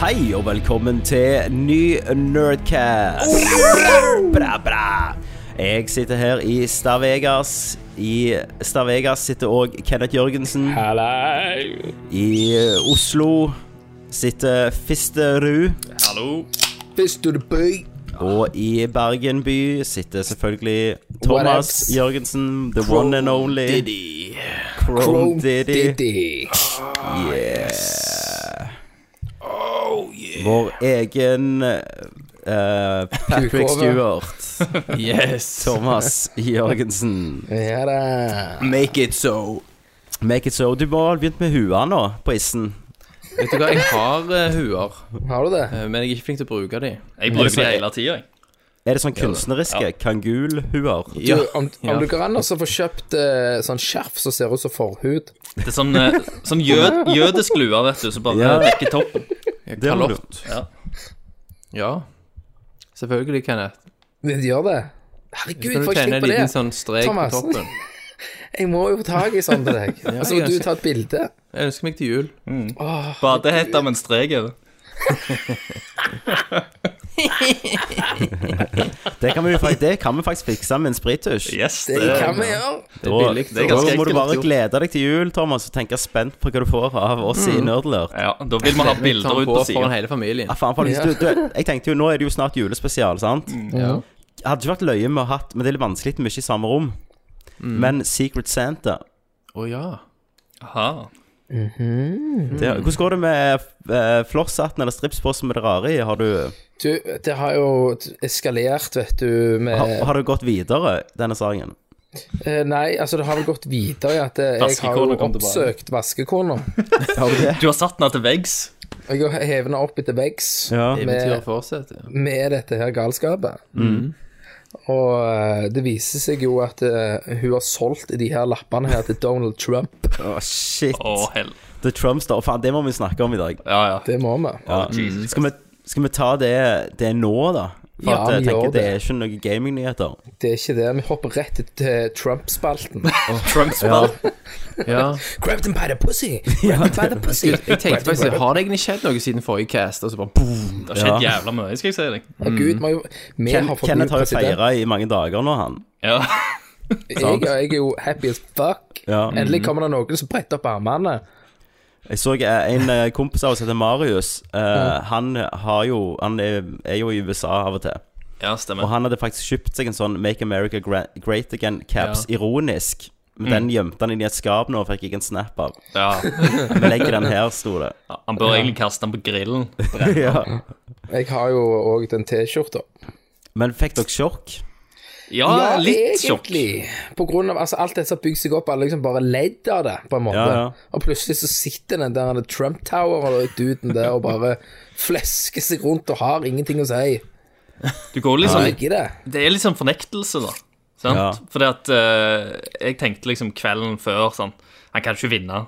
Hei og velkommen til ny Nerdcast. Bra, bra. Jeg sitter her i Stavegas. I Stavegas sitter òg Kenneth Jørgensen. Hallei. I eh, Oslo sitter Fisterud. Hallo. Og i Bergen by sitter selvfølgelig Thomas ups? Jørgensen, the one and only. Diddy. Chrome Diddy. Oh, Vår egen eh, Patrick Kukove. Stewart. Yes. Thomas Jørgensen. Ja da. Make it so. Make it so. Du må ha begynt med hua nå, på issen. Vet du hva, jeg har eh, huer, Har du det? eh, men jeg er ikke flink til å bruke de. Jeg bruker det hele tida, jeg. Er det sånn kunstneriske kangulhuer? Du, Ja. om, om du går an og så få kjøpt eh, sånn skjerf som ser ut som forhud Det er sånn, eh, sånn jød, jødisk lue, vet du, som bare Ja. dekker toppen. Det må du. Kalott. Ja. Ja. Selvfølgelig, Kenneth. Det gjør det. Herregud, Kan du får jeg tegne ikke en på det? liten sånn strek Thomas. på toppen? Jeg må jo få tak i sånn til deg. Og så må jeg du ser- ta et bilde. Jeg ønsker meg til jul. Mm. Badehetta med en strek over. Det kan vi, fak- det kan vi faktisk fikse med en sprittusj. Yes, Det det er kan vi gjøre. Det er Da, billig. det er ganske da må du ekkelt bare gjort. glede deg til jul, Thomas, og tenke spent på hva du får av oss Mm. i Nerdlert. Ja, da vil vi ha Ta bilder den ut på på foran sida. hele familien. Ah. Ja, faen, faktisk, du, du, jeg tenkte jo, Nå er det jo snart julespesial, sant? Mm. Ja. Hadde ikke vært løye med å hatt Men det er litt vanskelig med ikke i samme rom. Men Secret Santa Å ja. Mm. det, Hvordan går det med uh, flosshatten eller stripsposten med det rare i? Har du, Du, det har jo eskalert, vet du, med har, har du gått videre, denne saken? Eh, Nei, altså, det har vel gått videre i at eh, jeg har Vaskekona jo kom tilbake. oppsøkt vaskekona. Har du det? Du har satt den her til veggs. Og jeg har hevet henne opp etter veggs. Ja. Eventyret fortsetter. med dette her galskapet. Og eh, det viser seg jo at eh, hun har solgt de her lappene her til Donald Trump. Å, shit. Å, hell. The Trump Star. Faen, det må vi snakke om i dag. Ja, ja. Det må vi. Ja. Mm. Skal, vi, skal vi ta det, det nå, da? For Ja, at jeg vi gjør tenker det det. er ikke noen gamingnyheter. Det er ikke det. Vi hopper rett til Trump-spalten. Trumps Ja. valg. Ja. Grab them by the pussy! Grab them by the pussy! Jeg tenkte faktisk, har det egentlig skjedd noe siden forrige cast? Og så bare boom. Det har skjedd Ja. jævla mye, skal jeg si deg. Å, Gud, vi har jo vi Ken, har fått Kenneth har jo president. feira i mange dager nå, han. Ja. Jeg, jeg er jo happy as fuck. Ja. Endelig kommer det noen som bretter opp armene. Jeg så eh, en eh, kompis av oss heter Marius. eh, Han har jo Han er, er jo i USA av og til. ja, Og stemmer. han hadde faktisk kjøpt seg en sånn Make America Gra- Great Again-caps, ironisk. Mm. Men den gjemte han inn i et skap nå, fikk jeg en snap av. Ja. Vi legger den her, sto det. Han bør egentlig kaste den på grillen. Ja. Jeg har jo òg den T-skjorta. Men fikk dere sjokk? Ja, litt sjokk. egentlig. På grunn av altså, alt dette som har bygd seg opp, alle liksom bare ledd av det, på en måte. Ja, ja. Og plutselig så sitter den der Trump Tower og duden der og bare flesker seg rundt og har ingenting å si. Sånn Du går liksom Ligger i det. Det er litt sånn fornektelse, da. Sant? Ja. Fordi at eh, jeg tenkte liksom kvelden før sånn Han kan ikke vinne.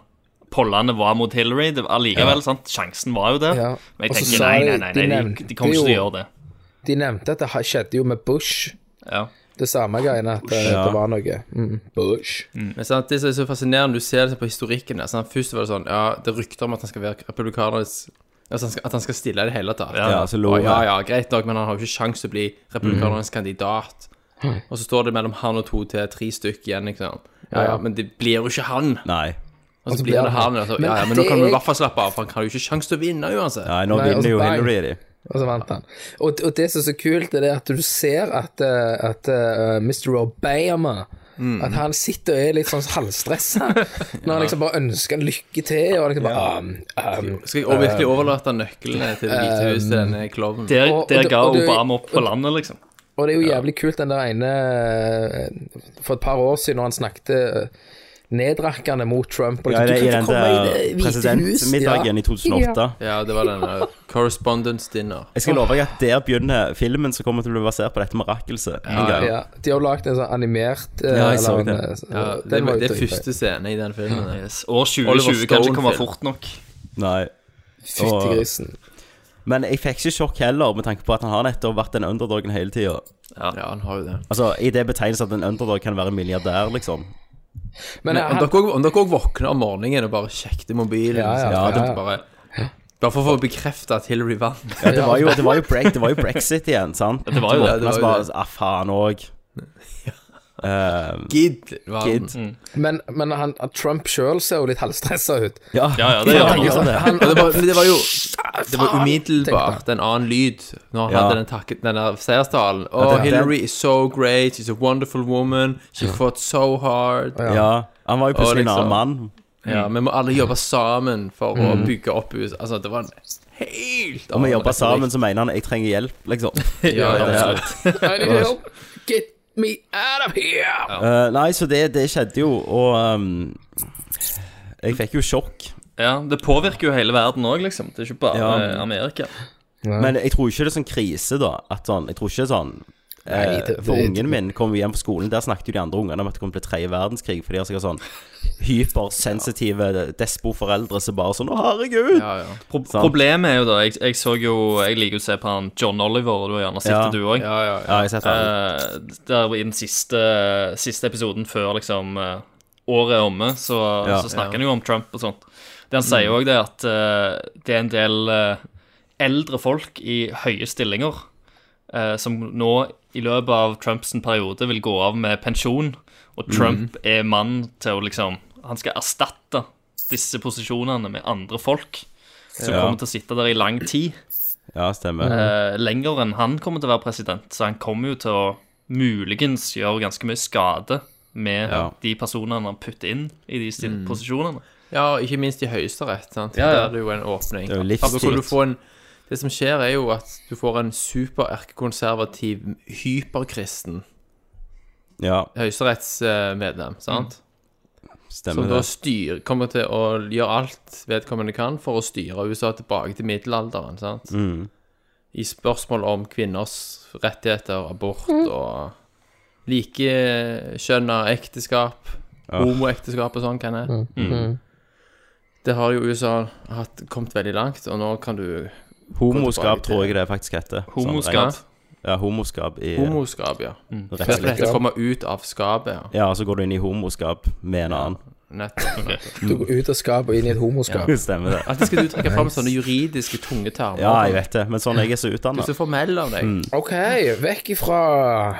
Pollene var mot Hillary. Det, allikevel, sant? Sjansen var jo der. Ja. Men Og så jeg tenker sa nei, de- nei, nei, de nei de, nevnte de kommer ikke til å jo- gjøre det. De nevnte at det ha- skjedde jo med Bush. Ja. Det samme greiene, at eh, Ja. det var noe. Mm. Bush. Men sant, det som er så fascinerende, du ser det på historikken der. Sant? Først var det sånn, ja, det er rykter om at han skal være republikanernes Altså han skal, at han skal stille i det hele tatt. Ja, så lo Og ja, jeg. ja, greit nok, men han har jo ikke sjans til å bli republikanernes kandidat. Og så står det mellom han og to til tre stykk igjen, liksom. Ja, ja, men det blir jo ikke han. Nei. Og så blir det han. Altså, ja, ja, men nå det kan er- vi i hvert fall slappe av, for han har jo ikke sjans til å vinne uansett. Nei, nå Nei, vinner altså, jo bang. Hillary de. Og så vant han. Og, og det som er så kult, det er at du ser at, eh, at eh, Mr. Obama Mm. At han sitter og er litt sånn halvstressa når han liksom bare ønsker han lykke til. Og liksom bare um, um, Skal jeg og virkelig overlate nøklene til Det hvite hus til denne klovnen? Der, Og- og der det- ga og det- Obama opp på landet, liksom. Og det er jo jævlig kult den der ene eh, For et par år siden når han snakket eh, nedrakkende mot Trump. Og Ja, det er liksom, du i kan den ikke komme i der det hvite hus. presidentmiddagen i 2008. Ja, det var denne correspondence dinner. Jeg skal love deg at der begynner filmen som kommer til å bli basert på dette mirakelset. en gang. Ja, de har lagd en sånn animert eh, Ja, jeg så eller en, det. eh, Ja, den det, var jo det er dritfett. første scene i den filmen. der. Yes. År Oliver 2020 kan Stone-film. ikke komme fort nok. Nei. Fytti og- grisen. Men jeg fikk ikke sjokk heller, med tanke på at han har nettopp vært den underdogen hele tida. Ja, han har jo det. Altså, I det betegnelse at en underdog kan være en milliardær, liksom. Men, Men om han, dere også- om dere òg våkner om morgenen og bare sjekker mobilen Ja, ja, så ja, dere ja. bare Bare for å få bekreftet at Hillary vant. Ja, det, var jo, det, var jo brek, det var jo brexit igjen, sant? det var jo Så våkna det, det var så jo bare, det. Ah, faen òg. Gid. Var den. Gid. Mm. Men, men han, Trump sjøl ser jo litt halvstressa ut. Ja, Ja, ja, det gjør han. gjør det. Han, Men det, var, men det var jo Det var tenkte umiddelbart en annen lyd når han Ja. hadde den, takke, den der seierstalen. Oh, det- Hillary is so great. She's a wonderful woman. She fought so hard. Ja. Ja, han var jo plutselig en liksom- annen mann. Vi må alle jobbe sammen for å bygge opp USA. Altså, det var en helt Om vi annen jobber sammen, retorikk. så mener han 'jeg trenger hjelp', liksom. Ja, ja, ja. I need help. Get me out of here! Eh, nei, så det, det skjedde jo, og ehm, Jeg fikk jo sjokk. Ja, det påvirker jo hele verden òg, liksom. Det er ikke bare Ja. eh, Amerika. Men jeg tror ikke det er sånn krise, da. At sånn, jeg tror ikke det er sånn eh, Nei, det- For det- ungen min kom jo hjem på skolen, der snakket jo de andre ungene om at det kom til tredje verdenskrig. For de har sikkert sånn hypersensitive despoforeldre som bare sånn 'Å, herregud'. Ja, ja. Pro Sant. Problemet er jo da Jeg, jeg så jo Jeg liker jo å se på han John Oliver, og du har gjerne sett Ja. det, du òg. Ja, ja, ja. Ja, jeg har sett Eh, han. der i den siste, siste episoden før liksom eh, året er omme, så, Ja. Mm. så snakker han jo om Trump og sånt. Det han sier òg, det er at eh, det er en del eh, eldre folk i høye stillinger eh, som nå i løpet av Trumps periode vil gå av med pensjon, og Trump Mm. er mann til å liksom Han skal erstatte disse posisjonene med andre folk som Ja. kommer til å sitte der i lang tid Ja, stemmer. eh, lenger enn han kommer til å være president, så han kommer jo til å muligens gjøre ganske mye skade med Ja. de personene han putter inn i de stil- posisjonene. ja, og ikke minst i Høyesterett. sant? Ja, ja. Der er det jo en åpning. Det er jo Da kan livstid. du få en, det som skjer, er jo at du får en supererkekonservativ, hyperkristen Ja, høyesterettsmedlem. sant? Som stemmer da det. styr, kommer til å gjøre alt vedkommende kan for å styre USA tilbake til middelalderen. sant? Mm. I spørsmål om kvinners rettigheter, abort og likekjønna ekteskap, homoekteskap og sånn, kan jeg. Mm. Det har jo USA hatt, kommet veldig langt, og nå kan du Homoskap tror jeg det faktisk heter. Sånn Homoskap. rent. ja, Mm. homoskap i Homoskap, ja. Det er rettslig. lett å komme ut av skapet, ja. Ja, så går du inn i homoskap med en annen. Nettopp. Du går ut av skapet og inn i et homoskap. Stemmer det. Alltid skal du trekke fram sånne juridiske tunge termer. Ja, Mm. jeg vet det, men sånn jeg er så Du er utdanna. så formell av deg. Ok, vekk ifra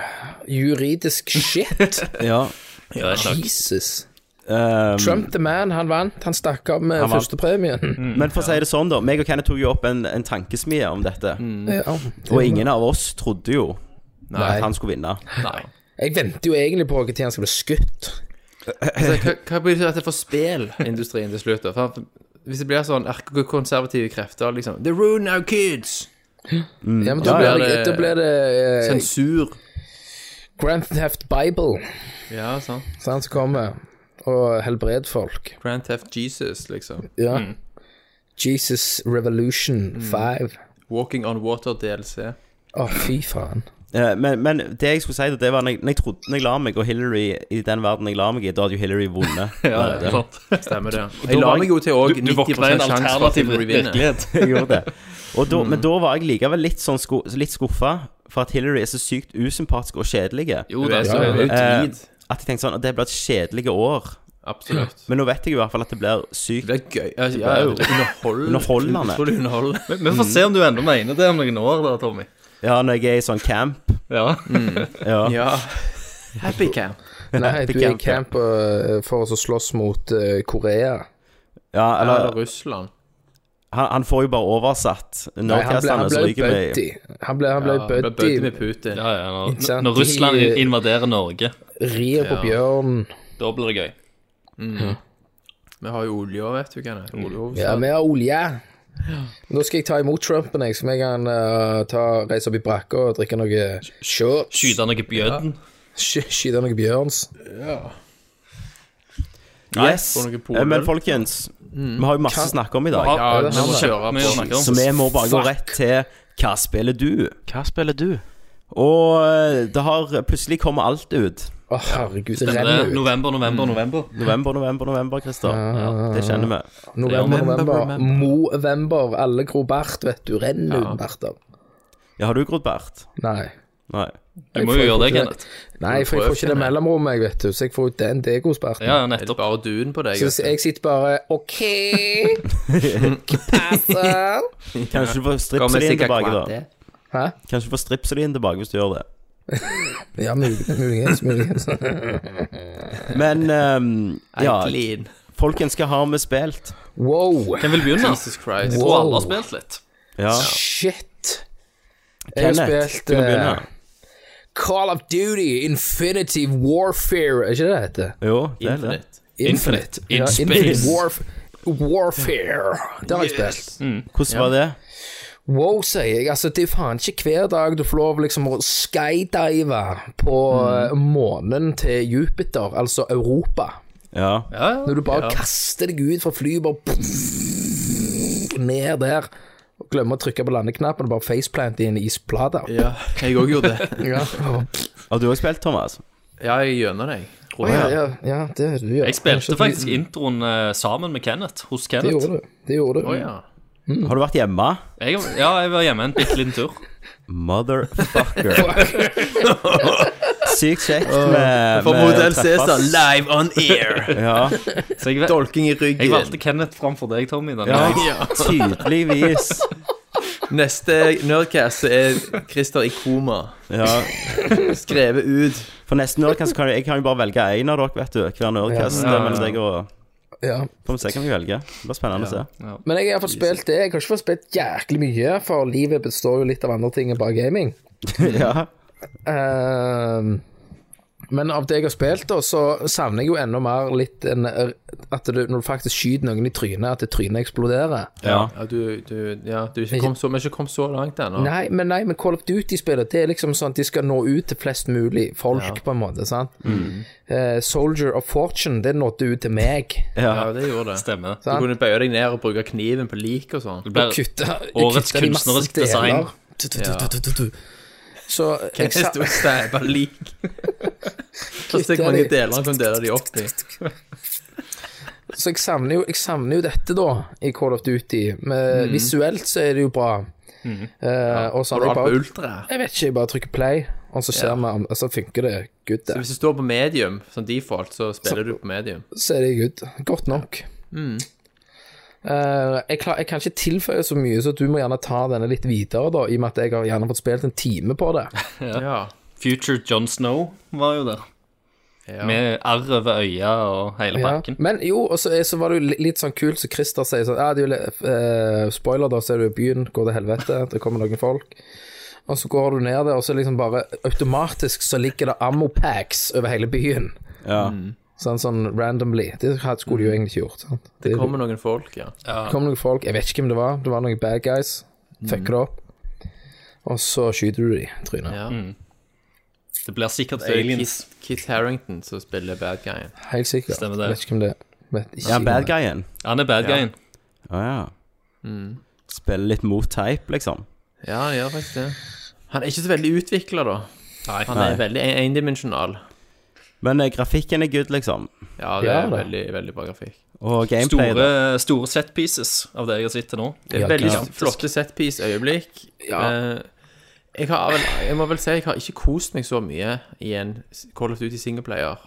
juridisk shit. Ja. Ja, det er nok. Jesus. ehm, Trump the man, han vant. Han stakk av med Han vant. førstepremien. men for å si det sånn, da. Meg og Kenneth tok jo opp en, en tankesmie om dette. Ja. Og ingen av oss trodde jo Nei. at han skulle vinne. Nei. Jeg venter jo egentlig på når han skal bli skutt. Altså, hva, hva betyr dette for spelindustrien til slutt? da? For hvis det blir sånn erkekonservative krefter, liksom They ruin our kids! Ja, men da Ja, ja, blir det, det- da blir det eh, Sensur. Grand Theft Bible Ja, sant. sant, som kommer og helbreder folk. Grand Theft Jesus, liksom. Ja. Jesus Revolution 5. Walking on Water DLC. Å, fy faen. Eh, Men, men det jeg skulle si, da, det var når jeg, når jeg trodde når jeg la meg, og Hillary i den verden jeg la meg i, da hadde jo Hillary vunnet. Ja, det er allerede. sant. Stemmer det. Jeg la meg jo til òg Du våkna i en 90 sjanse for at alternativ Hillary vinner. virkelighet. Jeg gjorde det. Og da, Men da var jeg likevel litt, sånn sko, litt skuffa for at Hillary er så sykt usympatisk og kjedelig. At Jo, det er så Hun er jo Eh, drit. jeg tenkte sånn at det blir et kjedelig år. Absolutt. Men nå vet jeg i hvert fall at det blir sykt Det er gøy. Altså, ja, jo underhold, Underholdende. Utrolig underholdende. Vi får se om du ennå mener det om noen år, da, Tommy. Ja, når jeg er i sånn camp. Ja. Ja. Ja. Happy camp. Nei, du er i Camp, ja. camp eh, for å slåss mot eh, Korea. ja Eller eller Russland. han, han får jo bare oversatt Nei, han ble, han nerdcastene, så ble ryker vi buddy. Han ble, han ble Ja, ble buddy. bøtte med Putin. Ja, ja, Ikke når, sant? når Russland De- invaderer Norge, Rir på bjørn. da blir det gøy. Vi har jo olje òg, vet du. Kan jeg. Olje, også. Ja, vi har olje. Men da skal jeg ta imot Trumpen, jeg, så vi kan eh, ta, reise opp i brakka og drikke noe shorts. Skyte noe bjøden. Sky- Skyte noe bjørns. Yes. får noen poløl. Eh, Men folkens, vi har jo masse å snakke om i dag. Ja, Ja, vi må kjøre vi på. snakker om. Så vi må bare gå rett til Hva spiller du? Hva spiller du? Og eh, det har plutselig kommet alt ut. Å, herregud, det Det er renner ut. Mm. November, november, november. November, november, november, Christer. Ja, det kjenner vi. November, Remember, november, remember. Movember, alle grobart, vet du. Renner ut, Bertha. Ja, har du grodd bart? Nei. Nei. Du må jo gjøre det, Kenneth. Nei, for jeg får ikke det mellomrommet, jeg, vet du. Så jeg får jo den degospalten. Ja, ja, Er det nettopp. bare duen på deg? Så jeg sitter bare OK, hva passer? Kanskje du får stripselien tilbake, da. Hæ? Kanskje du får stripselien tilbake hvis du gjør det. Ja, mulig- muligens, muligens. Men ehm, ja, Clean. folkens, hva har vi spilt? Wow. Hvem vil begynne? Jesus Christ. Og alle har spilt litt. Ja, Shit. Jeg har Kenneth, spilt du må eh, begynne. Call of Duty Infinity Warfare, er ikke det det heter? Jo, det er det. Infinite. Infinite. In ja, space. Infinite Warf Warfare. Det har jeg spilt. Hvordan var det? Wow, sier jeg. Altså, det er faen ikke hver dag du får lov liksom å skydive på Mm. eh, månen til Jupiter, altså Europa. Ja. Ja, ja. Når du bare kaster deg ut fra flyet, bare pff, ned der. Og glemmer å trykke på landeknappen og bare faceplante i en isplate. Ja, jeg òg gjorde det. Ja. Har du òg spilt, Thomas? Ja, jeg gjennom deg. Å, ja, ja, ja, det du gjør. Jeg spilte faktisk introen eh, sammen med Kenneth, hos Det Kenneth. gjorde du. Det gjorde du. Å ja. Har du vært hjemme? Jeg, ja, jeg var hjemme en bitte liten tur. Motherfucker. Sykt kjekt med For med Modell å Cæsar, treffes. live on air. Ja, Så jeg, Dolking i jeg ryggen. valgte Kenneth framfor deg, Tommy. Denne. ja, gangen. tydeligvis. Neste Nerdcast så er Christer i koma. Ja, Skrevet ut. For neste Nerdcast kan jeg, jeg kan jo bare velge én av dere, vet du. Hver Nerdcast. Det er mellom deg og Ja. Får vi se hvem vi velger. Det blir spennende å se. Men jeg har fått spilt det. Jeg har ikke fått spilt jæklig mye, for livet består jo litt av andre ting enn bare gaming. ja. Ehm, men av det jeg har spilt, da, så savner jeg jo enda mer litt en, at du, når du faktisk skyter noen i trynet, at det trynet eksploderer. Ja. Ja, du, du, ja, du er ikke kom så, vi er ikke kommet så langt ennå. Nei, men, nei, men Call of Duty-spillet, det er liksom sånn at de skal nå ut til flest mulig folk, på en måte. sant? Mm. Eh, Soldier of Fortune, det nådde ut til meg. ja. Ja, det gjorde det. Stemmer. Du kunne bøye deg ned og bruke kniven på lik og sånn. Det ble Kutta, årets kutta de masse kunstnerisk deler. design. Tu, tu, tu, tu, tu, tu, tu. Så jeg sa- Kenneth og stabba lik. Fast jeg mange deler han kunne dele de opp i. Så jeg savner, jo, jeg savner jo dette, da, i Call of Duty. Men eh, Visuelt så er det jo bra. Eh, og så Mm. Har har du jeg alt på bare ultra? Jeg vet ikke, jeg bare trykker play, og så ser vi om altså, funker det good. Så Det. hvis du står på medium, som default, så spiller du på medium. Så er det good. Godt nok. Mm. Eh, jeg, klar, jeg kan ikke tilføye så mye, så du må gjerne ta denne litt videre, da, i og med at jeg har gjerne fått spilt en time på det. Ja. Future John Snow var jo der. Ja. Med arr over øya og hele Ja. pakken. Men jo, og så, er- så var det jo li- litt sånn kult som Christer sier sånn ja, det er jo, li- eh, Spoiler, da, så er du i byen, går til helvete, det kommer noen folk. Og så går du ned der, og så liksom bare automatisk så ligger det ammopacks over hele byen. ja. Mm. Sånn, sånn randomly. Det had- skulle de jo egentlig ikke gjort. Sant? Det kommer noen folk, ja. det kom noen folk, jeg vet ikke hvem det var, det var noen bad guys. Mm. Fucker det opp. Og så skyter du de, trynet. ja. Det blir sikkert Det er aliens. Keith, Keith Harrington som spiller bad guyen. Helt sikkert. Stemmer det. Vet ikke hvem det er. Vet ikke ja hvem bad det er. guyen. Han er bad guyen. Å ja. Spiller litt mot teip, liksom. Ja, han gjør faktisk det. Han er ikke så veldig utvikla, da. Nei. Han er veldig en- endimensjonal. Men eh, grafikken er good, liksom. Ja, det Ja, er da. veldig, veldig bra grafikk. Og gameplay. Store, da. store set pieces av det jeg har sett til nå. Det er Ja, veldig sånn gigantisk. flotte setpiece-øyeblikk. Ja. jeg, har vel, jeg må vel si jeg har ikke kost meg så mye i en Call of Duty singleplayer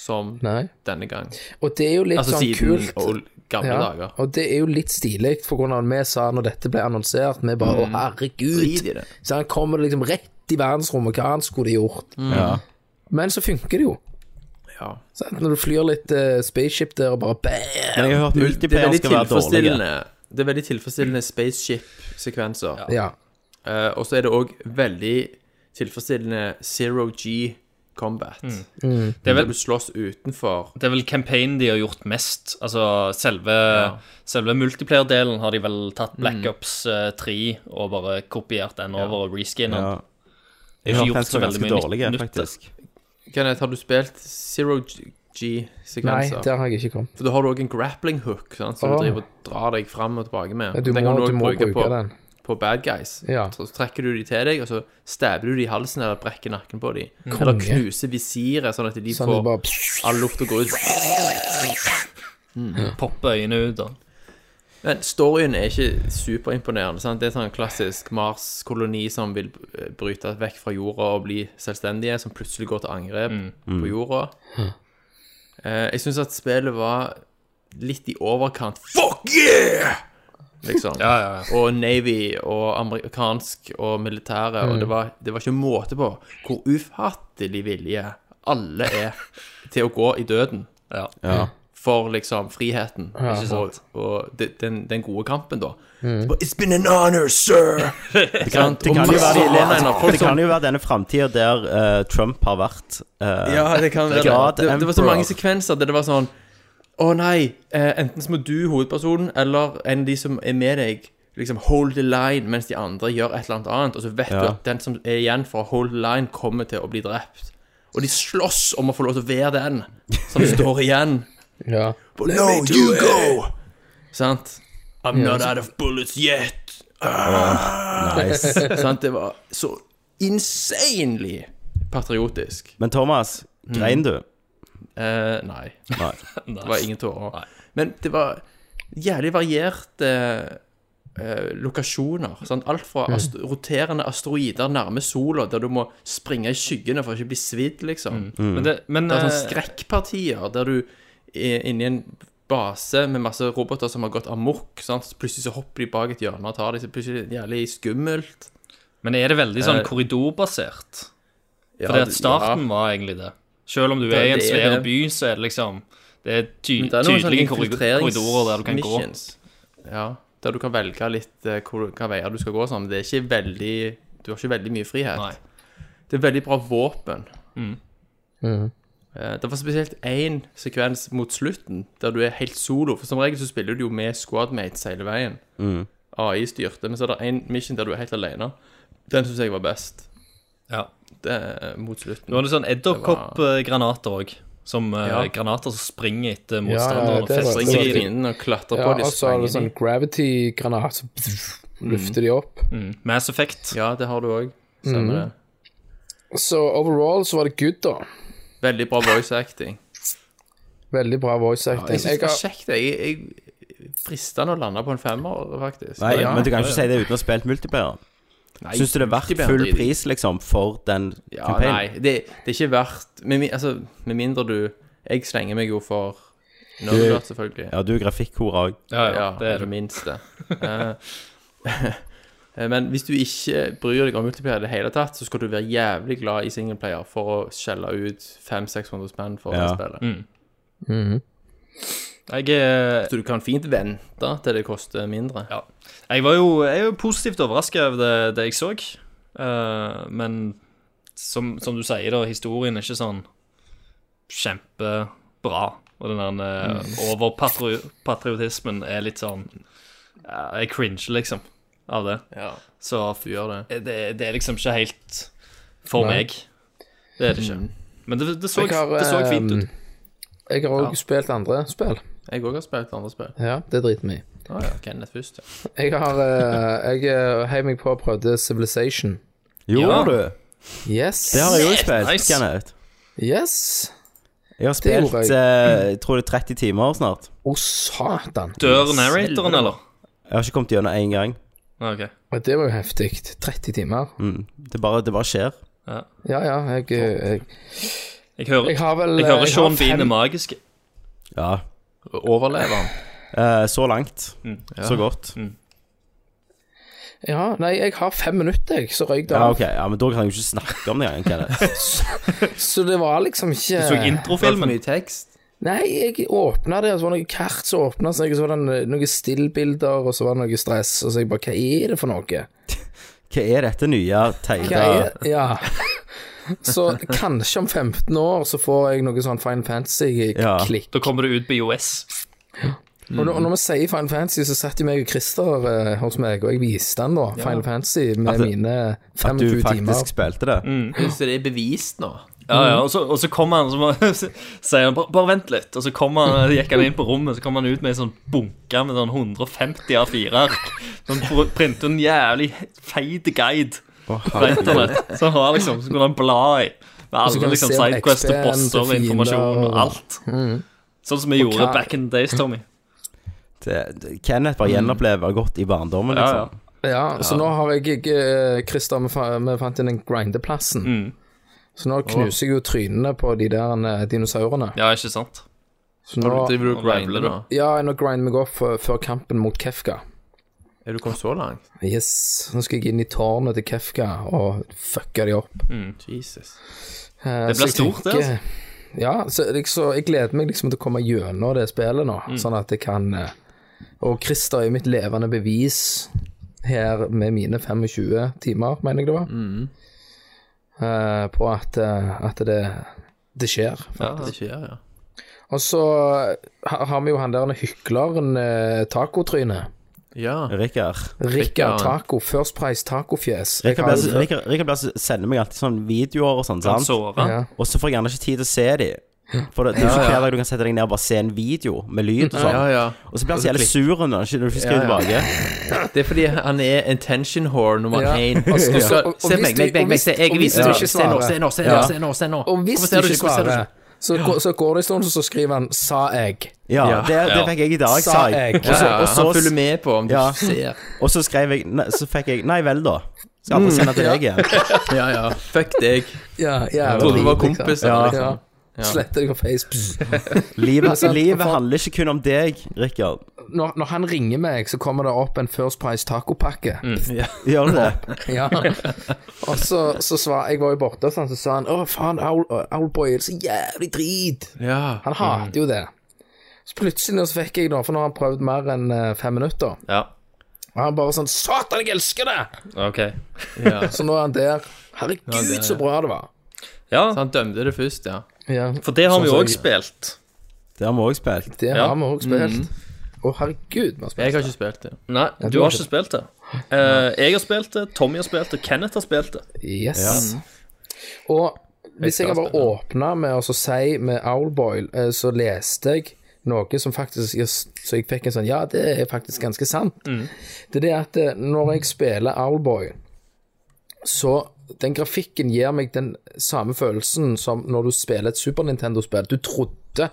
som Nei. denne gang. Og det er jo litt Altså sånn siden kult. old- gamle Ja, dager. og det er jo litt stilig, for hvordan vi sa når dette ble annonsert. Vi bare 'Å, Mm. Drit i herregud'. det. Så han kommer liksom rett i verdensrommet. Hva annet skulle de gjort? Mm. Ja. Men så funker det jo. Ja. Sant? Når du flyr litt eh, spaceship der og bare bam. Men jeg har hørt Det er multiplayer veldig skal være dårlige. tilfredsstillende. Det er veldig tilfredsstillende spaceship-sekvenser. Ja. Eh, og så er det òg veldig tilfredsstillende zero G combat. Mm. Det Der er vel du slåss utenfor. Det er vel campaignen de har gjort mest. Altså selve, selve multiplayer-delen har de vel Mm. tatt Black Ops eh, 3 og bare kopiert den over og reskinnet Ja. den. Jeg har hørt Ikke gjort den så skal være veldig ganske mye dårlige, nytt- nytt, da. faktisk. Kenneth, har du spilt zero Nei, G-sekvenser? der har jeg ikke kommet. For da har du òg en grappling hook sant, som Ah. du driver og drar deg fram og tilbake med. Du må, den kan du også må bruke, på, den. på bad guys. Ja. Så trekker du de til deg, og så stabber du de i halsen eller brekker nakken på de. Eller knuser visiret, sånn at de Mm. Sånn får du bare all lufta går ut. Poppe øynene ut og Men storyen er ikke superimponerende. sant? Det er sånn klassisk Mars-koloni som vil eh, bryte vekk fra jorda og bli selvstendige, som plutselig går til angrep på jorda. Eh, jeg syns at spillet var litt i overkant Fuck yeah! Liksom. Og Navy og amerikansk og militære, og det var, det var ikke måte på hvor ufattelig villige alle er til å gå i døden Ja. for liksom friheten. Ikke Og, sant? og de- den, den gode kampen, da. Bare, It's been an honor, sir! Det kan, det Og kan, jo, masse være, one-liner, folk det som- kan jo være denne framtida der eh, Trump har vært. eh, Ja, det kan være God det. Det, det var så Emperor. mange sekvenser der det var sånn Å nei, eh, enten så må du, hovedpersonen, eller en av de som er med deg, liksom hold the line mens de andre gjør et eller annet annet, og så vet du Ja. at den som er igjen for å hold the line, kommer til å bli drept. Og de slåss om å få lov til å være den som står igjen. Ja. No, you go! Sant? I'm not out of bullets yet. nice. Sant? Det var så insanely patriotisk. Men Thomas, grein du? Eh, nei, det Nei. var ingen tårer. Men det var jævlig varierte eh, lokasjoner. Sant? Alt fra ast roterende asteroider nærme sola, der du må springe i skyggene for å ikke bli svidd, liksom. Men det, men, Det er Mm. sånn eh, sånne skrekkpartier der du er inni en base med masse roboter som har gått amok. Sant? Så plutselig så hopper de bak et hjørne og tar deg. Så plutselig er det jævlig skummelt. men er det veldig sånn Eh, korridorbasert? Ja, For det du- at starten var egentlig det. Selv om du er i en det er svær det. by, så er det liksom Det er, ty ja. Men det er noen tydelige sånne korrido- infiltrerings- korridorer der du kan missions. Ja, der du kan velge litt eh, hvor, hva veier du skal gå og sånn. Men det er ikke veldig Du har ikke veldig mye frihet. gå. Nei. Mm. Det er veldig bra våpen. Mhm. Eh, Det var spesielt én sekvens mot slutten der du er helt solo. For som regel så spiller du jo med squadmates hele veien. Mm. AI styrte, men så er det én mission der du er helt alene. Den syns jeg var best. Ja. Det er mot slutten. Nå er det sånn edderkoppgranater òg. Som eh, Ja. granater som springer etter ja, motstanderen og det var- fester Springer seg i i dem. fienden og klatrer ja på de og så er det springer sånn de. gravity-granat, så løfter de opp. Mass sånn- Effect. Ja, det har du òg. Mm. Stemmer det. Så overall så var det good, da. Veldig bra voice acting. Veldig bra voice Jeg acting. syns jeg det var har, kjekt. Jeg, jeg frista å lande på en femmer, faktisk. Nei, ja. men du kan ikke si det uten å ha spilt multiplayer. Nei, Syns du det er verdt multiplayer full driter. pris, liksom, for den Ja, nei, campaignen? det, det er ikke verdt med, mi- altså, med mindre du Jeg slenger meg jo for nerder, selvfølgelig. Ja, du er grafikkhore òg. Ja, ja, det er det det. minste. Eh, Men hvis du ikke bryr deg om multiplayer i det hele tatt, så skal du være jævlig glad i singleplayer for å skjelle ut 500-600 spenn for Ja. det spillet. Jeg, eh, Så du kan fint vente til det koster mindre. ja. jeg var jo jeg er jo positivt overraska over det, det jeg så. Eh, men som, som du sier, da, historien er ikke sånn kjempebra. Og den der eh, overpatriotismen er litt sånn eh, Jeg cringer liksom av det. Ja, Så du gjør det. det, det er liksom ikke helt for Nei. meg. Det er det ikke. Mm. eh, Men det, det, så, Jeg har, det så fint ehm, ut. jeg har òg spilt andre spill. Jeg òg har spilt andre spill. Ja, det driter vi i. Å ja, Kenneth først, ja. Jeg har eh, Jeg eh, heiv meg på og prøvde Civilization. Gjorde Ja. du? Yes. Det har jeg òg spilt, nice. Kenneth. Yes. Jeg har Det gjorde spilt eh, jeg tror det er 30 timer snart. Å, satan. Dør narratoren, eller? Jeg har ikke kommet gjennom én gang. Ah, Ok. Og Det var jo heftig. 30 timer. Det bare, det bare skjer. Ja, ja. Jeg, eh, jeg, Jeg hører, jeg har vel jeg eh, hører har Sean Bean fem- er magisk. Ja. Overlever han. Eh, så langt. Så godt. Ja, nei, jeg har fem minutter, jeg, så røyk det Ja, av. ok, ja, men da kan jeg jo ikke snakke om det engang, Kenneth. Så det var liksom ikke Så Filmen. introfilmen. Mye tekst. Nei, jeg åpna det, og så var det noen kart som åpna seg, og så var det noen stillbilder, og så var det noe stress, og så jeg bare Hva er det for noe? Hva er dette nye Hva teita er Ja. Så kanskje om 15 år så får jeg noe sånn Final Ja. Mm. Fantasy-klikk. Da kommer det ut BOS. Og når, når vi sier Final Fantasy, så satt jo meg og Christer eh, hos meg, og jeg viste han da Final Fantasy med At det- mine At du 25 faktisk timer. spilte det? Så det er bevist nå. Ja, ja, og så, og så kommer han, så må- så sier han bare, bare vent litt. Og så kommer han, gikk han inn på rommet, så kom han ut med en sånn bunke med sånn 150 A4-ark. Så han pr- Sånn printer en jævlig feit guide Å, på internett. Så han har liksom, så kunne han bla i. så Med kan alle han liksom se om sidequest og XP-en til bosser og fiender informasjon og Mm. og- alt. Sånn som vi gjorde hva- back in the days, Tommy. Det- Kenneth bare gjenopplever godt i barndommen, Ja, ja. liksom. Ja, så nå har jeg eh, Christer, vi fa- vi fant inn den grindeplassen. Så nå knuser jeg jo trynene på de der eh, dinosaurene. ja, ikke sant? Så nå, Driver du Og og grindler wrangler, nå? ja, nå grinder meg opp eh, før kampen mot Kefka. Er du kommet så langt? Yes, nå skal jeg inn i tårnet til Kefka og fucke de opp. Jesus. Det blir stort, det, altså. Ja, så jeg, så jeg gleder meg liksom til å komme gjennom det spillet nå, Mm. sånn at jeg kan eh, Og Christer er mitt levende bevis her med mine 25 timer, mener jeg det var, Mm. eh, på at, eh, at det, det skjer. Ja, det skjer, ja. Og så ha- har vi jo han der hykleren eh, tacotryne. Ja. Rikard. Rikard Rikard. Taco, First Price Tacofjes. Jeg Rikard har- blir- Rikard- Rikard blir- sender meg alltid sånne videoer og sånn, sant? Kan altså. sove. Ja. Og så får jeg gjerne ikke tid til å se de. For det, det er ikke hver dag du kan sette deg ned og bare se en video med lyd og sånn. Ja, ja. Og så blir han så jævlig sur når han ikke- når du ikke skriver Ja, ja. tilbake. Det er fordi han er intention whore nummer Ja. én. Og- og- Du skal- og- og altså, Se hvis meg, du- meg, meg, og meg, hvis- se, jeg og hvis viser du deg. ikke Se nå, svarer. se nå, se nå, Ja. se nå, se nå. Og hvis Hvorfor du ser ikke Hvorfor ser du svarer, så, går- så går det en stund, så skriver han 'sa jeg'. Ja, Ja. Det, det fikk jeg i dag, sa Sa jeg. jeg. Og Ja, så, ja, og han følger så, med på om du Ja. ikke ser. og så skrev jeg nei, Så fikk jeg Nei vel, da. Skal aldri sende til deg igjen. Ja, ja. Fuck deg. Ja, Jeg trodde vi var drit, liksom. kompiser. Ja. Liksom. Ja. Sletter deg på Facebook. Livet, sant, livet for- handler ikke kun om deg, Rikard. Når, når han ringer meg, så kommer det opp en First Price tacopakke. Mm. Gjør du det? Ja. Og så, så svar, jeg var jo borte, sånn, så sa han 'Å, faen, Owl- Owlboy er så jævlig drit'. Ja. Han hater jo det. Så plutselig nå så fikk jeg da, for nå har han prøvd mer enn eh, fem minutter. Ja, Og han bare sånn 'Satan, jeg elsker det!' ok. ja. Så nå er han der. Herregud, så bra det var. Ja, Så han dømte det først, ja. Ja, for det har vi jo Sånn òg spilt. Det har vi òg spilt. det Ja. har vi også spilt. Å, herregud, vi har Jeg spilt. har ikke spilt det. Nei, du har ikke spilt det. Eh, jeg har spilt det, Tommy har spilt det, Kenneth har spilt det. Yes. Og hvis jeg kan bare åpne med å så si med Owlboy, eh, så leste jeg noe som faktisk Så jeg fikk en sånn Ja, det er faktisk ganske sant. Det er det at eh, når jeg spiller Owlboy, så den grafikken gir meg den samme følelsen som når du spiller et Super Nintendo-spill. Du trodde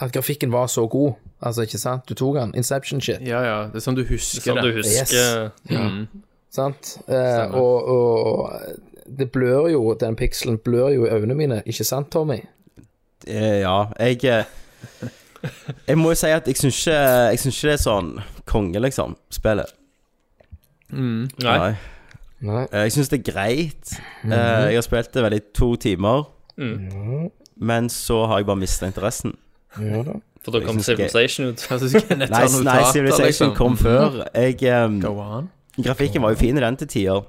at grafikken var så god. Altså, ikke sant? Du tok den. Inception-shit. Ja, ja. Det er sånn du husker Som du det. husker. Yes. Sant? Eh, og, og det blør jo, den pikselen blør jo i øynene mine, ikke sant, Tommy? Eh, Ja, jeg eh, Jeg må jo si at jeg syns ikke, jeg syns ikke det er sånn konge, liksom, spillet. Nei. Nei. Eh, Jeg syns det er greit. Eh, Jeg har spilt det vel i to timer. Men så har jeg bare mista interessen. For da kom synes ikke- Civilization ut. Hva synes Kenneth Nei, har notater, nei Civilization liksom? kom før. Jeg, ehm, Go on. grafikken var jo fin i den til tider.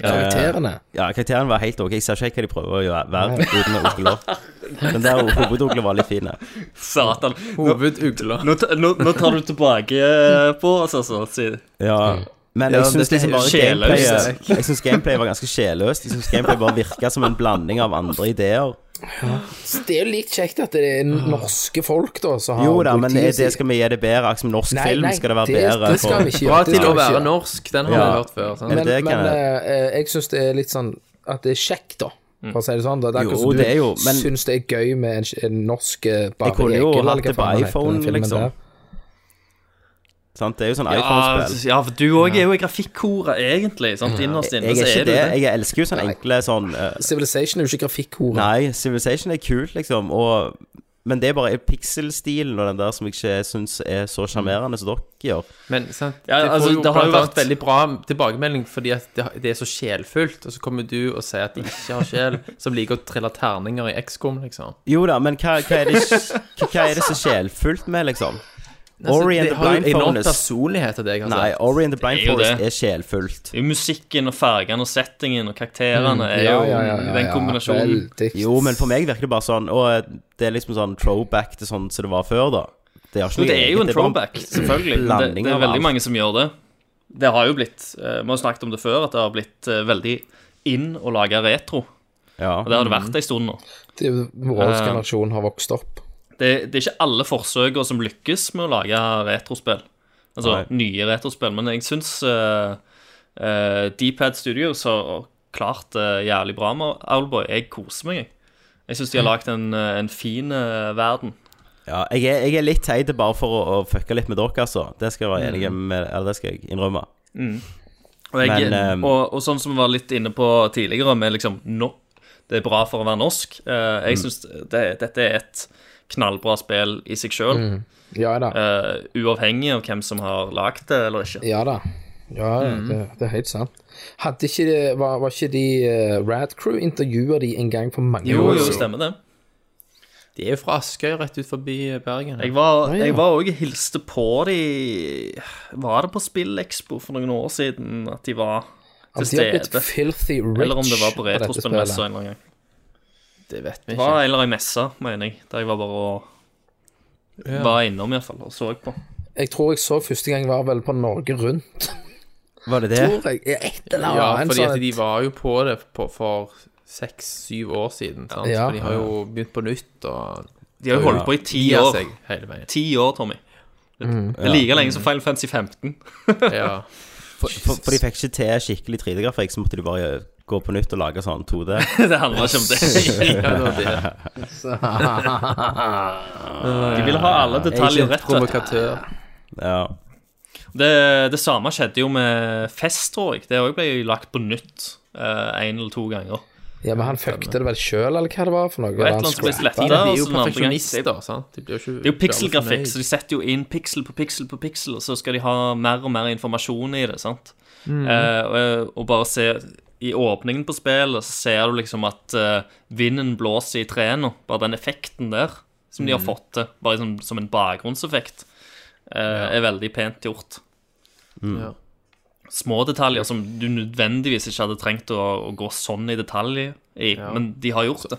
Karakterene. Ja, Karakteren var helt ok. Jeg ser ikke hva de prøver å gjøre være uten ogler. Den der hovedogler var litt fin. Satan. Nå, Hovedugla. nå, ta- nå, nå tar du tilbake eh, på oss, altså. si- Ja. Men jeg Ja, syns dette er liksom bare sjeløst. gameplayet Jeg synes gameplay var ganske sjeløst. Jeg syns gameplay bare virka som en blanding av andre ideer. Det er jo likt kjekt at det er norske folk, da, som har Ah. Jo da, men er politiet- det skal vi gi det bedre? Akkurat som norsk Ah, Nei, film nei, skal det være det- bedre. det skal for- vi ikke gjøre. Bra Det til skal å vi ikke være gjøre. norsk. Den har vi Ja. hørt før. sant? Er det Men, det, men Kenneth? eh, jeg syns det er litt sånn at det er kjekt, da. Mm. For å si det sånn. Da. Det er Jo, akkurat som du det er jo, men- syns det er gøy med en, en norsk eh, bare Jeg kunne jo Egil, eller hatt hva det på faen han heter, den iPhone, filmen liksom. der. Sant? Det er jo sånn Ja, iPhone-spill. ja, for du òg er jo i grafikkhoret, egentlig. Sant? Innerst inne Jeg er så ikke er du det. det. Jeg elsker jo sånn enkle sånn eh, Civilization er jo ikke grafikkhore. Nei, Civilization er kult, liksom. Og, men det er bare pixelstilen og den der som jeg ikke syns er Mm. så sjarmerende som dere gjør. Men sant? Ja, det, altså, får jo det har jo blant annet vært- veldig bra tilbakemelding fordi at det, det er så sjelfullt, og så kommer du og sier at de ikke har sjel, som liker å trille terninger i XCOM, liksom. Jo da, men hva, hva, er, det, hva, hva er det så sjelfullt med, liksom? Altså, Ori and det the har jo Blind enorm Forest personlighet av deg, altså. Nei, Ori and the Blind Det er jo Forest det. er sjelfullt. Det er jo musikken og fargene og settingen og karakterene er jo Ja, ja, ja, ja, den ja, kombinasjonen. veldig. Jo, men for meg virker det bare sånn Og det er liksom sånn throwback til sånn som det var før, da. Det, har ikke Men noe det er jo eget, en bare throwback, selvfølgelig. men Det, blanding det av er veldig alt. mange som gjør det. Det har jo blitt eh, Vi har snakket om det før, at det har blitt eh, veldig in å lage retro. Ja. Og det har det vært en stund nå. Det er jo Vår Eh. generasjon har vokst opp. Det, det er ikke alle forsøker som lykkes med å lage retrospill. Altså nye retrospill. Men jeg syns uh, D-Pad Studios har klart det jævlig bra med Owlboy. Jeg koser meg, jeg. Jeg syns de har lagd en, eh, en fin eh, verden. Ja, jeg er, jeg er litt teit bare for å, å fucke litt med dere, altså. Det skal jeg være enig Mm. med Eller det skal jeg innrømme. Og, jeg, Men, eh, og, og sånn som vi var litt inne på tidligere, med liksom no, Det er bra for å være norsk. eh, jeg syns det, dette er et knallbra spill i seg sjøl, Ja da. Eh. uavhengig av hvem som har lagd det eller ikke. Ja da. Ja, Mhm. det, det er helt sant. Hadde ikke det, var, var ikke de eh, Rad Crew intervjua de en gang for mange Jo, år jo, siden? stemmer det. De er jo fra Askøy, rett ut forbi eh, Bergen. Jeg var, Ah, ja. jeg var også og hilste på de Var det på Spillekspo for noen år siden at de var til De har blitt stede? filthy rich Eller om det var på dette Retrospillmessa en spillet. eller annen gang. Det vet vi Det ikke. var en eller annen messe, mener jeg, der jeg var bare og var innom, iallfall, og så på. Jeg tror jeg så første gang var vel på Norge Rundt. Var det det? Tror jeg. Et eller Ja, annet. fordi sånn at et- de var jo på det på, for seks-syv år siden. Sant? Ja. For de har jo begynt på nytt og De har jo holdt på i ti gir år. seg hele veien. Ti år, Tommy. Det er like lenge som Final Fantasy 15. Ja. For, for, for de fikk ikke til skikkelig 3D-grafikk, så måtte de bare gå på nytt og lage sånn 2D. det handler ikke om det. ja, det var det. De ville ha alle detaljer rett. vet du. Provokatør. Ja. Det, det samme skjedde jo med Fest, tror jeg. Det òg ble jo lagt på nytt én eller to ganger. Ja, men han fuckte det vel sjøl, eller hva det var for noe? Og et eller annet som ble Han slettet, scrappet det. De er jo og så den andre gangen- perfeksjonister, sant? De blir jo ikke Det er jo pikselgrafikk, så de setter jo inn piksel på piksel på piksel, og så skal de ha mer og mer informasjon i det, sant? Eh, og, og bare se I åpningen på spillet så ser du liksom at eh, vinden blåser i trærne. Bare den effekten der som de har fått til, bare som, som en bakgrunnseffekt, eh, er veldig pent gjort. Ja. Små detaljer som du nødvendigvis ikke hadde trengt å, å gå sånn i detalj i, men de har gjort det.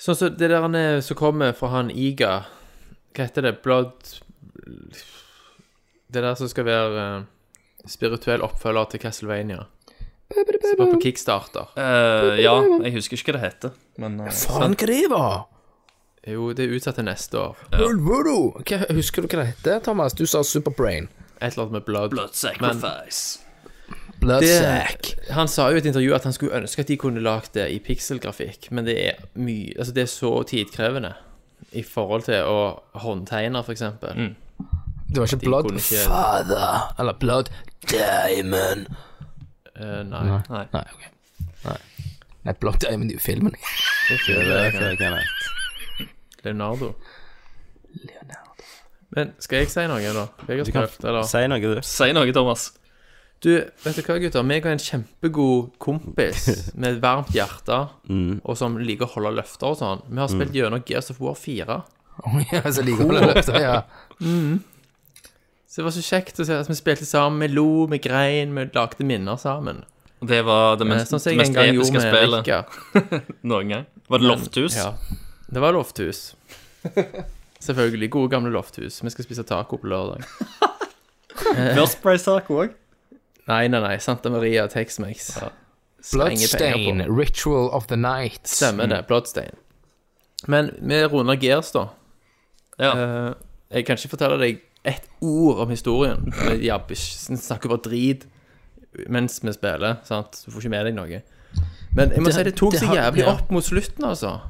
Sånn som det der han er- som kommer fra han Iga Hva heter det? Blood Det der som skal være eh, spirituell oppfølger til Castlevania. Som var på kickstarter. Eh, ja, jeg husker ikke hva det heter, men eh, Faen, hva det var? Jo, det er utsatt til neste år. Old Voodoo. Hva, husker du hva det heter, Thomas? Du sa Superbrain. Et eller annet med blood. Blood Sacrifice. Bloodsack. Han sa jo i et intervju at han skulle ønske at de kunne lagd det i pikselgrafikk, men det er mye Altså, det er så tidkrevende i forhold til å håndtegne, for eksempel. Det var ikke Blood kunne ikke- Father eller Blood Diamond. Eh, nei. Nei. Nei, ok. Nei, Nei Blood Diamond er jo filmen. Det er det jeg kan rett. Leonardo. Men skal jeg si noe, da? Jeg har prøvd, eller? Si noe, du. Si noe, Thomas. Du, vet du hva, gutter? Meg og en kjempegod kompis med et varmt hjerte, og som liker å holde løfter og sånn, vi har spilt gjennom Gears of War 4. Oh, ja, så liker hun det løftet, ja. Så det var så kjekt å se at vi spilte sammen. Vi lo, vi grein, vi lagde minner sammen. Det var det Eh, mest, Sånn som jeg en mest gang gjorde episke med spillet Rikard. noen gang. Var det Lofthus? Ja. Det var lofthus. Selvfølgelig. Gode, gamle lofthus. Vi skal spise taco på lørdag. First Price Taco òg? Nei, nei, nei. Santa Maria Tex-Mex. Slenge Bloodstain, penger på. Ritual of the Night. Stemmer det. Bloodstain. Men vi runder gears, da. Ja. Eh, jeg kan ikke fortelle deg ett ord om historien. Vi jabber ikke- vi snakker bare drit mens vi spiller. sant? Du får ikke med deg noe. Men jeg må Det- si det tok det seg har- jævlig ja. opp mot slutten, altså.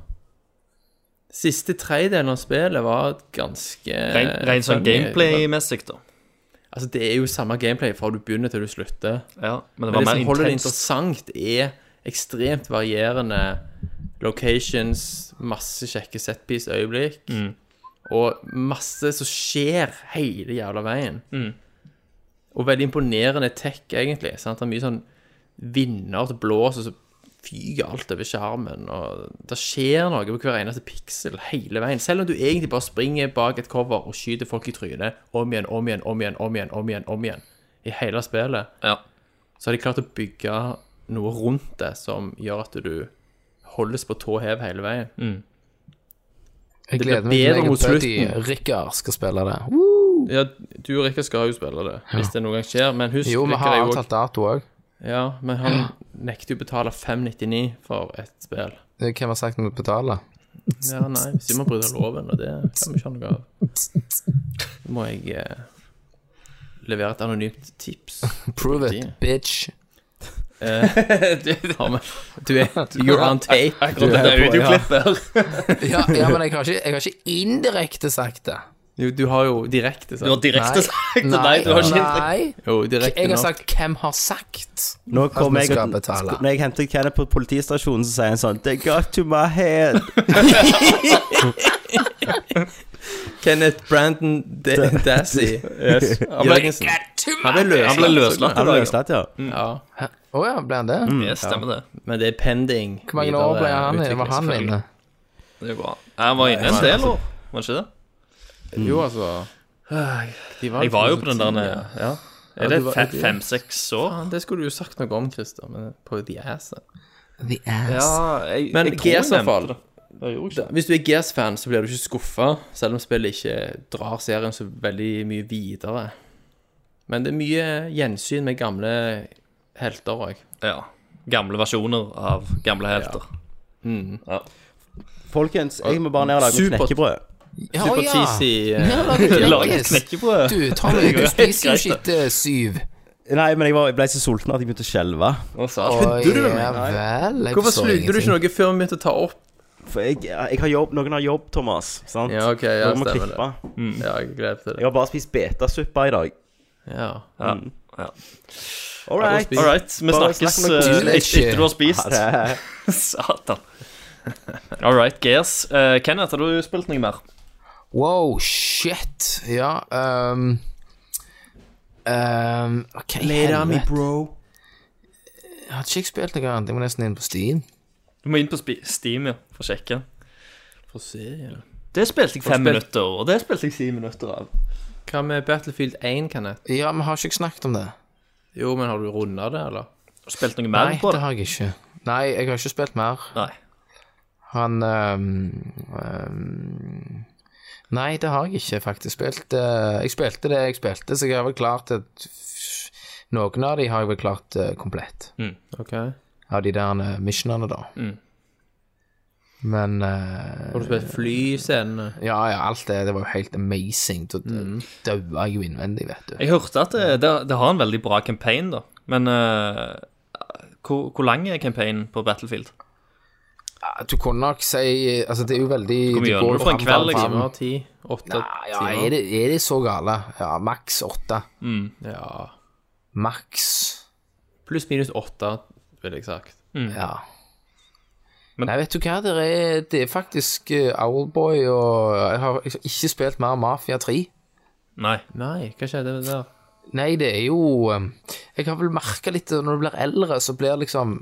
Siste tredjedelen av spillet var ganske Ren, eh, ren sånn gameplay-messig, da. Altså, det er jo samme gameplay fra du begynner til du slutter. Ja, Men men det var det som holder mer det intenst. interessant, er ekstremt varierende locations, masse kjekke setpiece-øyeblikk, Mm. og masse som skjer hele jævla veien. Mm. Og veldig imponerende tech, egentlig. Sant? Det er mye sånn vinder til blås, og så fyker alt over skjermen, og det skjer noe på hver eneste piksel hele veien. Selv om du egentlig bare springer bak et cover og skyter folk i trynet om igjen, om igjen, om igjen, om igjen, om igjen, om igjen i hele spillet Ja. så har de klart å bygge noe rundt det som gjør at du holdes på tå hev hele veien. Mm. Jeg blir gleder meg til bedre meg mot og Buddy slutten. Rikard skal spille det. Ja, du og Rikard skal jo spille det, hvis det noen gang skjer, men husk Jo, vi Rikard har er jo også- avtalt dato òg. Ja, men han nekter jo å betale 599 for et spill. Hvem har sagt vi betaler? Ja, nei, hvis vi må bryte loven, og det kan vi ikke ha noe av. Da må jeg eh, levere et anonymt tips. Prove Riktig. it, bitch. Du, du er You're on tape. Akkurat dette på, ja. audioklippet her. Ja, ja men jeg har ikke, jeg har ikke indirekte sagt det. Jo, du har jo direkte Du har sagt direkte sagt det. Nei, du har ikke nei. Jo, direkte Jeg har nå. sagt 'hvem har sagt'? Nå kom vi jeg, skal og- betale. sk- når jeg hentet Kenneth på politistasjonen, så sier han sånn They got to my head. Kenneth Brandon De- Dassey. Yes. Han ble, Jørgensen. Han ble løslatt. han ble løslatt. Han ble løslatt, ja. Mm. Ja. Å ja, ble han det? Yes, stemmer det. Men det er pending. Hvor mange videre år ble han inne? Var han utvikling, inne? det går bra. Jeg var inne en del år, var det ikke det? selvfølgelig. Jo, altså de Jeg var jo på den der ja. ja. Er du det var- fe- fem-seks år? Faen, Det skulle du jo sagt noe om, Christer, men på de ass. The ass. Ja, jeg, Men tror jeg Gears, i hvert fall. nevnte det. Jeg gjorde ikke Da- Hvis du er Gears-fan, så blir du ikke skuffa, selv om spillet ikke drar serien så veldig mye videre. Men det er mye gjensyn med gamle helter òg. det. Ja. Gamle versjoner av gamle helter. Mm. Folkens, jeg må bare ned og lage meg Super- knekkebrød. Ja, å Super ja. cheesy eh, Ja, lager Lage knekkes. knekkebrød. Du, Tommy, Det er du greit, spiser jo greit, shit syv. Nei, men jeg, var, jeg ble så sulten at jeg begynte å skjelve. Å, Å satan. ja vel. jeg forstår Hvorfor sluttet du ingenting. ikke noe før vi begynte å ta opp? For jeg, jeg har jobb, noen har jobb, Thomas. Sant? Ja, ok, ja, Noen må stemmer klippe. Ja, jeg grep til Jeg det. har bare spist betasuppa i dag. Ja. Mm. Ja. Ja. All da right. spiser All right, vi Bare snakkes snakk om eh, koselig et- etter du har Ha spist. det. Satan. All right, Gears. Eh, Kenneth, har du spilt noe mer? Wow, shit. Ja, um, um, OK, helvete. bro. Jeg hadde ikke jeg spilt noe annet. Jeg må nesten inn på Steam. Du må inn på spi- Steam ja, for å sjekke. For serien. Det spilte jeg fem spilt- minutter, og det spilte jeg ti minutter av. Hva med Battlefield 1, Kenneth? Ja, vi har ikke jeg snakket om det. Jo, men har du runda det, eller? Spilte noe Nei, mer på det det? har jeg ikke. Nei, jeg har ikke spilt mer. Nei. Han um, um, Nei, det har jeg ikke faktisk spilt. Eh, Jeg spilte det jeg spilte, så jeg har vel klart et Noen av de har jeg vel klart eh, komplett. Ok. Av de der eh, missionene, da. Mm. Men eh, Har du spilt flyscenene? Ja, ja, alt det. Det var jo helt amazing. Da Mm. daua jeg jo innvendig, vet du. Jeg hørte at det, det, det har en veldig bra campaign, da. Men eh, hvor, hvor lang er campaignen på Battlefield? Du kunne nok si Altså, det er jo veldig Hvor mye det går gjør du jo for en fram, kveld, fram, fram. liksom? Timer? Ti? Åtte Ja, ja, er timer? det, er det så gale? Ja, maks åtte. Mm. Ja. Maks. Pluss minus åtte, ville jeg sagt. Ja. Men- Nei, vet du hva, det er, det er faktisk eh, Owlboy og Jeg har liksom ikke spilt mer Mafia 3. Nei. Nei, hva skjedde med det der? Nei, det er jo eh, Jeg har vel merka litt at når du blir eldre, så blir liksom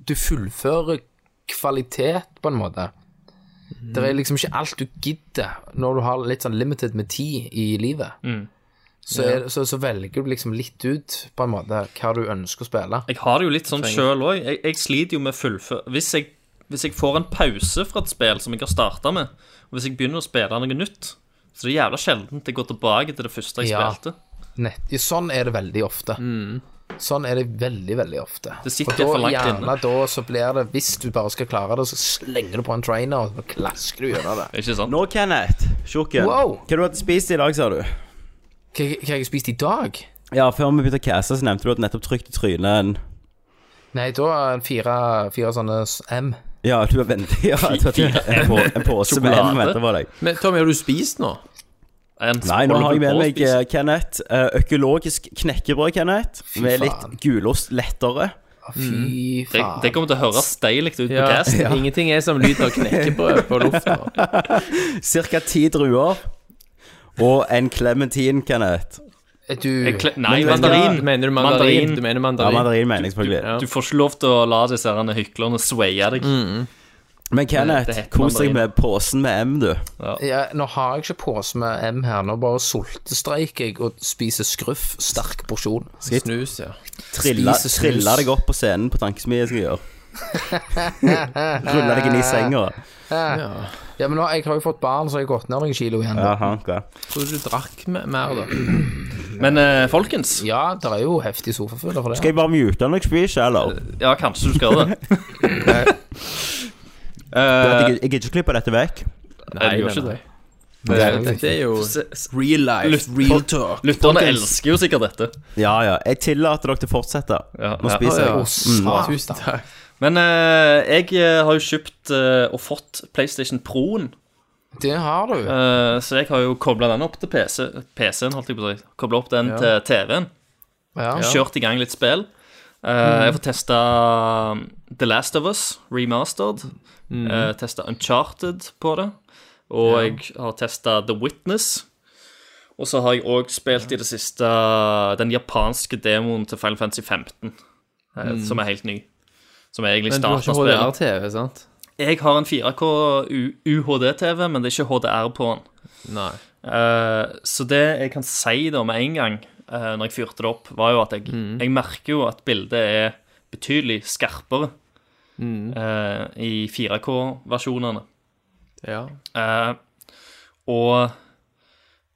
Du fullfører kvalitet, på en måte. Det er liksom ikke alt du gidder når du har litt sånn limited med tid i livet. Så, er, så, så velger du liksom litt ut, på en måte, hva du ønsker å spille. Jeg har det jo litt sånn sjøl òg. Jeg, jeg sliter jo med fullfør... Hvis jeg, hvis jeg får en pause fra et spill som jeg har starta med, og hvis jeg begynner å spille noe nytt, så er det jævla sjeldent jeg går tilbake til det første jeg Ja. spilte. Nett. Ja, Sånn er det veldig ofte. Sånn er det veldig, veldig ofte. Det sitter og da, for langt gjerne inne. da så blir det, hvis du bare skal klare det, så slenger du på en trainer, og så klasker du gjennom det. Ikke sant? Nå, Kenneth, tjukken. Wow. Hva du hadde spist i dag, sa du? Hva hva har jeg spist i dag? Ja, før vi begynte å caste, så nevnte du at nettopp trykte trynet en Nei, da er det fire, fire sånne s- M. Ja, du er vennlig. Ja, jeg tror at det er en, på, en påse med Sjokolade. M venter på deg. Men Tommy, har du spist nå? En Nei, nå holder har jeg du på med å meg spise. eh, Kenneth. eh, Økologisk knekkebrød, Kenneth. Med faen. litt gulost lettere. Fy det, faen. det kommer til å høres deilig ut på casten. Ingenting er som lyden av knekkebrød på lufta. Cirka ti druer. Og en clementin, Kenneth. Er du Jeg kle- Nei, Men- mandarin. Ja, Mener du mandarin? Mandarin. Du Ja, mener mandarin? mandarin mener jeg selvfølgelig. Ja. Du får ikke lov til å la disse herne hyklerne swaye deg. Men Det Kenneth, heter kos deg mandarin. med påsen med M, du. ja, Nå har jeg ikke pose med M her, nå bare sultestreiker jeg og spiser skruff, sterk porsjon. Snus, ja. Trilla, Spise snus. trilla deg opp på scenen på tankesmien skal jeg gjøre. Rulla deg inn i senga. Ja, men nå, jeg har jo fått barn, så jeg har gått ned noen kilo igjen. Ja, Jaha, ok. Tror du du drakk me- mer, da? Men eh, folkens, ja det er jo heftig sofaføler for det. Skal jeg bare mute når jeg spiser, eller? ja, kanskje du skal det. Jeg Eh, Eh, jeg gidder ikke klippe dette vekk. Nei, jeg gjør ikke det. Det, dette er jo real life, Lytt- real talk. Lytterne elsker jo sikkert dette. Ja, ja. Jeg tillater dere å fortsette. Ja, Nå ja. spiser jeg. Mm. Å, ja. Satan. Tusen takk. Men eh, jeg eh, har jo kjøpt eh, og fått PlayStation Pro-en, Det har du. eh, så jeg har jo kobla den opp til PC, PC-en, holdt jeg på å si. Kobla opp den til TV-en. Ja. Kjørt i gang litt spill. Eh, Mm. Jeg får testa The Last of Us remastered. Mm. testa Uncharted på det. Og jeg har testa The Witness. Og så har jeg òg spilt i det siste den japanske demoen til Final Fantasy 15, eh, som er helt ny. Som er egentlig Mm. Men du har starta ikke spillet. HDR-TV, sant? Jeg har en 4K U- UHD-TV, men det er ikke HDR på den. Nei. Eh, så det jeg kan si da med en gang, eh, når jeg fyrte det opp, var jo at jeg, jeg merker jo at bildet er betydelig skarpere eh, i 4K-versjonene. Ja. Eh, og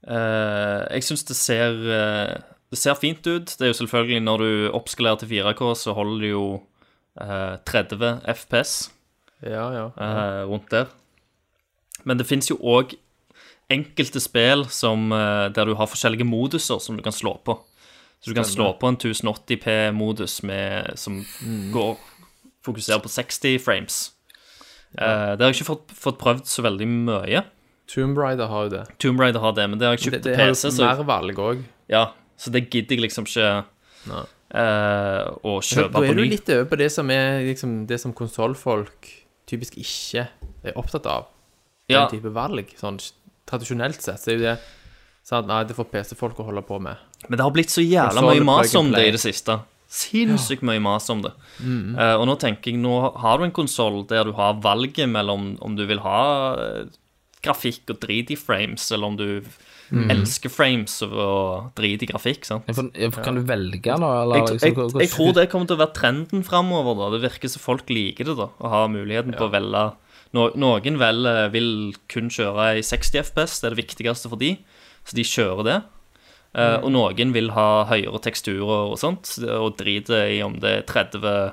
eh, jeg syns det ser eh, Det ser fint ut. Det er jo selvfølgelig når du oppskalerer til 4K, så holder det jo eh, 30 FPS Ja, ja. eh, rundt der. Men det fins jo òg enkelte spill som, eh, der du har forskjellige moduser som du kan slå på. Så du kan slå på en 1080P-modus med- som Mm. går fokuserer på 60 frames. Eh, det har jeg ikke fått, fått prøvd så veldig mye. Tomb Raider har jo det. Tomb Raider har det, men det har jeg Det, kjøpt det til har PC, jo så, mer valg òg. ja, så det gidder jeg liksom ikke Nei. eh, Da å kjøpe da er på du ny. litt over på det som er liksom, det som konsollfolk typisk ikke er opptatt av. Den Ja, type valg. Sånn tradisjonelt sett så er jo det sant? Nei, det får PC-folk å holde på med. Men det har blitt så jævla Og så har mye du mas plug and om det play. Mm. i det siste. Sinnssykt mye mas om det. Eh, og nå tenker jeg, nå har du en konsoll der du har valget mellom om du vil ha eh, grafikk og drit i frames, eller om du Mm. elsker frames og, og drit i grafikk. sant? Ja, for- ja, for Kan du velge nå, eller? Jeg, liksom, jeg, hva- hva- jeg tror det kommer til å være trenden framover. Da. Det virker som folk liker det, da, å ha muligheten på å velge no, Noen vel eh, vil kun kjøre i 60 FPS, det er det viktigste for de, så de kjører det. Eh, Mm. Og noen vil ha høyere teksturer og sånt, og driter i om det er 30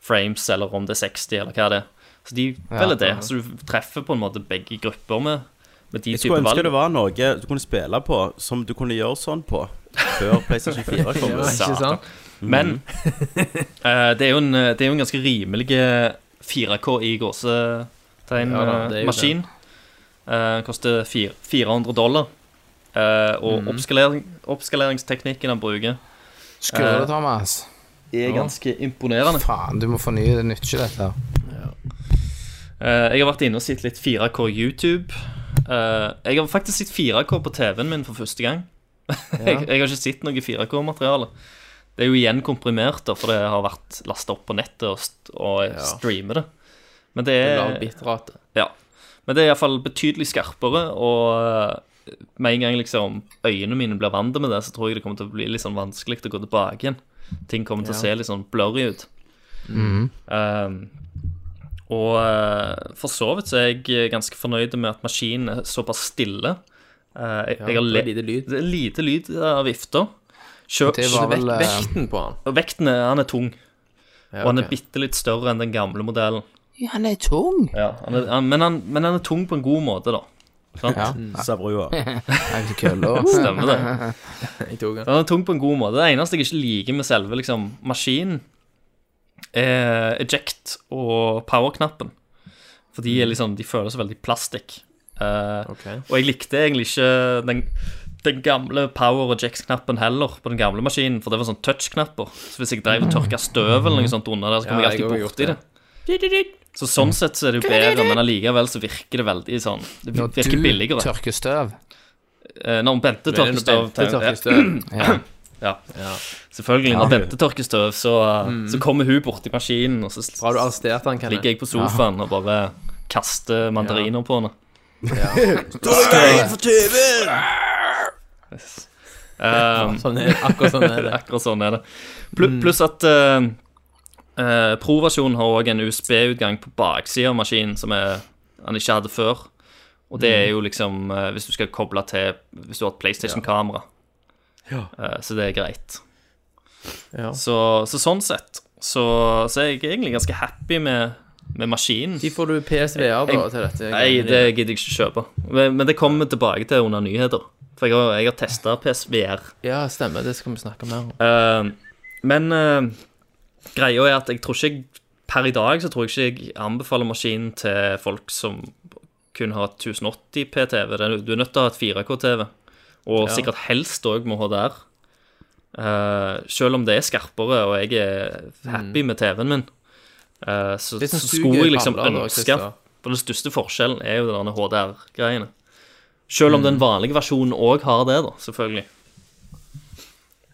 frames eller om det er 60 eller hva det er. Så de velger det. Så du treffer på en måte begge grupper med, med de Jeg typer skulle ønske valg. det var noe du kunne spille på som du kunne gjøre sånn på før PlayStation 4 kom. Ja, ut. ikke sant? Men Mhm. eh, det, er jo en, det er jo en ganske rimelig 4K i Ja da, det er jo gåsetegnmaskin. Uh, koster fir- 400 dollar. Eh, Mhm. og oppskalering, oppskaleringsteknikken han bruker, Skru det, Thomas. er ganske imponerende. Faen, du må fornye det nytt ikke dette. Eh, jeg har vært inne og sett litt 4K YouTube. Eh, jeg har faktisk sett 4K på TV-en min for første gang. jeg, jeg har ikke sett noe 4K-materiale. Det er jo igjen komprimert, da, for det har vært lasta opp på nettet og, st og jeg streamer det. Men det Lav er, bitrate. ja. Men det er iallfall betydelig skarpere, og eh, med en gang liksom øynene mine blir vant med det, så tror jeg det kommer til å bli litt sånn vanskelig å gå tilbake igjen. Ting kommer til å se litt sånn blurry ut. Eh, og eh, for så vidt så er jeg eh, ganske fornøyd med at maskinen er såpass stille. Eh, jeg, jeg har det er le- lite lyd. Det er lite lyd av vifta. Kjø- Det var vel eh, Vekten på den. og Vekten er, han er tung, Ja, og han er ok. bitte litt større enn den gamle modellen. Ja, han er tung. Ja, han er, han, men, han, men han er tung på en god måte, da. Sant? Ja. Sa brua. Er det kølla? Stemmer Mm. det. Jeg tok den. Den er tung på en god måte. Det eneste jeg ikke liker med selve liksom, maskinen, er eject og power-knappen. For de, er liksom, de føles veldig plastikk. Eh, Mm. Ok. Og jeg likte egentlig ikke den, den gamle power eject-knappen heller på den gamle maskinen, for det var sånn touch-knapper. Så hvis jeg drev og tørka støv eller noe sånt under der, så kom Ja, jeg jeg har alltid gjort borti det. Så sånn sett så er det jo bedre, men allikevel så virker det veldig sånn Det Når virker du billigere. tørker støv. Eh, Når Men Bente det er tørker noe støv Bente ja. tørker støv. Ja. Selvfølgelig. Når Bente tørker støv, så, så kommer hun borti maskinen, og så Bra du arresterte han, ligger Kenneth. jeg på sofaen og bare kaster mandariner på henne. Yes. Um, Sånn er, akkurat sånn er det. Mm. akkurat sånn er det. Plu- Pluss at eh, eh, Pro-versjonen har òg en USB-utgang på baksida av maskinen som er, han ikke hadde før. Og det er Mm. jo liksom eh, hvis du skal koble til Hvis du har et PlayStation-kamera. Ja. Eh, så det er greit. Ja. Så, så sånn sett så, så er jeg egentlig ganske happy med med maskinen. De får du PSVR da til dette. Nei, det gidder jeg ikke kjøpe. Men, men det kommer vi tilbake til under nyheter. For jeg har, jeg har testa PSVR. Ja, stemmer. Det skal vi snakke mer om. Eh, men eh, greia er at jeg tror ikke jeg per i dag så tror jeg ikke jeg anbefaler maskinen til folk som kun har 1080 P-TV. Det er- Du er nødt til å ha et 4K-TV, og Ja. sikkert helst òg må ha der. Eh, selv om det er skarpere, og jeg er Mm. happy med TV-en min, eh, så, Det så som skulle suger i jeg liksom padler, da, ønske Christer. For den største forskjellen er jo de derne HDR-greiene. Selv om den Mm. vanlige versjonen òg har det, da, selvfølgelig.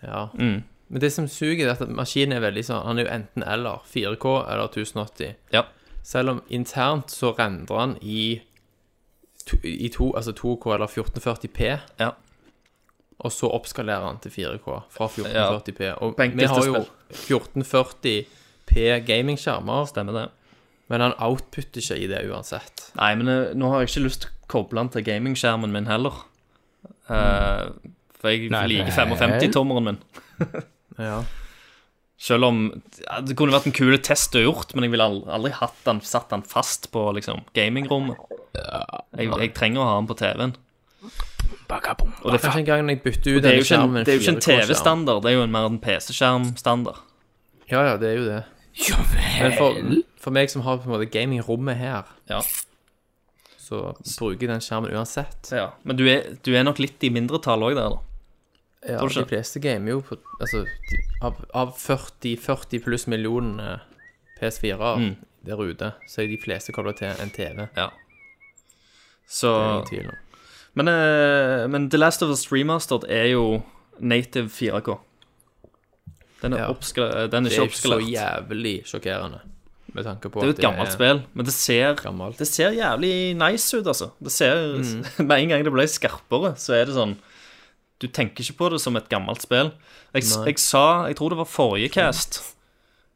Ja. Men det som suger, er at maskinen er veldig sånn Han er jo enten eller. 4K eller 1080. Ja. Selv om internt så rendrer han i, to, i to, altså 2K eller 1440P. Ja. Og så oppskalerer han til 4K fra 1440P. Og På enkelte vi har jo spill. 1440P gamingskjermer, Stemmer det. men han outputter ikke i det uansett. Nei, men eh, nå har jeg ikke lyst til å koble den til gamingskjermen min heller. Eh, for jeg Nei, liker vel. 55-tommeren min. Ja. Selv om ja, det kunne vært en kul test å gjort, men jeg ville aldri, aldri hatt den, satt den fast på liksom, gamingrommet. Jeg, jeg trenger å ha den på TV-en. Bakabom. Og det, er fa- Kanskje en gang jeg bytter ut det er denne jo ikke en, skjermen det er jo ikke en 4K-skjerm. TV-standard, det er jo en mer en PC-skjermstandard. Ja, ja, det er jo det. Ja Men vel. for, for meg som har på en måte gamingrommet her, Ja. så bruker jeg den skjermen uansett. Ja. Men du er, du er nok litt i mindretall òg der, da. Ja, Tror du ikke? de fleste gamer jo på Altså, de, av, av 40, 40 pluss millionene PS4-er der ute, så er de fleste koblet til en TV. Det Mm. Ja. Så er ingen tvil om. Men, eh, men The Last of Us Remastered er jo native 4K. Den er, Ja. oppskala- den er Det er ikke så ikke oppskalert. Det jævlig sjokkerende, med tanke på er jo et gammelt spill, men det ser, gammelt. Mm. det ser jævlig nice ut, altså. Det ser, Med en gang det ble skarpere, så er det sånn Du tenker ikke på det som et gammelt spill. Jeg, s- Nei. jeg sa, jeg tror det var forrige cast,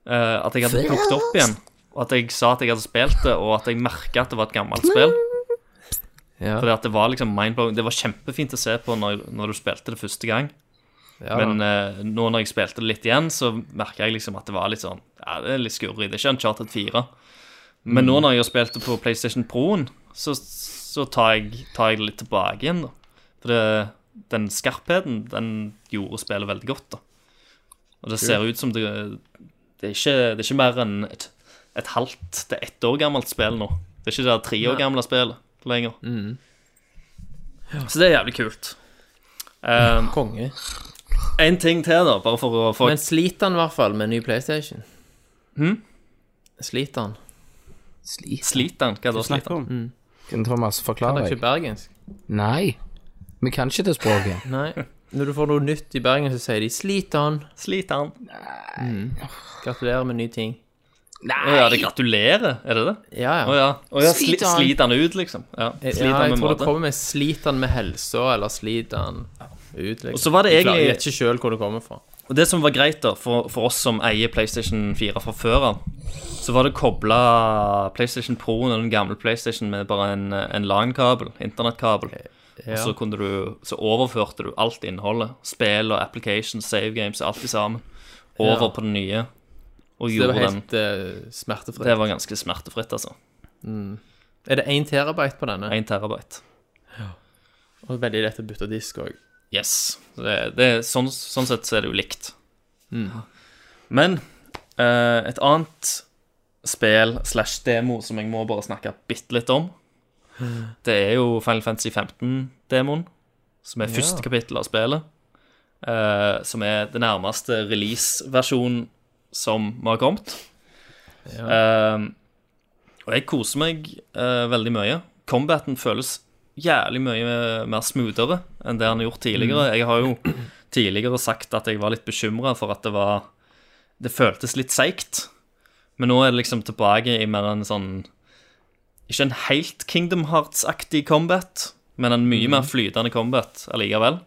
eh, at jeg hadde plukket opp igjen. Og at jeg sa at jeg hadde spilt det, og at jeg merka at det var et gammelt spill. Ja, Fordi at det var liksom mindblowing. Det var kjempefint å se på når, når du spilte det første gang. ja, Men eh, nå når jeg spilte det litt igjen, så merka jeg liksom at det var litt sånn Ja, det er litt skurrig. Det er ikke Uncharted 4. Men nå når jeg har spilt det på PlayStation Pro-en, så, så tar, jeg, tar jeg det litt tilbake igjen, da. For det, den skarpheten, den gjorde spillet veldig godt, da. Og det ser ut som det Det er ikke, det er ikke mer enn et, et halvt til ett år gammelt spill nå. Det er ikke det der tre år gamle spillet lenger. Så det er jævlig kult. Um, konge. en ting til, da, bare for å få Men sliter han i hvert fall med ny PlayStation? Hm? Sliter han? Slit. Slit den. Hva da? Slit Snakk den? om. Kan Thomas Han forklare er deg? ikke bergensk? Nei. Vi kan ikke det språket. Nei. Når du får noe nytt i Bergen, så sier de 'slit han'. Slit den. Gratulerer med ny ting. Å ja, det gratulerer, er det det? Ja, ja. Å ja. Å ja, sli, Slit den. slit den ut, liksom. Ja, Jeg, slit ja, den jeg med tror det måte. kommer med 'slit han med helsa', eller 'slit han ut'. Liksom. Og så var det Jeg klarer- egentlig- Jeg vet ikke sjøl hvor det kommer fra. Og det som var greit, da, for, for oss som eier PlayStation 4 fra før av, så var det kobla PlayStation Pro-en og den gamle PlayStation med bare en, en LAN-kabel, internettkabel. Og så, kunne du, så overførte du alt innholdet, spill og applications, save games, alt i sammen, over Ja. på den nye. Og Det var gjorde den helt eh, smertefritt. Det var ganske smertefritt, altså. Er det 1 terabyte på denne? 1 terabyte. Og veldig lett å bytte disk òg. Yes. Så Det, det, er- sånn, sånn sett så er det jo likt. Men eh, et annet spill slash demo som jeg må bare snakke bitte litt om, det er jo Final Fantasy 15-demoen, som er første kapittel av spillet. eh, som er det nærmeste release-versjonen som vi har kommet. Eh, og jeg koser meg eh, veldig mye. Combaten føles jævlig mye mer smoothere enn det han har gjort tidligere. Jeg har jo tidligere sagt at jeg var litt bekymra for at det var Det føltes litt seigt. Men nå er det liksom tilbake i mer en sånn Ikke en helt Kingdom Hearts-aktig combat, men en mye mer flytende combat allikevel.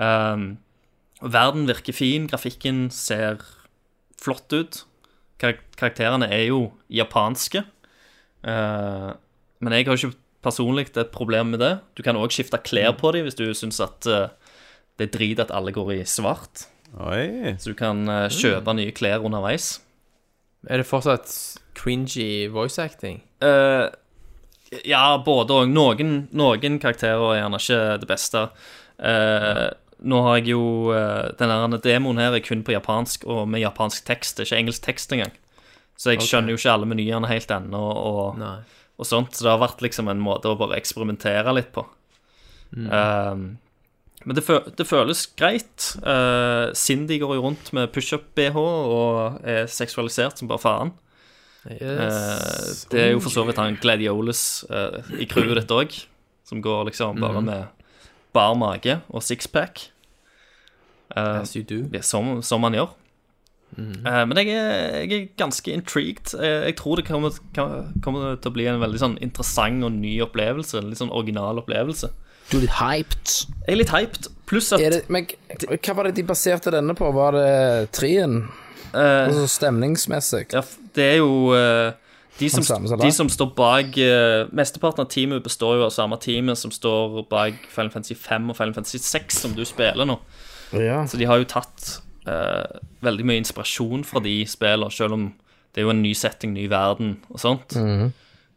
Ehm, verden virker fin, grafikken ser flott ut. Karak karakterene er jo japanske. Eh, men jeg har ikke personlig et problem med det. Du kan òg skifte klær på dem hvis du syns at eh, det er drit at alle går i svart. Oi. Mm. Så du kan eh, kjøpe nye klær underveis. Er det fortsatt cringy voice acting? Eh, ja, både og. Noen, noen karakterer er gjerne ikke det beste. Eh, nå har jeg jo eh, Denne demoen her er kun på japansk og med japansk tekst. Det er ikke engelsk tekst engang. Så jeg skjønner jo ikke alle menyene helt ennå. Og, Nei. og sånt, så det har vært liksom en måte å bare eksperimentere litt på. Ehm, men det, fø det føles greit. Eh, Cindy går jo rundt med pushup-BH og er seksualisert som bare faen. Eh, det er jo for så vidt han Gladioles eh, i crewet ditt òg, som går liksom bare med bar mage og sixpack, Oh, yes, you do. Det er som, som han gjør. Mhm. Eh, men jeg er, jeg er ganske intrigued. Eh, jeg tror det kommer, kan- kommer til å bli en veldig sånn interessant og ny opplevelse. En litt sånn original opplevelse. Du er litt hyped. Jeg er litt hyped. Pluss at Er det, men hva var det de baserte denne på? Var det trien? eh, Altså stemningsmessig? Ja, f- det er jo eh, de som, samme som de deg. som står bak eh, Mesteparten av teamet består jo av samme teamet som står bak Final Fantasy 5 og Final Fantasy 6, som du spiller nå. Ja. Så de har jo tatt eh, veldig mye inspirasjon fra de spillene, selv om det er jo en ny setting, ny verden og sånt. Mhm.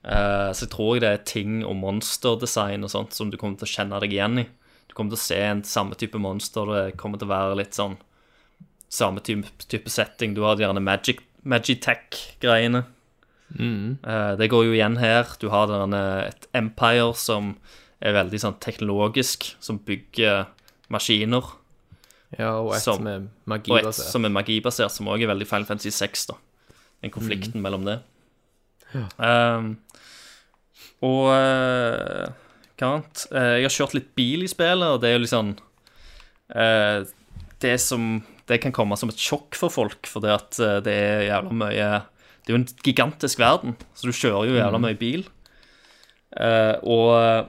Eh, så jeg tror det er ting og monsterdesign og sånt som du kommer til å kjenne deg igjen i. Du kommer til å se en samme type monster, det kommer til å være litt sånn samme type, type setting. Du har gjerne magic, magitech-greiene. Eh, det går jo igjen her. Du har denne, et empire som er veldig sånn teknologisk, som bygger maskiner. Ja, og et Som- som er Og et magibasert. som er magibasert, som også er veldig Final Fantasy 6, da. Den konflikten mellom det. Um, og eh, hva annet? Eh, jeg har kjørt litt bil i spillet, og det er jo liksom eh, Det som Det kan komme som et sjokk for folk, fordi at eh, det er jævla mye Det er jo en gigantisk verden, så du kjører jo jævla mye bil. Eh, og eh,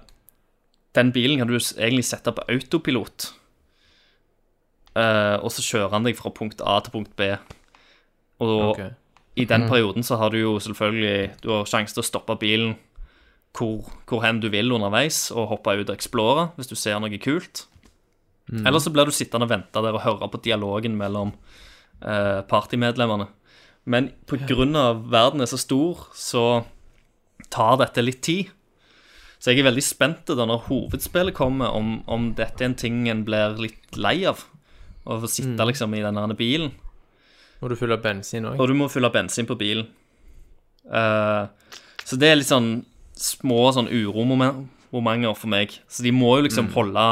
den bilen kan du s- egentlig sette på autopilot. Eh, og så kjører han deg fra punkt A til punkt B. Og Ok. i den perioden så har du jo selvfølgelig Du har sjanse til å stoppe bilen hvor, hvor hen du vil underveis, og hoppe ut og explore hvis du ser noe kult. Eller så blir du sittende og vente der og høre på dialogen mellom eh, partymedlemmene. Men pga. verden er så stor, så tar dette litt tid. Så jeg er veldig spent til da når hovedspillet kommer, om, om dette er en ting en blir litt lei av. Å få sitte liksom i den her bilen. Må du fylle bensin òg? Og du må fylle bensin på bilen. Eh, så det er litt sånn små sånn uromomenter for meg. Så de må jo liksom holde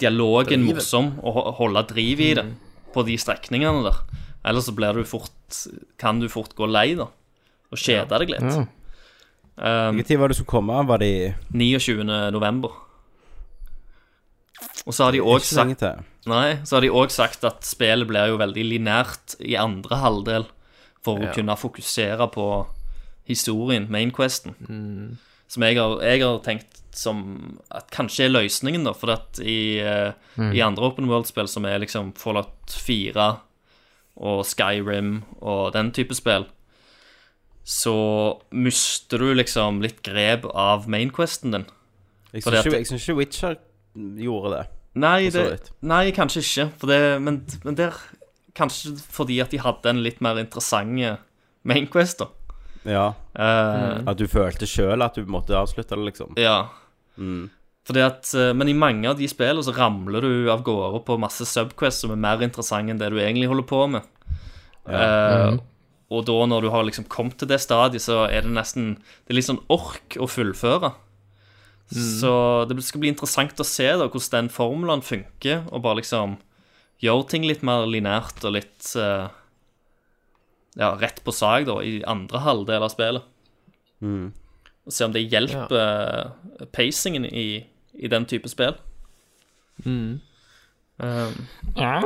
dialogen morsom og ho- holde driv i det på de strekningene der. Ellers så blir du fort Kan du fort gå lei, da. Og kjede deg litt. Um, Hvilken tid var det som kom? Var det i- 29. november. Og så har de òg ikke så sagt lenge til? Nei, så har de òg sagt at spillet blir jo veldig linært i andre halvdel for å kunne fokusere på historien, mainquesten. Som jeg har, jeg har tenkt som at kanskje er løsningen, da. For at i, eh, i andre Open World-spill, som er liksom Fallout 4 og Skyrim og den type spill, så mister du liksom litt grep av mainquesten din. Jeg Fordi syns at- ikke, jeg synes ikke Witcher gjorde det. Nei, så det, vidt. nei kanskje ikke. For det, men, men der Kanskje fordi at de hadde en litt mer interessant Mainquest, da. Ja. Eh, At du følte sjøl at du måtte avslutte det, liksom. Ja. Mm. Fordi at, eh, men i mange av de spillene så ramler du av gårde på masse subquests som er mer interessante enn det du egentlig holder på med. Eh, Og da når du har liksom kommet til det stadiet, så er det nesten Det er litt sånn ork å fullføre. Mm. Så det skal bli interessant å se da hvordan den formelen funker, og bare liksom gjøre ting litt mer linært og litt eh, Ja, rett på sak, da, i andre halvdel av spillet. Mm. Og se om det hjelper eh, pacingen i, i den type spill. Mm. Um,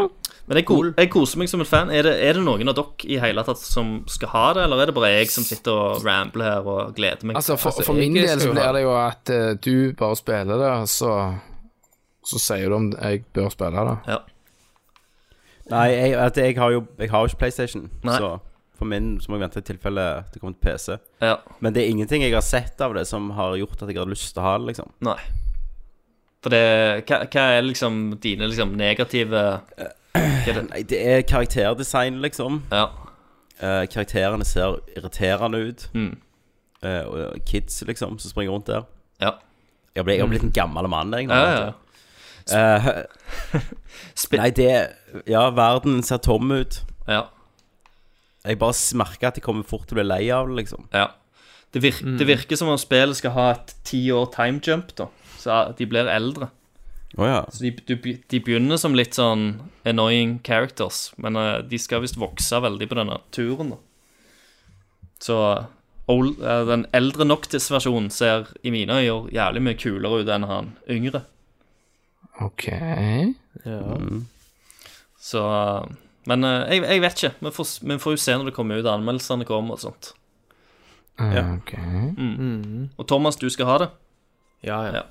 men jeg, ko jeg koser meg som en fan. Er det, er det noen av dere i hele tatt som skal ha det, eller er det bare jeg som sitter og rambler her og gleder meg? Altså, for, Altså, for min jeg del skal så jo ha- blir det jo at eh, du bare spiller det, og så, så sier du om jeg bør spille det. ja. Nei, jeg, at jeg har jo jeg har jo ikke PlayStation, Nei. så for min så må jeg vente i tilfelle det kommer til PC. ja. Men det er ingenting jeg har sett av det som har gjort at jeg har lyst til å ha det, liksom. Nei. For det Hva, hva er liksom dine liksom negative Nei, det er karakterdesign, liksom. Ja. Eh, karakterene ser irriterende ut. Mm. Eh, og kids, liksom, som springer rundt der. Ja. Jeg ble- jeg har blitt en gammel mann, jeg. nå, Ja, vet ja, du. ja. Eh, Spe- nei, det Ja, verden ser tom ut. ja, Jeg bare merker at jeg kommer fort til å bli lei av det, liksom. ja. Det, vir det virker som om spillet skal ha et ti år time jump, da. Så de blir eldre. Å ja. Så de, du be- de begynner som litt sånn annoying characters, men eh, de skal visst vokse veldig på denne turen, da. Så old, eh, den eldre Noctis-versjonen ser i mine øyne jævlig mye kulere ut enn han yngre. OK. Eh, Så eh, Men eh, jeg, jeg vet ikke. Vi får, s- vi får jo se når det kommer ut, anmeldelsene kommer og sånt. Ja. ok. Og Thomas, du skal ha det. Ja, ja. Ja.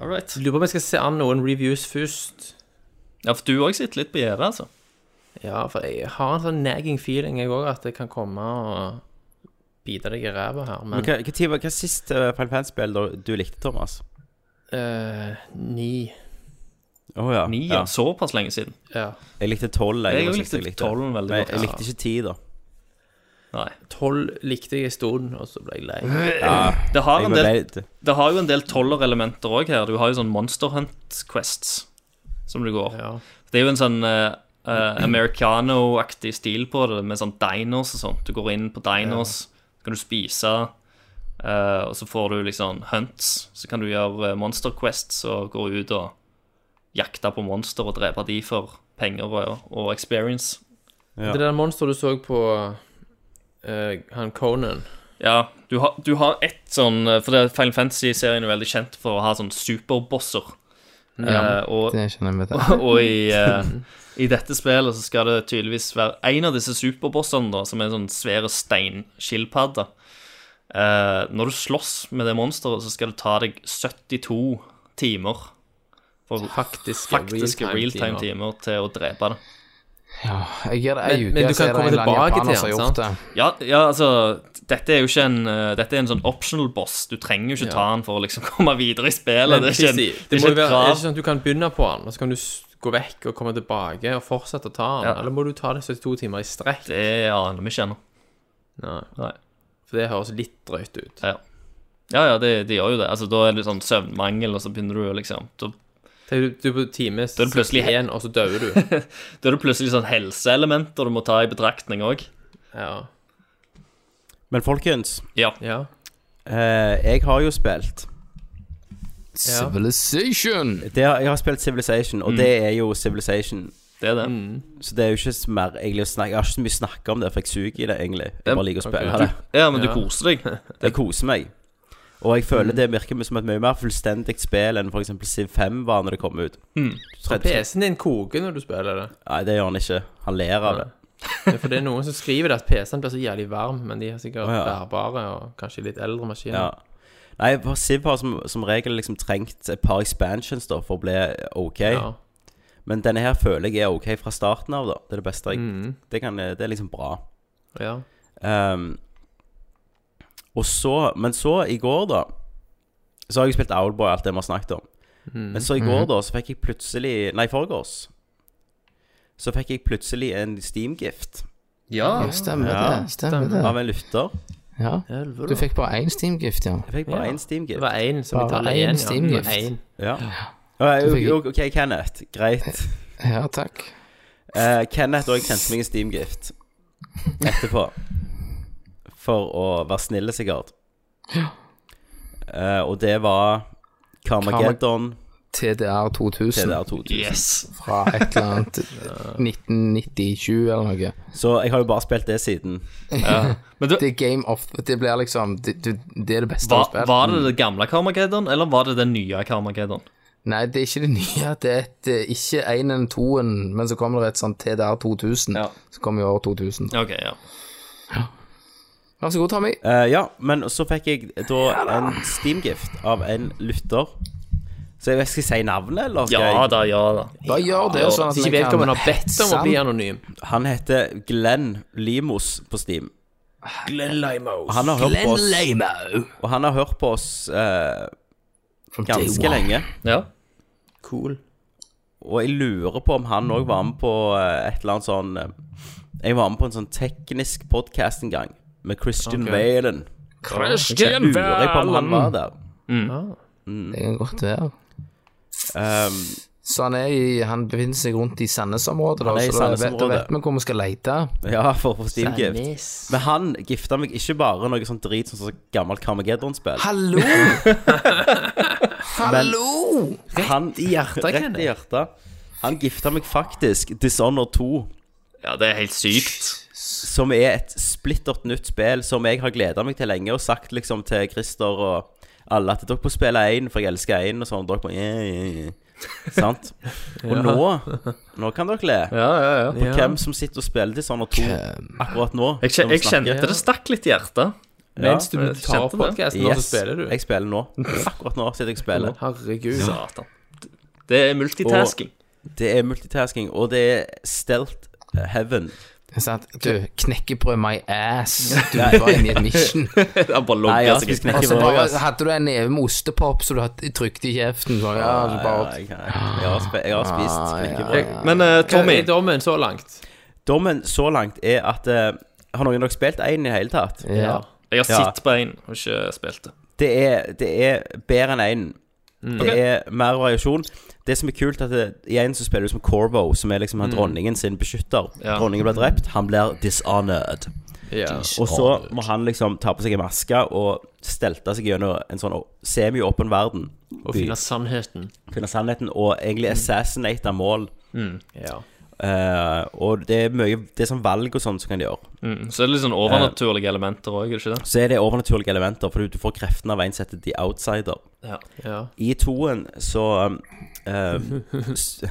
All right. Lurer på om jeg skal se an noen reviews først. Ja, for du òg sitter litt på gjerdet, altså. Ja, for jeg har en sånn nagging feeling, jeg òg, at jeg kan komme og bite deg i ræva her. Men Men hva, hva tid var hva sist uh, Final Fantasy-spill da du likte, Thomas? eh, ni Å ja. Ni, ja. ja. Såpass lenge siden. Ja. Jeg likte tolv. Jeg var òg sist likte tolven veldig Men godt. jeg likte ikke ti, da. Nei. Tolv likte jeg en stund, og så ble jeg lei. Mhm. Det har Jeg en ble del lei- Det har jo en del tollerelementer òg her. Du har jo sånn Monster Hunt Quests som du går. Ja. Det er jo en sånn eh, eh, americano-aktig stil på det, med sånn dinos og sånt. Du går inn på dinos, så kan du spise, eh, og så får du liksom hunts. Så kan du gjøre eh, monster quests og gå ut og jakte på monster og drepe de for penger og, og experience. Ja. Det der monsteret du så på eh, han Conan Ja, du har, du har ett sånn eh, For det Final Fantasy-serien er veldig kjent for å ha sånn superbosser. Eh, og Det kjenner jeg meg til. Og i, eh, i dette spillet så skal det tydeligvis være en av disse superbossene, da, som er en sånn svære steinskilpadde. Eh, når du slåss med det monsteret, så skal det ta deg 72 timer. For Faktiske, faktiske realtime-timer til å drepe det. Ja, jeg gir det Men- ei uke, men du så er kan det komme en eller annen tilbake japaner til som har den, gjort det. Ja, ja, altså Dette er jo ikke en eh, Dette er en sånn optional boss. Du trenger jo ikke ta den for å liksom komme videre i spillet. Men det er ikke, en, Kristi, det er må jo ikke et være, er det krav. ikke sånn at du kan begynne på den, og så kan du s- gå vekk og komme tilbake og fortsette å ta den? Ja. Eller må du ta det 72 timer i strekk? Det aner vi ikke ennå. Nei. Nei. For det høres litt drøyt ut. Ja, ja, ja det, det gjør jo det. Altså, da er det sånn søvnmangel, og så begynner du å liksom da, Tenk, du, du er på time er det plutselig- 61, og så dør du. da er det plutselig sånn helseelementer du må ta i betraktning òg. Ja. Men folkens, Ja. ja. eh, jeg har jo spilt Civilization! det, har- Jeg har spilt Civilization, Mm. og det er jo Civilization. Det er det. Så det er jo ikke så mer egentlig, å snakke, Jeg har ikke så mye å snakke om det, for jeg suger i det, egentlig. Jeg bare liker å spille ok. det. Ja, men Ja. du koser deg. Jeg koser meg. Og jeg Mm. føler det virker som et mye mer fullstendig spill enn f.eks. Civ 5 var når det kom ut. Mm. Så PC-en din koker når du spiller det. Nei, det gjør han ikke. Han ler av det. Ja, For det er noen som skriver det at PC-en blir så jævlig varm, men de er Å, sikkert ja. bærbare og kanskje litt eldre maskiner. Ja. Nei, for Civ har som, som regel liksom trengt et par expansions da for å bli OK. Ja. Men denne her føler jeg er OK fra starten av, da. Det er det beste jeg Mm. det, kan, det er liksom bra. ja. Ehm, og så Men så i går, da Så har jeg spilt Owlboy, alt det vi har snakket om. Men så i går, da, så fikk jeg plutselig Nei, i forgårs. Så fikk jeg plutselig en Steam-gift Ja. Ja, stemmer Ja, det. Stemmer det. av en lytter. Ja. Du fikk bare én Steam-gift, ja. Jeg fikk bare én Det Steam-gift. var én som Bare betalte én én Steam-gift. Ja. Ja, Du fikk- jo, OK, Kenneth. Greit. Ja, takk. Eh, Kenneth og jeg sendte meg en Steam-gift etterpå. For å være snille, sikkert. Eh, og det var Carmageddon TDR 2000 TDR 2000. Yes. fra et eller annet 1997 eller noe. Så jeg har jo bare spilt det siden. Men du, Det er game of Det blir liksom Det, det, det er det beste av var, spill. var det det gamle Karmageddon, eller var det den nye Karmageddon? Nei, det er ikke det nye. Det er et, eh, ikke eneren, toen, men så kommer det et sånt TDR 2000. Ja. Så kommer jo år 2000. OK, ja. Vær så god, Tommy. Eh, ja, men så fikk jeg da en Steam-gift av en lytter. Så jeg vet- skal jeg si navnet, eller? Skal Ja jeg? da, ja da. Bare gjør det, ja, sånn at Hvis vi ikke kan vedkommende har bedt om å hetse bli han. anonym. Han heter Glenn Limos på Steam. Glenn Lymos. Han har hørt på oss, Lamo. og han har hørt på oss eh, From day ganske one. lenge. Ja. Cool. Og jeg lurer på om han òg var med på eh, et eller annet sånn eh, Jeg var med på en sånn teknisk podkast en gang, med Christian Ok. Valen. Christian Lurer jeg på om han var der. Ah. Det kan godt være. Um, Så han, er i, han befinner seg rundt i Sandnes-området, da, Han er i så da vet, da Sandnes-området. vet vi hvor vi skal lete. ja, for, for Steam-gift. Men han gifta meg ikke bare noe sånn drit som sånn gammelt Carmageddon-spill. Hallo! Hallo! Han- Rett i hjertet, Kenneth. Han gifta meg faktisk Dishonored 2, Ja, det er helt sykt. som er et splittert nytt spill som jeg har gleda meg til lenge, og sagt liksom til Christer og alle at dere må spille én, for jeg elsker én, og sånn. Dere må yeah, yeah, yeah. Sant? Og nå, nå kan dere le Ja, ja, ja. på hvem som sitter og spiller Dishonored 2 Um, akkurat nå. Jeg, kje- når vi jeg snakker. kjente det stakk litt i hjertet. Mens du jeg tar kjente det. podkasten, nå så Yes, spiller du. Jeg spiller nå. Akkurat nå sitter jeg og spiller. Herregud. Satan. Det er multitasking. Det er multitasking, og det er stealth eh, heaven. Sant? Du, knekkebrød my ass. Du var inne i et mission. Det er Nei, bare jeg logger har spist seg. Og så knekkebrød. bare ass. hadde du en neve med ostepop så du hadde trykt i kjeften. Sånn, ja, så Altså, Ja, bare, Ah, jeg, kan- jeg, har spe, jeg har spist knekkebrød. Men eh, Hva Tommy, er dommen så langt? Dommen så langt er at eh, Har noen av dere spilt én i det hele tatt? ja. jeg har Ja. sett på en og ikke spilt det. Det er, det er bedre enn én. Det Mm. Ok. er mer variasjon. Det som er kult, er at det, i én så spiller du som Corvo, som er liksom han dronningen sin beskytter. Mm. Ja. Dronningen blir drept, han blir dishonored. Ja. Og så må han liksom ta på seg en maske og stelte seg gjennom en sånn semi-åpen verden. Å finne sannheten. finne sannheten og egentlig assassinate mål. Mm. Ja. Eh, og det er mye Det er sånn valg og sånt som kan de gjøre. Mm. Så er det litt sånn overnaturlige elementer òg, er det ikke det? Så er det overnaturlige elementer, for du får kreftene av en som heter The Outsider. Ja. ja. I toen så um, eh, s-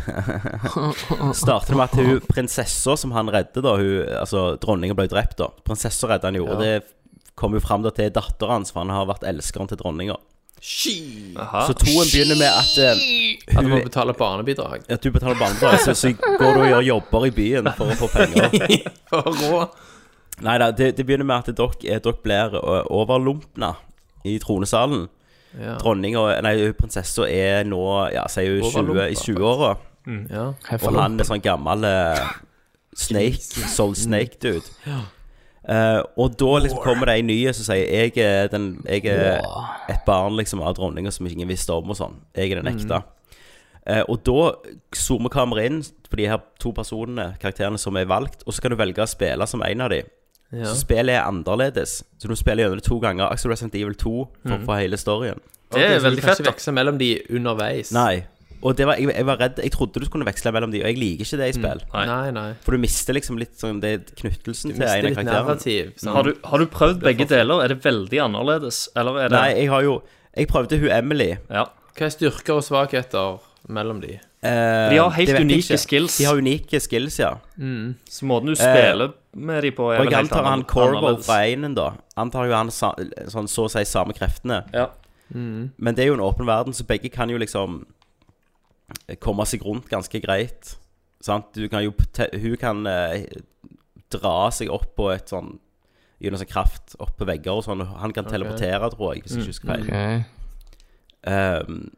Starter det med at hun prinsessa som han redder, da hun, Altså dronningen ble drept, da. Prinsessa redder han jo, og det kommer jo fram da til datteren hans, for han har vært elskeren til dronninga. Aha. Så toen begynner med at eh, At du må betale barnebidrag. at du betaler barnebidrag, så, så går du og gjør jobber i byen for å få penger. For råd. Nei da, det, det begynner med at dere, eh, dere blir ø, overlumpna i tronesalen. Ja. Dronninga, nei, prinsessa er nå ja, sier hun 20, i Overlumpet, 20-åra, Ja. og han er sånn gammel eh, snake, soul snake dude. Eh, og da liksom kommer det ei ny som sier jeg er, den, jeg er et barn liksom av dronninga som ingen visste om og sånn. Jeg er den ekte. Eh, og da zoomer kameraet inn på de her to personene, karakterene som er valgt, og så kan du velge å spille som en av de. Ja. Så spillet er annerledes. Så du spiller gjennom det to ganger. Axel Resident Evil 2 for, Mhm. for hele storyen. Ok, Det er så Du veldig fett, kan da. ikke veksle mellom de underveis. Nei. Og det var, jeg, jeg var redd Jeg trodde du kunne veksle mellom de, og jeg liker ikke det i spill. Nei. Nei, nei. For du mister liksom litt sånn det knyttelsen til Mister en av litt karakterene. narrativ. sånn. sant? Har du, har du prøvd begge deler? Er det veldig annerledes? Eller er det Nei, jeg har jo Jeg prøvde hun Emily. Ja. Hva er styrker og svakheter mellom de? Eh, De har helt det vet jeg unike ikke. skills. De har unike skills, ja. Så måten du spiller med de på, er Og vel jeg helt antar han annerledes. Corvo fra einen, da. Antar jo han sa, sånn så å si samme kreftene. Ja. Men det er jo en åpen verden, så begge kan jo liksom eh, komme seg rundt ganske greit. Sant? Du kan jo te- Hun kan eh, dra seg opp på et sånn Gjennom sånn kraft opp på vegger og sånn. Han kan teleportere, tror jeg, hvis jeg ikke husker feil. Ok. Ehm,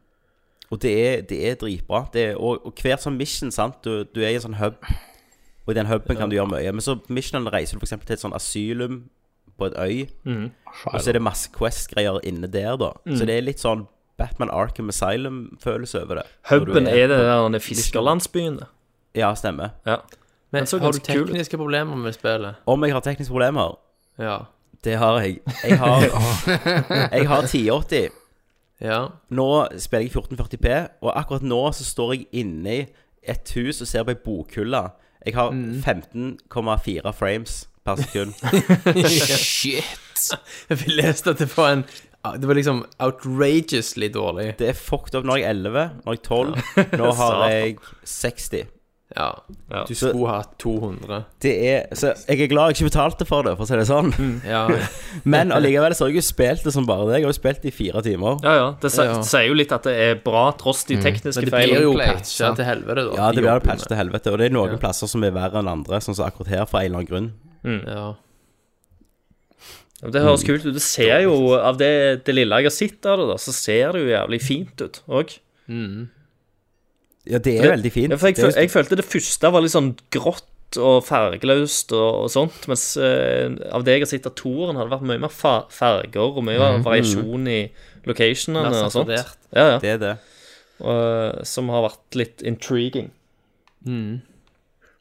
og det er, det er dritbra. Det er, og, og hver sånn mission, sant du, du er i en sånn hub, og i den huben kan du gjøre mye. Men så på missionen reiser du f.eks. til et sånn asylum på et øy, og så er det masse Quest-greier inne der, da. Så det er litt sånn Batman Arkham Asylum-følelse over det. Huben Når du er det der den fiskerlandsbyen. det. Ja, stemmer. Ja. Men Den så har du ganske kul ut. tekniske problemer med spillet? Om jeg har tekniske problemer? Ja. Det har jeg. Jeg har, jeg har 1080. Ja. Nå spiller jeg 1440p, og akkurat nå så står jeg inni et hus og ser på ei bokhylle. Jeg har Mm. 15,4 frames per sekund. Shit. Vi leste at det var en Det var liksom outrageously dårlig. Det er fucked up. Nå er jeg 11, nå er jeg 12, nå har jeg 60. Ja. Ja. Du skulle hatt 200. Det er, så jeg er glad jeg ikke betalte for det, for å si det sånn. Mm. Ja. Men allikevel så har jeg jo spilt det som bare det. Jeg har jo spilt det i fire timer. Ja, ja. Det sier, Ja. sier jo litt at det er bra, tross de tekniske Men det blir feilene. jo Play, patcha sant? til helvete, da. Ja, De det blir jobber patch til helvete, og det er noen plasser som er verre enn andre, sånn som akkurat her, for en eller annen grunn. med- Ja. Ja, men Det Mm. høres kult ut. Det ser jo, Av det, det lille jeg har sett av det, da, så ser det jo jævlig fint ut òg. Ja, det er veldig fint. Ja, for jeg, Det er føl- jeg følte det første var litt sånn grått grått og fargeløst og, og sånt, mens eh, av det jeg har sett av toeren, har det vært mye mer fa- farger og mye Mm. variasjon i Mer locationene og sånt. saturert. Ja, ja. Det er det. Og, eh, som har vært litt intriguing.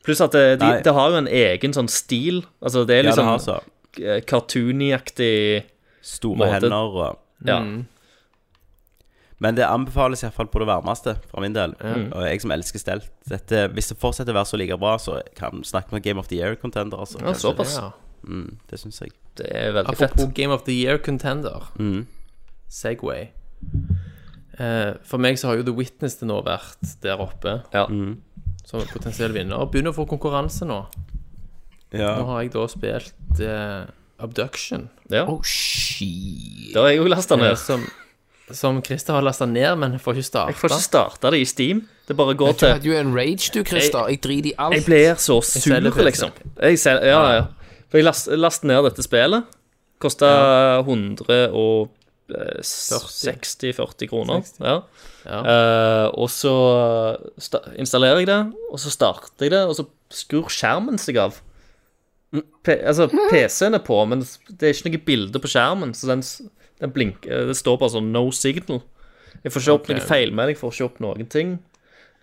Pluss at det, de, Nei. det har jo en egen sånn stil. Altså det er Ja, det liksom har så. eh, cartoony-aktig Store Måte. hender og Ja. Men det anbefales iallfall på det varmeste, fra min del. Og jeg som elsker stelt. Dette, hvis det fortsetter å være så like bra, så kan snakke med Game of the Year-contender. Altså, Ja, Kanskje. såpass. Ja. Mm, det syns jeg. Det er veldig Apropos fett. Game of the Year contender, Mm. Segway. Eh, for meg så har jo The Witness til nå vært der oppe Ja. Mm. som potensiell vinner. Og begynner å få konkurranse nå. Nå Ja. har jeg da spilt eh, Abduction. Ja. Oh, shit. Det har jeg òg lasta eh, ned. Som, som Christer har lasta ned, men får ikke Jeg får starta. ikke starta det i Steam. Det bare går Du til hadde jo en rage, du, Christer. Jeg driter i Jeg alt. blir så selger sur, PC. liksom. Jeg selger, ja, ja. For jeg last, lastet ned dette spillet. Kosta eh, 160-40 kroner. 60. Ja. Eh, og så sta installerer jeg det, og så starter jeg det, og så skrur skjermen seg av. P altså, PC-en er på, men det er ikke noe bilde på skjermen, så den, s- den blinker, det står bare sånn 'no signal'. Jeg får ikke opp noe feilmelding, får ikke opp noen ting.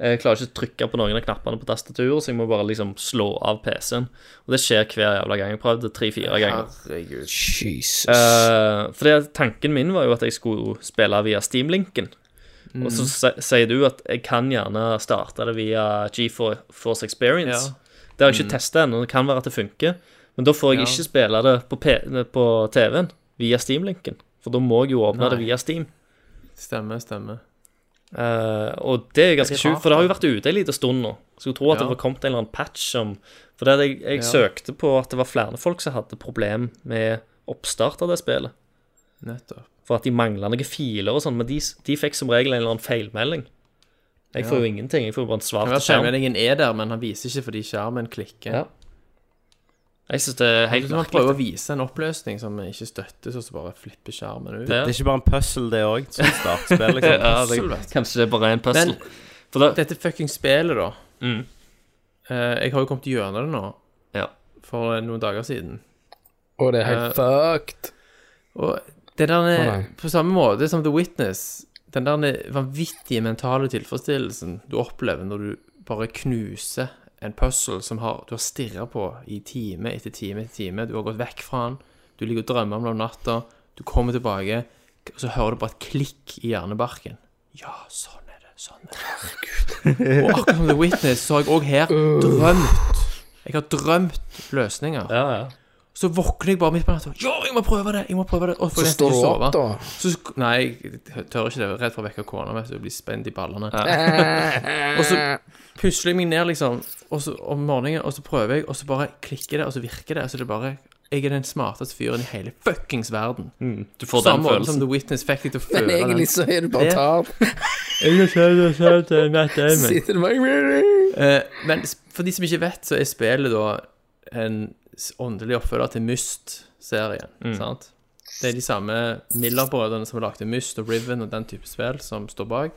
Jeg klarer ikke å trykke på noen av knappene på tastaturet, så jeg må bare liksom slå av PC-en. Og det skjer hver jævla gang. Jeg prøvde tre-fire ganger. Herregud. Jesus. Eh, for det, tanken min var jo at jeg skulle spille via Steam-linken. Og Mm. så se- sier du at jeg kan gjerne starte det via GeForce Experience. Det har Mm. jeg ikke testet testa ennå, det kan være at det funker. Men da får jeg ikke spille det på, P eh, på TV-en via Steam-linken. For da må jeg jo åpne det via Steam. Stemmer, stemmer. Eh, og det er ganske Det er sjukt, rart, for det har jo vært ute en liten stund nå. Skulle tro at Ja. det var kommet en eller annen patch som For det, jeg, jeg søkte på at det var flere folk som hadde problem med oppstart av det spillet. Nettopp. For at de mangla noen filer og sånn, men de, de fikk som regel en eller annen feilmelding. Jeg får jo ingenting, jeg får jo bare Kan en svart være skjerm. skjermmeldingen er der, men han viser ikke fordi skjermen klikker. Ja. Jeg syns det er helt Så han merkelig. prøver å vise en oppløsning som ikke støttes, og så bare flipper skjermen ut. Ja. Det er ikke bare en puzzle, det òg, som startspill, liksom. Ja, det, Puzzle, vet du. kanskje det er bare en puzzle. Men- For da, Dette fucking spillet, da. Mm. Eh, jeg har jo kommet gjennom det nå, ja. for noen dager siden. Og det er helt fucked. Og det der er, Å, nei. På samme måte som The Witness, den der er vanvittige mentale tilfredsstillelsen du opplever når du bare knuser en puzzle som har, du har stirra på i time etter time etter time. Du har gått vekk fra den, du ligger og drømmer om det om natta, du kommer tilbake, og så hører du bare et klikk i hjernebarken. Ja, sånn er det. Sånn er det. Og akkurat som The Witness, så har jeg òg her drømt. Jeg har drømt løsninger. ja, ja. Så våkner jeg bare midt på natta. Ja, jeg må prøve det! Jeg må prøve det. Og får Så nesten står ikke du sove. opp, da. Så, sk- nei, jeg tør ikke det. Jeg er Redd for å vekke kona. Vet du, jeg blir spent i ballene. og så pusler jeg meg ned liksom og så, om morgenen, og så prøver jeg, og så bare klikker det, og så virker det. Og så er det bare Jeg er den smarteste fyren i hele fuckings verden. Du får Samme den måte som følelsen. The Witness fikk deg til å føle Men egentlig så er du bare Det- tap. den. Sitter du bare Eh, men s- for de som ikke vet, så er spillet da en s- åndelig oppfølger til Myst-serien. sant? Det er de samme Miller-brødrene som har lagd Myst og Riven og den type spill, som står bak.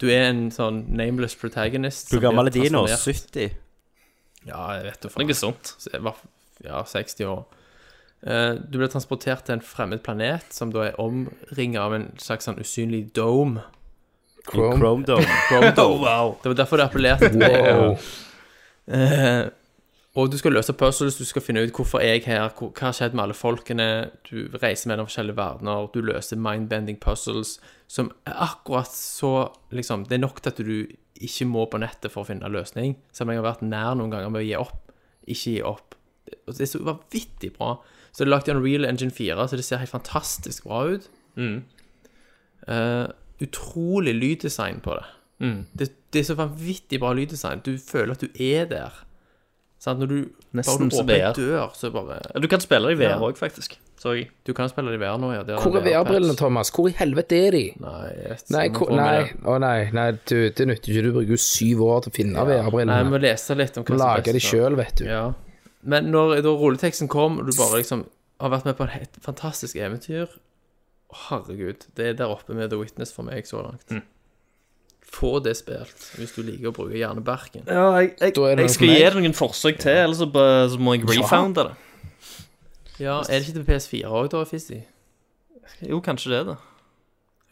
Du er en sånn nameless protagonist. Hvor som blir gammel er de nå? transformert- 70? Ja, jeg vet jo faen. Noe sånt. Så jeg var f- Ja, 60 år. Eh, Du blir transportert til en fremmed planet, som da er omringa av en slags sånn usynlig dome. Chrome. Chrome. Dome. Chrome Oh, dome. wow. Det var derfor det appellerte til meg. Wow. Eh, og du skal løse puzzles, du skal finne ut hvorfor er jeg her, hvor, hva har skjedd med alle folkene, du reiser mellom forskjellige verdener, du løser mindbending puzzles, som er akkurat så liksom, Det er nok til at du ikke må på nettet for å finne en løsning, selv om jeg har vært nær noen ganger med å gi opp. Ikke gi opp. Og det er så vanvittig bra. Så det er lagt i Unreal Engine 4, så det ser helt fantastisk bra ut. Mm. Eh, utrolig lyddesign på det. Mm. det. Det er så vanvittig bra lyddesign. Du føler at du er der. Sant? Når du Nesten bare du som åpner VR. en dør, så bare Ja, Du kan spille det i Ja. VR òg, faktisk. Så jeg Du kan spille det i VR nå, ja. det Hvor er VR-patch. VR-brillene, Thomas? Hvor i helvete er de? Nei, jeg- Nei, jeg må hvor, få med nei, det. å nei, nei du, det nytter ikke. Du bruker jo syv år til å finne Nei, jeg må VR-brillene. lese litt om hva som er Lage de best. da. sjøl, vet du. Ja. Men når da rulleteksten kom, og du bare liksom har vært med på et fantastisk eventyr Herregud, det er der oppe med The Witness for meg så langt. Få det spilt hvis du liker å bruke hjernebarken. Ja, jeg, jeg, Da er det noe jeg skal for gi meg. det noen forsøk til, ellers så, bare- så må jeg refounde det. Ja, er det ikke til PS4 òg, da, Fizzy? Jo, kanskje det, da.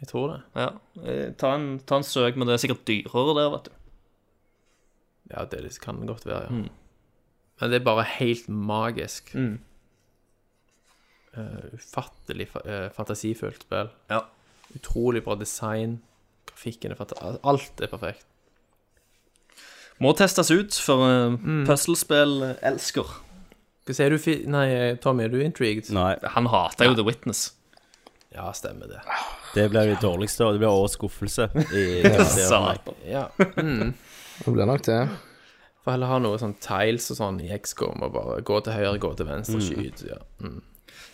Jeg tror det. Ja. Eh, Ta en, ta en søk, men det er sikkert dyrere der, vet du. Ja, det det kan godt være, ja. Men det er bare helt magisk. Mm. Eh, ufattelig fa eh, fantasifullt spill. Ja. Utrolig bra design. Grafikken er fantastisk. Alt er perfekt. Må testes ut for uh, puzzlespill-elsker. Hva sier du, Fi... Nei, eh, Tommy, er du intrigued? Nei, Han hater jo The Witness. Ja, stemmer det. det blir det dårligste, og det blir årets skuffelse. I, ja. Satan. Ja. Det blir nok det. Får heller ha noe sånn tiles og sånn i XCOM og bare gå til høyre, gå til venstre, skyt. Ja. Mm.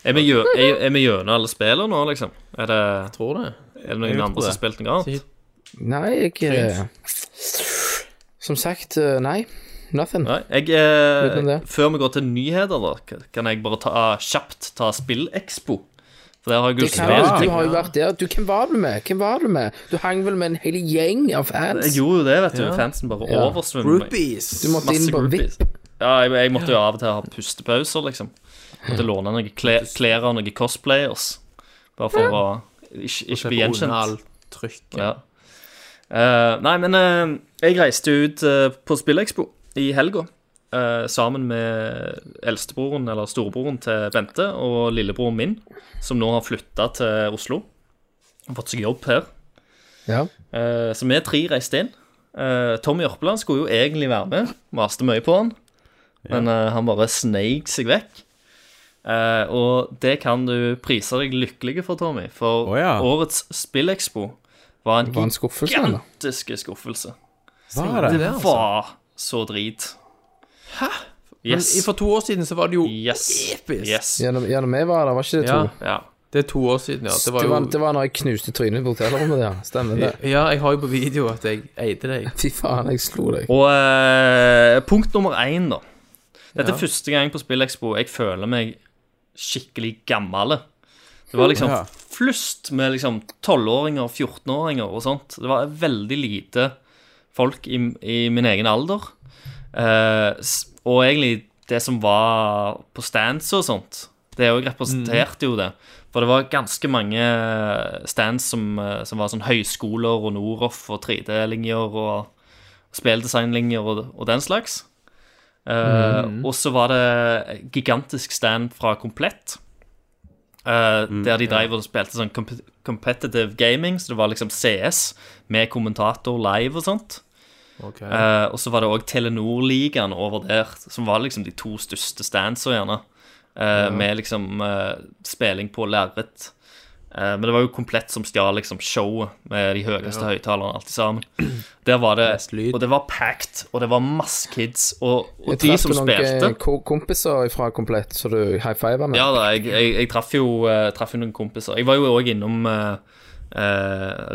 Er vi gjø- er- er vi gjennom alle spillene nå, liksom? Er det, Tror det. er det noen andre som har spilt noe annet? Nei, jeg eh, Som sagt, eh, nei. Nothing. Nei, jeg, eh, Utenom det. før vi går til nyheter, da, k- kan jeg bare ta, kjapt ta SpillExpo. For der har jeg jo Det kan, ja, spilt du ting. har jo vært der. Du, hvem var du med? Hvem var du med? Du hang vel med en hel gjeng av fans? Jeg gjorde jo det, vet du. Fansen bare Ja. oversvømmer meg. Groupies! Du måtte inn Masse på groupies. VIP. Ja, jeg, jeg måtte jo av og til ha pustepauser, liksom. Måtte låne noen kle- klær av noen cosplayers. Bare for å ikke, ikke bli gjenkjent. Trykk. Ja. Eh, nei, men eh, jeg reiste ut eh, på Spillekspo i helga. eh, sammen med eldstebroren, eller storebroren til Bente, og lillebroren min, som nå har flytta til Oslo. Har fått seg jobb her. Ja. Eh, Så vi tre reiste inn. Eh, Tommy Jørpeland skulle jo egentlig være med, maste mye på han, men eh, han bare sneik seg vekk. Eh, og det kan du prise deg lykkelig for, Tommy, for Å ja. årets Spillekspo var en Det var en skuffelse, eller? gigantisk skuffelse. Var Det det? var så drit. Hæ? Yes. For to år siden så var det jo Yes. episk. yes. Gjennom, gjennom meg var det, var ikke det to? Ja, Ja. det er to år siden, ja. Det var det, jo var, det var når jeg knuste trynet på hotellrommet der. Stemmer det? Ja, jeg har jo på video at jeg eide deg. Fy faen, jeg slo deg. Og eh, punkt nummer én, da. Dette Ja. er første gang på Spillekspo jeg føler meg skikkelig gammel. Det var liksom Ja. flust med liksom 12-åringer, 14-åringer og sånt. Det var veldig lite folk i, i min egen alder. Eh, s- og egentlig det som var på stands og sånt, det òg representerte jo det. For det var ganske mange stands som, eh, som var sånn høyskoler og Noroff og 3D-linjer og spilldesignlinjer og, og den slags. Eh, Mhm. Og så var det gigantisk stand fra Komplett. eh, der de drev og spilte sånn comp competitive gaming, så det var liksom CS med kommentator live og sånt. Ok. Eh, og så var det òg Telenor-ligaen over der, som var liksom de to største standsa, gjerne. Eh, Med liksom eh, spilling på lerret. Eh, men det var jo komplett som stjal liksom showet, med de høyeste høyttalerne og alt sammen. Der var det, Mest lyd. Og det var packed, og det var masse kids. Og, og Jeg de traff som noen eh, spilte ko- kompiser fra Komplett, så du high-fiva med. ja da, jeg, jeg, jeg traff jo, eh, traff jo noen kompiser. Jeg var jo òg innom uh,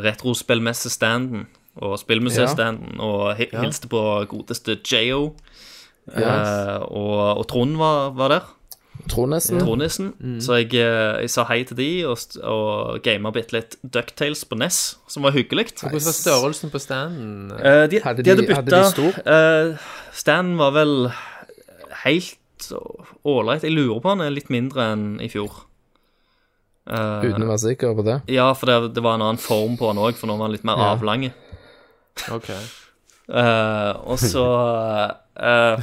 retrospillmessestanden og spillmuseestanden og hi- hilste på godeste JO. eh, og, og Trond var, var der. Tror nesten. Trondisen. Mm. Så jeg, eh, jeg sa hei til de og, st- og gama bitte litt Ducktales på Ness, som var hyggelig. Hvordan var størrelsen på standen? Eh, de, Hadde hadde de- de, hadde hadde de bytta stor? eh, Stan var vel helt ålreit. Jeg lurer på han er litt mindre enn i fjor. Eh, Uten å være sikker på det. ja, for det, det var en annen form på han òg, for nå var han litt mer Ja. avlange. Ok. Eh, og så eh,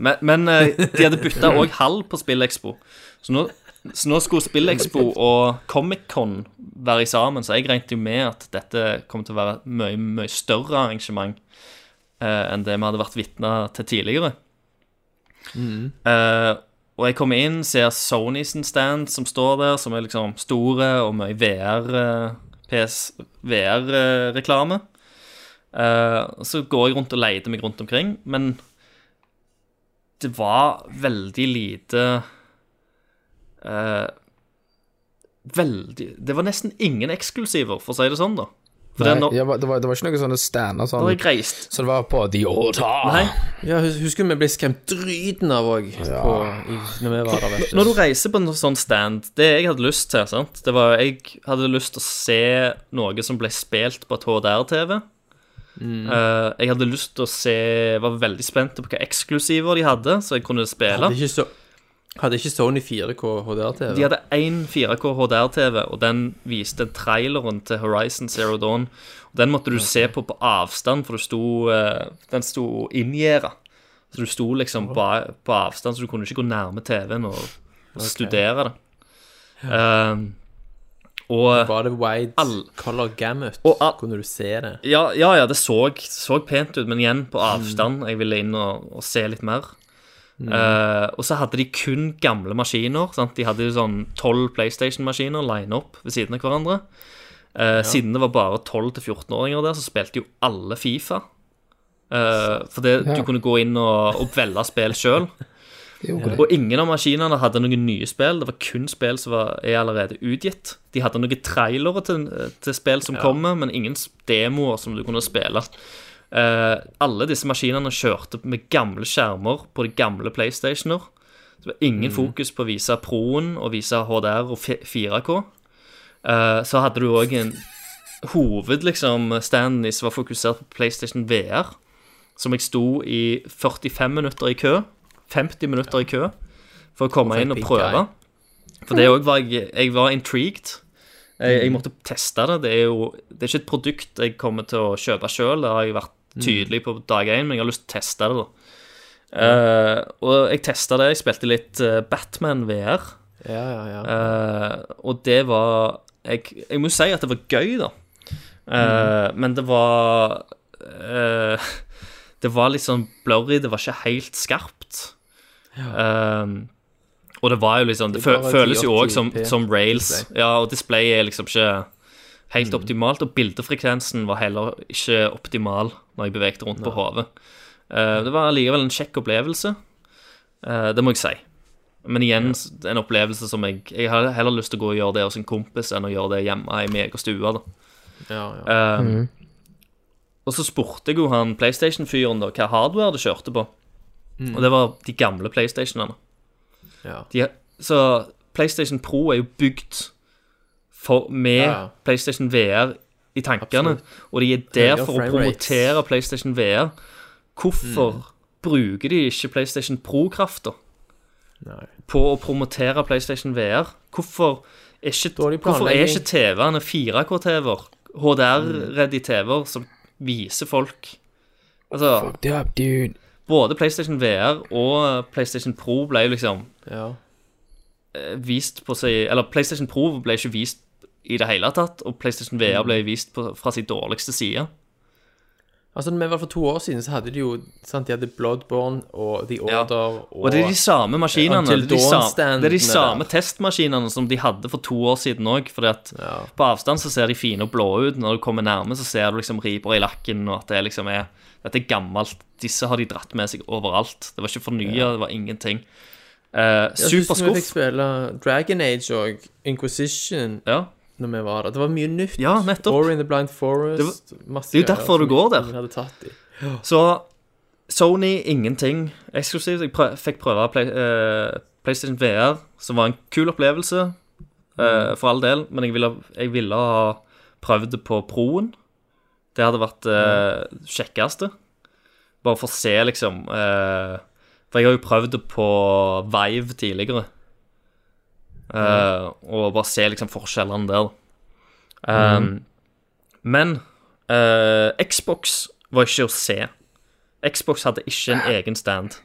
Men, men eh, de hadde bytta òg hall på Spillekspo. Så nå, så nå skulle Spillekspo og Comic-Con være sammen, så jeg regnet jo med at dette kom til å være et mye, mye større arrangement eh, enn det vi hadde vært vitne til tidligere. Mm. Eh, og jeg kommer inn, ser Sony sin stand som står der, som er liksom store og mye VR, eh, PS, VR-reklame. Eh, og så går jeg rundt og leter meg rundt omkring, men det var veldig lite eh, Veldig Det var nesten ingen eksklusiver, for å si det sånn, da. For det Nei, er når, jeg var- det, var, det var ikke noen sånne stander når sånn. jeg reiste Så det var på The Orta. Nei, Ja, hus- husker vi ble skremt dryten av òg når vi var der, vet du. Når du reiser på en sånn stand Det jeg hadde lyst til, sant Det var, jeg hadde lyst til å se noe som ble spilt på et HDR-TV Eh, jeg hadde lyst til å se Var veldig spent på hva eksklusiver de hadde, så jeg kunne spille. Hadde ikke, så, hadde ikke Sony 4K HDR-TV? De hadde én 4K HDR-TV, og den viste traileren til Horizon Zero Dawn. Og den måtte du se på på avstand, for du sto, eh, den sto inngjerda. Så du sto liksom på, på avstand, så du kunne ikke gå nærme TV-en og studere det. Ehm, og Var det wide All- color gamut? Og all- Kunne du se det? ja, ja, ja, det så, så pent ut, men igjen på avstand. Jeg ville inn og, og se litt mer. Eh, og så hadde de kun gamle maskiner. Sant? De hadde jo sånn tolv PlayStation-maskiner line opp ved siden av hverandre. Eh, Siden det var bare 12-14-åringer der, så spilte jo alle Fifa. Eh, for det, Ja. du kunne gå inn og, og velge spill sjøl. Det er jo greit. Og ingen av maskinene hadde noen nye spill. Det var kun spill som var, er allerede utgitt. De hadde noen trailere til, til spill som kommer, men ingen s- demoer som du kunne spille. Eh, alle disse maskinene kjørte med gamle skjermer på de gamle PlayStationer. Så det var ingen fokus på å vise Proen og vise HDR og fi- 4K. Eh, så hadde du òg en hoved, liksom, standen i som var fokusert på PlayStation VR som jeg sto i 45 minutter i kø. 50 minutter i kø for å komme for inn og et pink prøve. For det òg var jeg Jeg var intrigued. Jeg, jeg måtte teste det. Det er jo det er ikke et produkt jeg kommer til å kjøpe sjøl. Det har jeg vært tydelig på dag én, men jeg har lyst til å teste det. da Eh, og jeg testa det. Jeg spilte litt eh, Batman VR. Ja, ja, ja. Eh, og det var jeg, jeg må si at det var gøy, da. Eh, Mm. Men det var eh, Det var litt sånn blurry, det var ikke helt skarpt. Eh, og det var jo liksom Det, Det er fø- bare føles jo òg som, 1080p som rails. Ja, og displayet er liksom ikke helt optimalt. Og bildefrekvensen var heller ikke optimal når jeg bevegde rundt på hodet. Eh, det var allikevel en kjekk opplevelse. Eh, det må jeg si. Men igjen, s- en opplevelse som jeg Jeg har heller lyst til å gå og gjøre det hos en kompis enn å gjøre det hjemme i meg og stua. da. ja, ja. Eh, Og så spurte jeg jo han PlayStation-fyren da hva hardware det kjørte på. Og det var de gamle PlayStationene. Mm. ja. De, så PlayStation Pro er jo bygd for, med Ja, ja. PlayStation VR i tankene. Absolutt. Og de er der Høyere for å frame rates. Mm. promotere PlayStation VR. Hvorfor bruker de ikke PlayStation Pro-krafta Nei. på å promotere PlayStation VR? Hvorfor er ikke, Dårlig hvorfor er planlegging. Mm. ikke TV-ene 4K-TV-er, HDR-ready TV-er, som viser folk Altså, Fuck det up, dude. både PlayStation VR og PlayStation Pro ble jo liksom eh, Ja. vist på seg Eller PlayStation Pro ble ikke vist i det hele tatt, og PlayStation VR ble Mm. vist på, fra sin dårligste side. Altså, men For to år siden så hadde de jo sant, De hadde Bloodborne og The Ja. Order og, Og det er de samme maskinene. Until Det er de, samme, Dawn-standene det er de der. samme testmaskinene som de hadde for to år siden òg. For Ja. på avstand så ser de fine og blå ut. Når du kommer nærme, så ser du liksom riper i lakken, og at det liksom er Dette er gammelt. Disse har de dratt med seg overalt. Det var ikke fornya, det var ingenting. Eh, Jeg synes vi fikk Superskuff. spille Dragon Age og Inquisition Ja. når vi var der. Det var mye nytt. Ja, nettopp. Ori in the Blind Forest. masse det er jo greier derfor som du går der. ingen Hadde tatt i. Så Sony ingenting eksklusivt. Jeg prø fikk prøve Play eh, PlayStation VR, som var en kul opplevelse, eh, for all del, men jeg ville, jeg ville ha prøvd det på Proen. Det hadde vært eh, kjekkeste. Bare for å se, liksom eh, For jeg har jo prøvd det på Vive tidligere. Eh, Og bare se liksom forskjellene der. Um, Men eh, Xbox var ikke å se. Xbox hadde ikke en egen stand.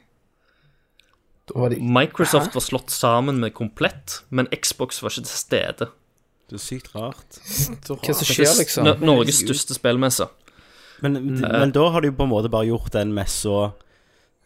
Da var det Microsoft var slått sammen med Komplett, men Xbox var ikke til stede. Det er sykt rart. Hva som skjer, liksom? N Norges største spillmesse. Men, men da har de jo på en måte bare gjort den messa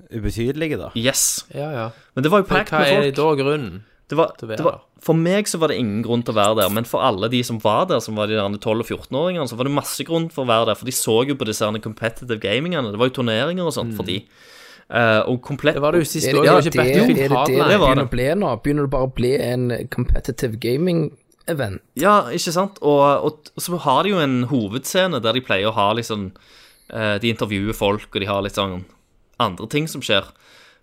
ubetydelig, da. Yes. Ja, ja. Men det var jo Men packed hva er med det folk. da grunnen? Det var, til å være det var, der? for meg så var det ingen grunn til å være der, men for alle de som var der, som var de der 12- og 14-åringene, så var det masse grunn for å være der, for de så jo på disse her competitive gamingene. Det var jo turneringer og sånt for de. Eh, og komplett Mm. Det var det jo sist Er det, år. Det er var det, ikke det, er det, Battlefield det, Hardline. Det var begynner det. å bli nå? Begynner det bare å bli en competitive gaming-event? Ja, ikke sant? Og, og, og så har de jo en hovedscene der de pleier å ha liksom eh, De intervjuer folk, og de har litt sånn andre ting som skjer.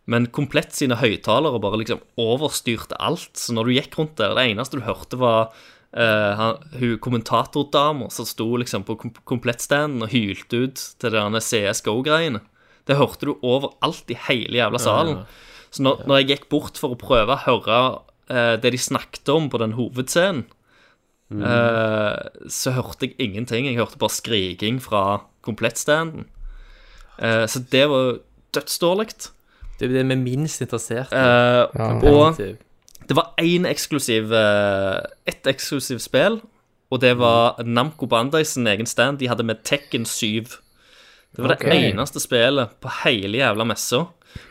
Men komplett sine høyttalere bare liksom overstyrte alt. Så når du gikk rundt der, det eneste du hørte, var eh, han, hun kommentatordama som sto liksom på kom komplettstanden og hylte ut til de derne CSGO-greiene. Det hørte du overalt i hele jævla salen. Så når, når jeg gikk bort for å prøve å høre eh, det de snakket om på den hovedscenen, eh, så hørte jeg ingenting. Jeg hørte bare skriking fra komplettstanden. Eh, så det var dødsdårlig. Det er det vi er minst interessert i. Eh, Og Alternativ. det var én eksklusiv eh, Ett eksklusivt spill, og det var Namco Bandai sin egen stand. De hadde med Tekken 7. Det var Ok. det eneste spillet på hele jævla messa.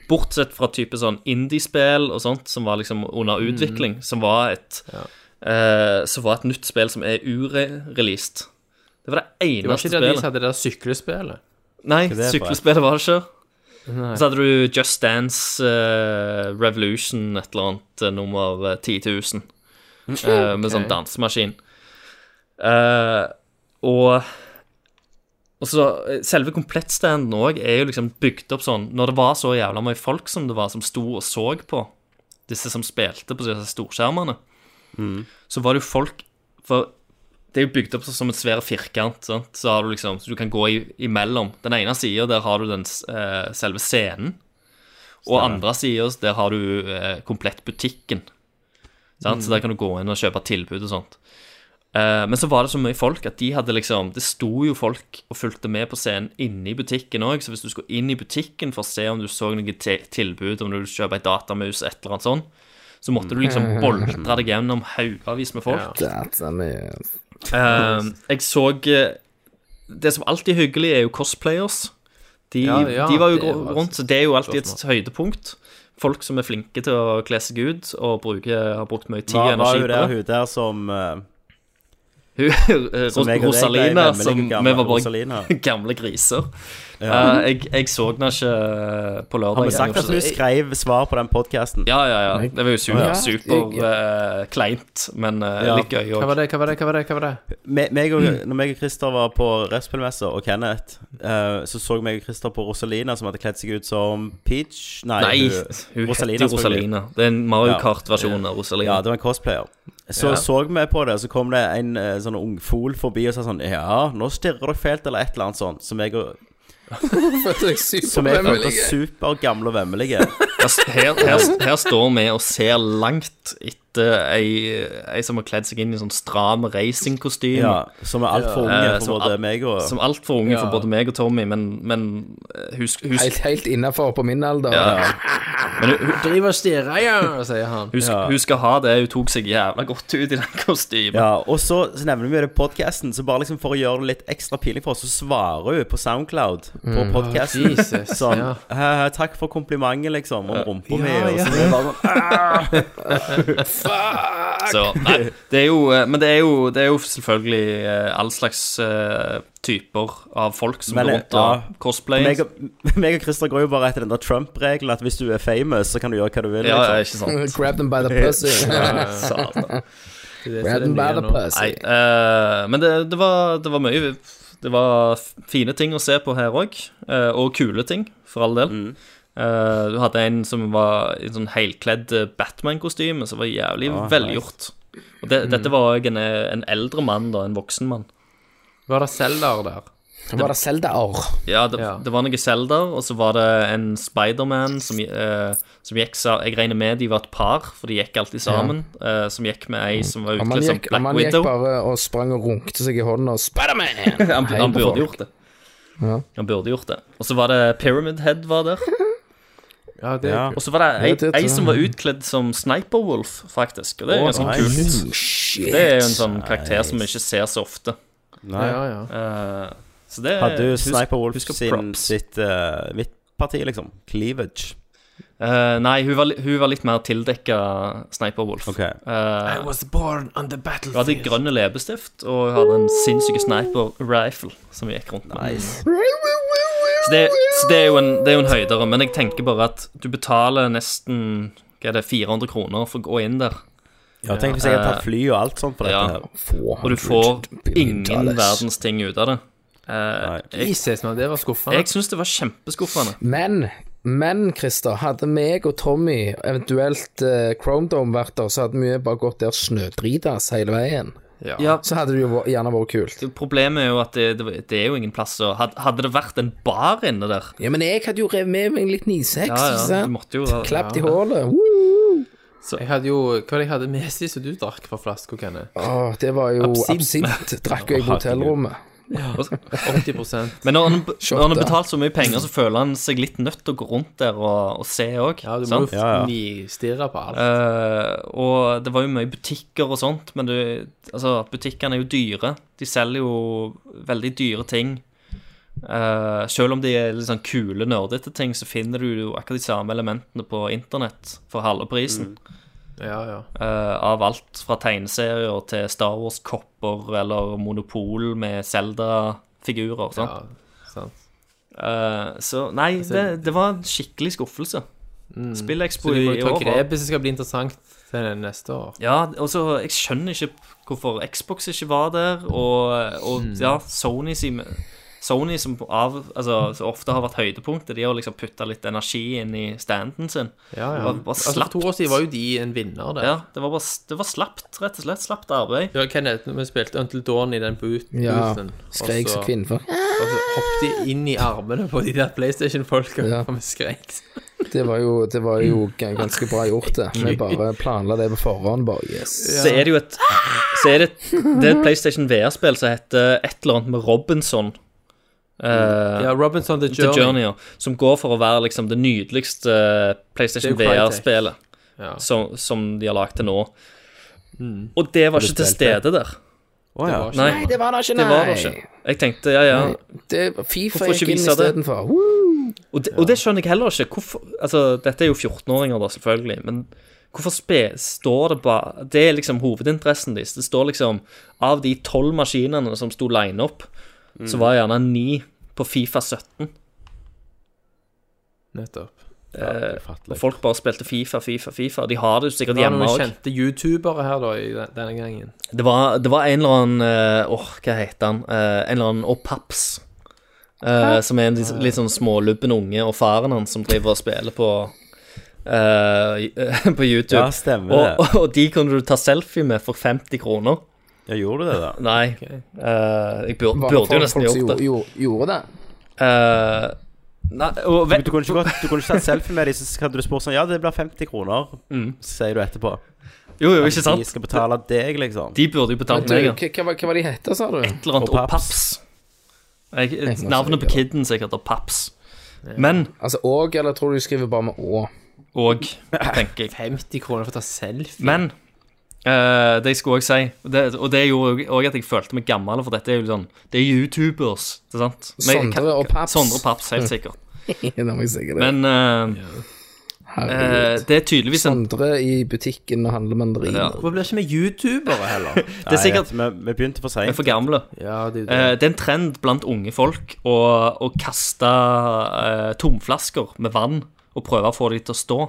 Bortsett fra type sånn indie-spill og sånt som var liksom under Mm. utvikling, som var et eh, Som var et nytt spill som er ure-released. Det var det Det var ikke eneste det at de spillet. hadde det der syklespillet. Nei, Hva er det for et? syklespillet var det ikke. Nei. Så hadde du Just Dance eh, Revolution, et eller annet eh, nummer eh, 10 000, Mm. eh, med sånn Ok. dansemaskin. Eh, og og så eh, Selve komplettstanden òg er jo liksom bygd opp sånn Når det var så jævla mye folk som det var, som sto og så på disse som spilte på disse storskjermene, Mm. så var det jo folk For det er jo bygd opp som en svær firkant, sant? så har du liksom, så du kan gå i, imellom. Den ene sida, der har du den s- eh, selve scenen. Og andre sida, der har du eh, komplett butikken. Sant? Så der kan du gå inn og kjøpe tilbud og sånt. Eh, men så var det så mye folk at de hadde liksom Det sto jo folk og fulgte med på scenen inne i butikken òg, så hvis du skulle inn i butikken for å se om du så noe te tilbud, om du ville kjøpe ei datamus, et eller annet sånn, så måtte du liksom boltre deg gjennom haugavis med folk. That's a man. Ehm, jeg så eh, Det som alltid er hyggelig, er jo cosplayers. De, Ja, ja, de var jo det var gr- rundt, så det er jo alltid et høydepunkt. Folk som er flinke til å kle seg ut og bruke, har brukt mye tid Hva og var energi jo på der det. hun der som eh, Hun, eh, Som jeg og deg Rosalina, ble nemlig som gamle vi var Rosalina. bare gamle griser. Eh, jeg, jeg så henne ikke eh, på lørdag. Har vi sagt at hun skrev svar på den podkasten? Ja, ja, ja. Det var jo super, Ja. super eh, kleint, men eh, Ja. litt gøy Hva òg. var det, hva var det, hva var det? Hva var det? Me- meg og, Mm. når meg og Christer var på Restspillmessa, og Kenneth, eh, så så meg og Christer på Rosalina, som hadde kledd seg ut som Peach Nei, Nei, hun- hun Rosalina, heter jo selvfølgelig. Rosalina. Det er en Mario Ja. Kart-versjon av Rosalina. Ja, det var en cosplayer. Så så vi på det, og så kom det en eh, sånn ungfol forbi og sa sånn Ja, nå stirrer dere fælt, eller et eller annet sånt. Som jeg, og- Følte jeg som jeg følte supervemmelig. supergamle og vemmelige. Altså, Her, her, her står vi og ser langt etter ei, ei som har kledd seg inn i sånn stram racingkostyme. Ja, som er altfor unge Eh, for som både al- meg og Som altfor unge for både meg og Tommy, men, men eh, husk, Helt, husk, helt innafor på min alder. men hun, Driver og stirrer, ja, sier han. husk, hun skal ha det. Hun tok seg jævla godt ut i den kostymen. Ja, og så, så nevner vi det i podcasten Så bare liksom for å gjøre det litt ekstra pinlig for oss, så svarer hun på SoundCloud på podcasten Jesus, sånn ja. «Hæ, Takk for komplimentet, liksom, om rumpa mi. Ja, og ja. så er det bare sånn, Så, nei, det er jo, eh, men det er jo, det er jo selvfølgelig eh, all slags eh, typer av folk som Men, går eh, rundt og ja. cosplayer. meg, og, meg og Christer går jo bare etter den der Trump-regelen at hvis du er famous, så kan du gjøre hva du vil. Ja, ja, Liksom. ikke sant. Grab them by the pussy. Det er det Grab som them by er the nye nå. pussy. Nei, eh, men det, det, var, det var mye Det var f- fine ting å se på her òg, og kule ting, for all del. Eh, du hadde en som var i sånn helkledd eh, Batman-kostyme, som var jævlig Ah, velgjort. Og det, Dette var òg en, eh, en eldre mann, da, en voksen mann. Var det Zelda der? Var det Zelda-år? Ja, det, Ja. det var noen Zelda, og så var det en Spiderman som, eh, som gikk sa, Jeg regner med de var et par, for de gikk alltid sammen. eh, som gikk med ei som var Og Man utkledd som gikk, og Black man gikk Widow. bare og sprang og runkte seg i hånden og Spiderman! Han, Hei han på burde folk. gjort det. Han burde gjort det. Og så var det Pyramid Head var der. Ja, det Ja. er kult. Og så var det ei, Ja, det tror jeg. ei som var utkledd som Sniper Wolf, faktisk. Og det er Å, ganske nice. kult. Shit. Det er jo en sånn karakter som vi ikke ser så ofte. Nei. Ja, ja. Eh, så det Hadde jo husk- Sniper Wolf husk å sin, props. sitt uh, midtparti, liksom. Cleavage. Eh, nei, hun var, li- hun var litt mer tildekka Sniper Wolf. Ok. Eh, I was born on the hun hadde battlefield. grønne leppestift, og hun hadde en sinnssyke sniper rifle som hun gikk rundt med. Nice. Så det, så det, er jo en, det er jo en høydere, men jeg tenker bare at du betaler nesten hva er det, 400 kroner for å gå inn der. Ja, tenk hvis jeg hadde tatt fly og alt sånt for Ja. dette her. Og du får ingen verdens ting ut av det. Eh, Nei. jeg Jesus, men det var skuffende. jeg syns det var kjempeskuffende. Men, men Christer, hadde meg og Tommy, eventuelt eh, Chrome Dome vært der, så hadde vi bare gått der og snødritas hele veien. Ja. Ja, så hadde det jo vært- gjerne vært kult. Problemet er jo at det, det, det er jo ingen plass å had- Hadde det vært en bar inne der Ja, men jeg hadde jo revet med meg litt 9-6, Ja, ikke ja, du sant? måtte jo ha- Klappet i ja. hålet. Woo! Så jeg hadde jo Hva var det jeg hadde med sist som du drakk fra flaska, Kenneth? Åh, det var jo Absint. absint. Drakk jo jeg på hotellrommet. 80 Men når han, Shot, når han har ja. betalt så mye penger, så føler han seg litt nødt til å gå rundt der og, og se òg. Ja, du må sant? jo Ja, ja. nistirre på alt. Eh, og det var jo mye butikker og sånt, men det, altså, butikkene er jo dyre. De selger jo veldig dyre ting. Eh, selv om de er litt sånn kule, nerdete ting, så finner du jo akkurat de samme elementene på internett for halve prisen. Mm. Ja, ja. Eh, av alt fra tegneserier til Star Wars-kopper eller Monopol med Zelda-figurer. sant? ja sant. Eh, så nei, det, det var en skikkelig skuffelse. Så de Spillekspo i Mm. må jo ta år. grep hvis det skal bli interessant til neste år. Ja, og så Jeg skjønner ikke hvorfor Xbox ikke var der, og, og Hmm. ja, Sony sin Sony, som av, altså, så ofte har vært høydepunktet, de har liksom putta litt energi inn i standen sin. Ja, ja. Bare, bare Altså, for slapt. to år siden var jo de en vinner der. Ja, det var bare s- det var slapt, rett og slett. Slapt arbeid. Ja, Kenneth, vi spilte Until Dawn i den boot Ja, boothen, Skrek og som kvinnfolk. Og så hoppet de inn i armene på de der PlayStation-folka. Ja. Og vi skrek. Det var jo, det var jo g- ganske bra gjort, det. Vi bare planla det på forhånd, bare yes. Så er det jo et Så er det, det er et PlayStation VR-spill som heter et eller annet med Robinson. Eh, Ja, Robinson The The Journey. Journey, ja, som går for å være liksom det nydeligste eh, PlayStation Det er jo VR-spillet Ja. Mm. som, som de har lagd til nå. Og det var ikke til stede der. Å ja. Det var ikke- Nei, Det var da ikke, det var det ikke. Jeg tenkte, ja, ja. Det, Fifa Hvorfor ikke gikk inn vise det? istedenfor. Woo! Og det, og det skjønner jeg heller ikke. Hvorfor, altså, dette er jo 14-åringer, da, selvfølgelig. Men hvorfor spe, står det bare Det er liksom hovedinteressen deres. Det står liksom Av de tolv maskinene som sto line opp, Mm. så var gjerne ni på Fifa 17. Nettopp. det er Eh, Og fattelig. folk bare spilte Fifa, Fifa, Fifa. De har det jo Det sikkert var hjemme noen òg. kjente youtubere her, da, i den- denne gangen. Det var, det var en eller annen eh, Åh, hva heter han? Eh, en eller annen Opaps. eh, som er en litt, litt sånn smålubben unge, og faren hans som driver og spiller på eh, på YouTube. Ja, stemmer og, det. og, og de kunne du ta selfie med for 50 kroner. Ja, gjorde du det, da? Nei, eh, jeg bur, Var det burde jo folk- nesten folk som gjort det. gjorde- Gjorde det? Eh, nei, og Du kunne ikke, gått- du kunne ikke tatt selfie med dem, så hadde du spurt sånn Ja, det blir 50 kroner, sier du etterpå. Jo, jo, De ikke Mm. sant? skal betale deg, liksom. De burde jo betalt Du, meg. ja. hva, hva, var- hva var de hette, sa du? eller annet Og og Paps. Paps. Jeg, må navnet på si, ja. kiden sikkert er Paps. Men Altså Åg, eller tror du de skriver bare med Å? og, tenker jeg. 50 kroner for å ta selfie. Men eh, det jeg skulle òg si, og det, og det gjorde òg at jeg følte meg gammel, for dette er jo sånn Det er YouTubers, ikke sant? Men jeg kan- Sondre og Paps. Sondre og Paps, helt sikkert. Det må jeg sikkert det. Men eh, eh, Herregud. det er tydeligvis en Sondre i butikken og handler ja, mandariner. Hvorfor blir ikke vi youtubere heller? Det er sikkert Nei, vi, vi begynte for vi er seint. for gamle. ja, det er jo det. Eh, det er en trend blant unge folk å, å kaste eh, tomflasker med vann og prøve å få de til å stå.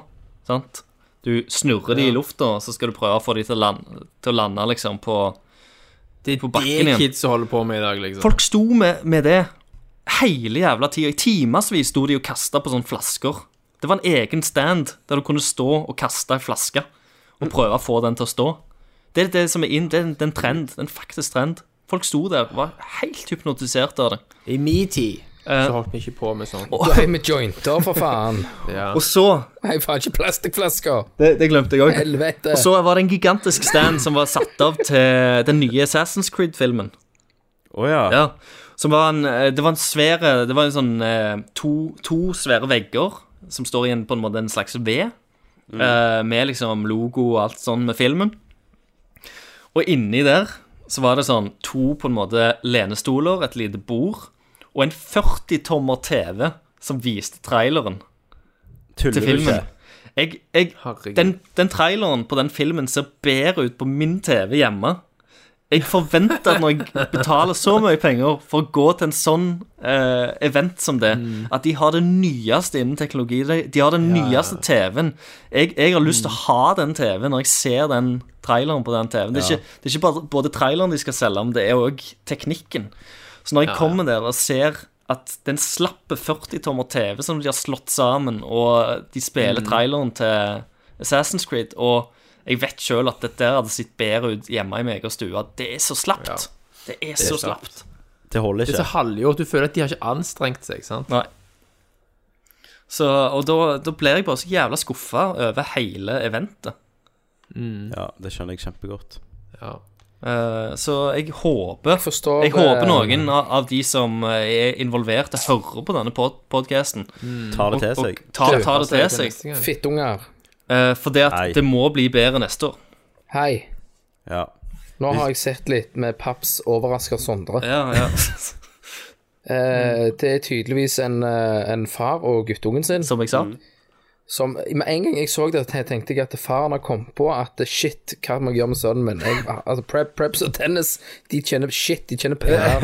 Sant? Du snurrer de i lufta, så skal du prøve å få de til å lande, til å lande liksom på det er på bakken det igjen. kids holder på med i dag, liksom. Folk sto med, med det hele jævla tida. I timevis sto de og kasta på sånne flasker. Det var en egen stand der du kunne stå og kaste ei flaske og prøve å få den til å stå. Det er det som er inn, det er en- det er en trend. Det er en faktisk trend. Folk sto der og var helt hypnotisert av det. I min tid så Eh. holdt vi ikke på med sånt. Du er med jointer, for faen. Ja. Og så Nei, faen, ikke plastikkflasker. Det, glemte jeg òg. Helvete. Og så var det en gigantisk stand som var satt av til den nye Assassin's Creed-filmen. Å ja. Ja. Som var en, eh, det var en svære Det var en sånn eh, to, to svære vegger som står i en, på en måte en slags V, eh, med liksom logo og alt sånn med filmen. Og inni der så var det sånn to på en måte lenestoler, et lite bord, og en 40-tommer TV som viste traileren Tuller til du filmen. ikke? Jeg, jeg, Herregud. den, den traileren på den filmen ser bedre ut på min TV hjemme. Jeg forventer at når jeg betaler så mye penger for å gå til en sånn eh, event som det, at de har det nyeste innen teknologi. De, de har den nyeste TV-en. Jeg, jeg har lyst til å ha den TV-en når jeg ser den traileren på den TV-en. Det, er ikke- det er ikke bare både traileren de skal selge, men det er òg teknikken. Så når jeg kommer der og ser at den slappe 40-tommer TV som de har slått sammen, og de spiller traileren til Assassin's Creed, og Jeg vet sjøl at dette her hadde sett bedre ut hjemme i min egen stue. Det er så slapt. Ja. Det er så slapt. slapt. Det holder Det er ikke. så halvgjort. Du føler at de har ikke anstrengt seg, sant? Nei. Så, og da, da blir jeg bare så jævla skuffa over hele eventet. Ja, Det skjønner jeg kjempegodt. Ja. Eh, så jeg håper Forstår Jeg det- håper noen av, av de som eh, er involverte, hører på denne pod podkasten Tar det til Mm. og seg. tar, tar det til seg. neste gang. Fittunger. Eh, for det at Nei. det må bli bedre neste år. Hei. Ja. Nå har jeg sett litt med Paps overrasker Sondre. Ja, ja. Eh, det er tydeligvis en, eh, en far og guttungen sin Som jeg sa. som Med en gang jeg så det, te- tenkte jeg at faren har kommet på at eh, shit, hva må jeg gjøre med sønnen min? Jeg, altså, prep, Preps og tennis, de tjener shit, de tjener PR.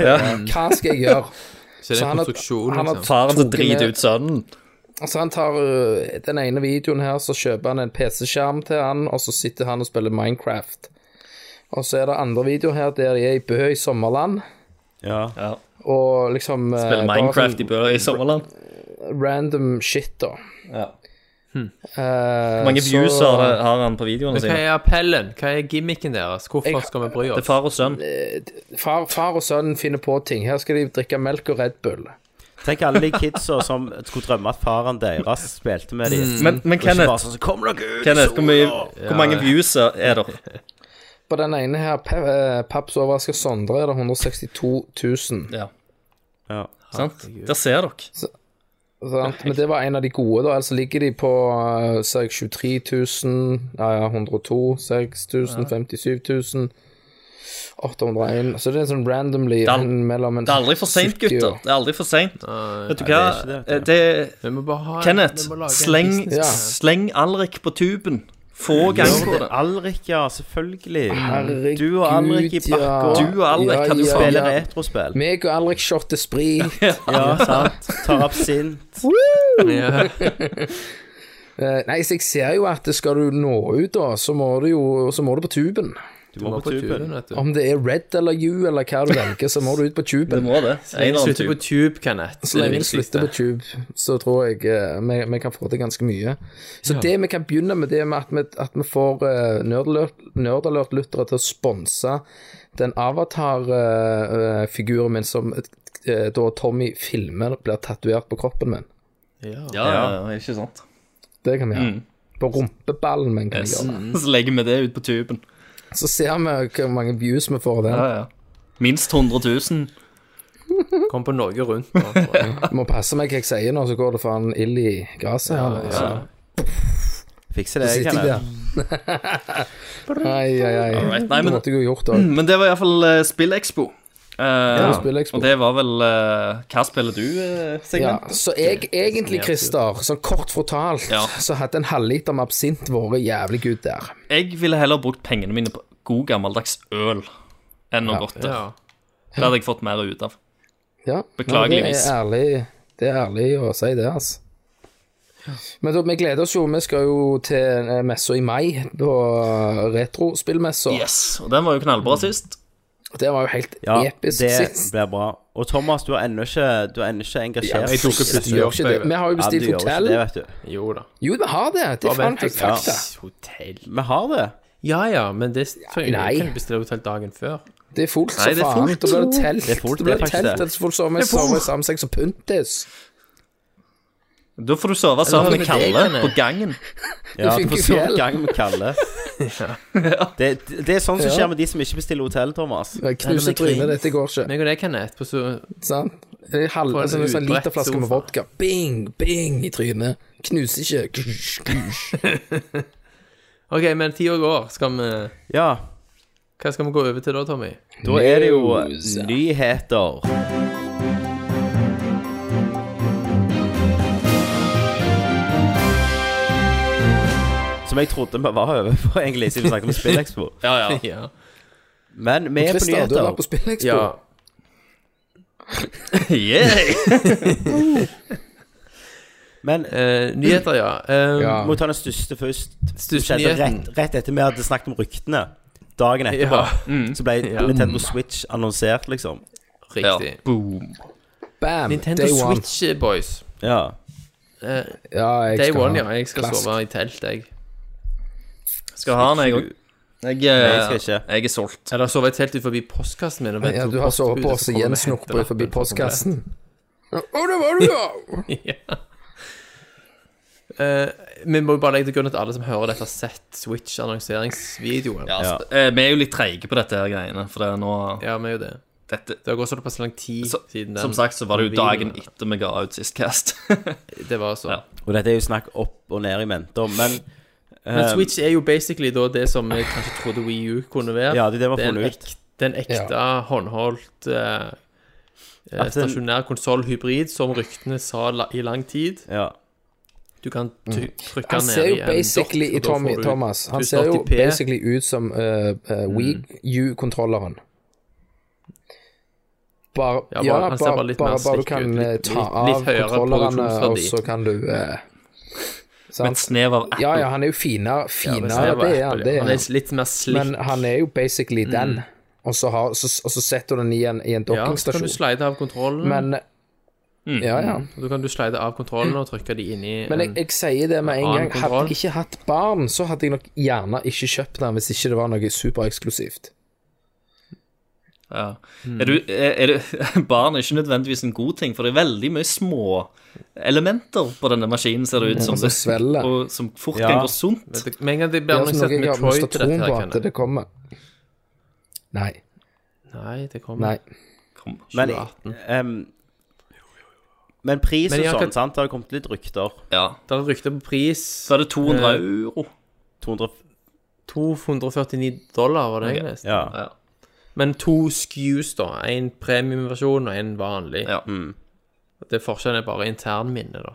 Hva skal jeg gjøre? Så det Så er han en har- konstruksjon, han har- liksom. Faren som driter ut sønnen. Altså Han tar ø, den ene videoen her, så kjøper han en PC-skjerm til han, og så sitter han og spiller Minecraft. Og så er det andre videoer her der de er i Bø i sommerland, ja. Ja. og liksom ø, Spiller bare Minecraft i Bø i sommerland. sånn Random shit, da. Ja. Eh, Mange så- views har, det- har han på videoene Men hva sine? er appellen? Hva er gimmicken deres? Hvorfor Jeg- skal vi bry Det er oss? far og sønn. Far, far og sønn finner på ting. Her skal de drikke melk og Red Bull. Tenk alle de kidsa som skulle drømme at faren deres spilte med dem. Mm. Men, men Kenneth, Bare sånn, så Kom dere ut! i Kenneth hvor, mye, sola!» hvor mange views er det? På den ene her, Pe- ø, Paps overrasker Sondre, er det 162 000. Ja, Ja. sant? Der ser dere. Sant? Men det var en av de gode, da. Ellers ligger de på eh, ser jeg 23 000, ja, ja, 102 6000, 57 000, 801 Så det er sånn randomly er al- en- mellom en Det er aldri for seint, 70 gutter. og- Det er aldri for seint. Vet du hva? det er ikke det, Eh, Det, Vi må bare ha en- Kenneth, vi må lage en sleng, business. Ja. sleng Alrik på tuben. Få ganger på det. Alrik, ja, selvfølgelig. Herregud, Du og Alrik i bakgård. ja. Du og Alrik Ja, kan du ja, Spiller ja. retrospill. Meg og Alrik shot esprit. Ja, sant. Tar absint. Ja. Eh, Nei, så jeg ser jo at skal du nå ut, da, så må du jo så må du på tuben. Du må på tuben. vet du. Om det er Red eller You eller hva du velger, så må du ut på Det tuben. må det. En eller annen Slutte på tube. tube, Kenneth. Så lenge Det vi er det slutter på viktigste. tube, så tror jeg eh, vi, vi kan få til ganske mye. Så det vi kan begynne med, det er med at vi, at vi får uh, Nerdalert-lyttere til å sponse den avatar-figuren min som eh, da Tommy filmer blir tatovert på kroppen min. Ja, ja, ja, ikke sant. Det kan vi gjøre. På rumpeballen min kan vi gjøre det. Så legger vi det ut på tuben. Så ser vi hvor mange views vi får av den. Ja, ja. Minst 100 000. Kom på Norge rundt nå. tror jeg. Jeg må passe meg hva jeg sier nå, så går det faen ild i gresset her. altså. Ja, Ja. Fikser det, Så sitter jeg Eh, Kenneth. der. Ai, ai, ai. Alright, nei, det men- måtte jeg jo gjort òg. Men det var iallfall uh, SpillExpo. Eh, Spillexpo. Og det var vel eh, Hva spiller du, uh, Ja, Signe? så jeg egentlig, Christer, sånn kort fortalt, Ja. så hadde en halvliter med absint vært jævlig good der. Jeg ville heller brukt pengene mine på god gammeldags øl enn noe godt. Ja. Det hadde jeg fått mer ut av. Ja. Beklageligvis. Det er ærlig, det er ærlig å si det, altså. Men da, vi gleder oss jo. Vi skal jo til eh, messa i mai, da retrospillmessa. Yes, Og den var jo knallbra sist. Det var jo helt Ja, episk det sist. blir bra. Og Thomas, du har ennå ikke, du har ennå ikke engasjert jeg tok opp Du gjør ikke det. Vi har jo Ja, du bestilt gjør jo ikke hotell. det, vet du. Jo da. Jo, vi har det. Det Bare er faen vent helt og- fakta. Ja, Hotell Vi har det. Ja ja, men det trenger Nei. jeg kan bestille hotell dagen før. Det er fullt Nei, som det er faen. fullt. Da blir det telt. Det er fullt, Da det blir er det faktisk telt, det. ellers får vi sove sammen seg som pyntis. Da får du sove sammen med Eller hva med Kalle deg, på gangen. Ja, fikk du får jo så fjell. gang med Kalle. Det, det det er sånn som Ja. skjer med de som ikke bestiller hotell, Thomas. Knuse men kring. trynet, dette går ikke. Meg og deg, Kenneth, på så Sant? En halv, På en altså, en sånn utbredt literflaske med sofa. vodka. Bing, bing i trynet. Knuser ikke. Kusj, kusj. OK, men tida går. Skal vi Ja, Hva skal vi gå over til da, Tommy? da er det jo News. nyheter. Som jeg trodde vi var over på, egentlig, siden vi snakket om SpillExpo. Ja, ja. Ja. Men vi er på Christer, du har nyheter. vært på Spillekspo. ja. Yeah. Men Eh, nyheter, ja. Eh, Ja. vi må ta den største først. Som Største skjedde nyheten. rett, rett etter vi hadde snakket om ryktene. Dagen etterpå. Ja. Så ble Nintendo Switch annonsert, liksom. Riktig. Boom. Bam, Nintendo day one. Switch, eh, boys. Ja. Eh, Ja, jeg Day skal one, ha ja. Jeg skal plask. sove i telt, jeg. Skal ha den, jeg òg. Jeg, eh, Nei, jeg skal ikke. jeg er solgt. Eller sove helt ut forbi postkassen min. og vente Ja, på du har sovet på postbudet, oss så kommer igjen det og henter snorkbrød forbi lappen, så kommer postkassen. det. Å, det var du, ja! Eh, Vi må jo bare legge til grunn at alle som hører dette, har sett Switch-annonseringsvideoen. Ja, altså, eh, Vi er jo litt treige på dette her greiene, for det er nå Ja, vi er jo det. dette, Det har gått såpass lang tid Så- siden den Som sagt så var det jo videoen- dagen etter vi ga ut sist cast. Det var så. Ja. Og dette er jo snakk opp og ned i mente, men Men eh, Switch er jo basically da det som vi kanskje trodde Wii U kunne være. Ja, det er det vi det har er en funnet ut. ekte, det er en ekte håndholdt eh, eh, At den- stasjonær konsoll-hybrid, som ryktene sa la, i lang tid. Ja. Du kan ty- Mm. trykke Han ned ser jo i en basically dot, og da får Tommy, du Thomas Han ser jo 1080p. basically ut som uh, Mm. Wii U-kontrolleren. Bare, ja, Ja, bare- bare, han ser bare bare, litt bare, mer du slick kan ut, eh, litt- ta litt- av litt høyere kontrollerne, og produksjonsverdi. så kan du eh, Med et sant? snev av Apple. Ja, ja, han er jo finere, Ja, finere det ser det jo er Apple, han, ja. det er Han han. er litt mer slick. Mm. Men han er jo basically den, og så, har, så, og så setter du den i en, i en ja, så kan du Mm. dokkingstasjon. slide av kontrollen. Men Ja, ja. og Da kan du slide av kontrollen og trykke de inn i Men jeg, en- jeg sier det med en Annen gang. Hadde kontroll. jeg ikke hatt barn, så hadde jeg nok gjerne ikke kjøpt den hvis ikke det var noe supereksklusivt. Ja. Er du, er, er du, barn er ikke nødvendigvis en god ting, for det er veldig mye små elementer på denne maskinen, ser det ut som. Som svelger. og som fort Ja. kan gå sunt. Det- Med en gang det blir Det er altså annonsert noe jeg har Metroid mistet til dette troen på her, at kan jeg det kommer. Nei. Nei, det kommer Nei. Kom. Men, 2018. em, men pris Men og jeg har sånn, ikke- sant? Det har kommet litt rykter. Ja. Det er rykter på pris Så er det 200 Eh, euro. 200 249 dollar, var det jeg leste. Ja. Ja. Men to SKUs, da. En premiumversjon og en vanlig. Ja. mm. Det Forskjellen er bare internminne, da.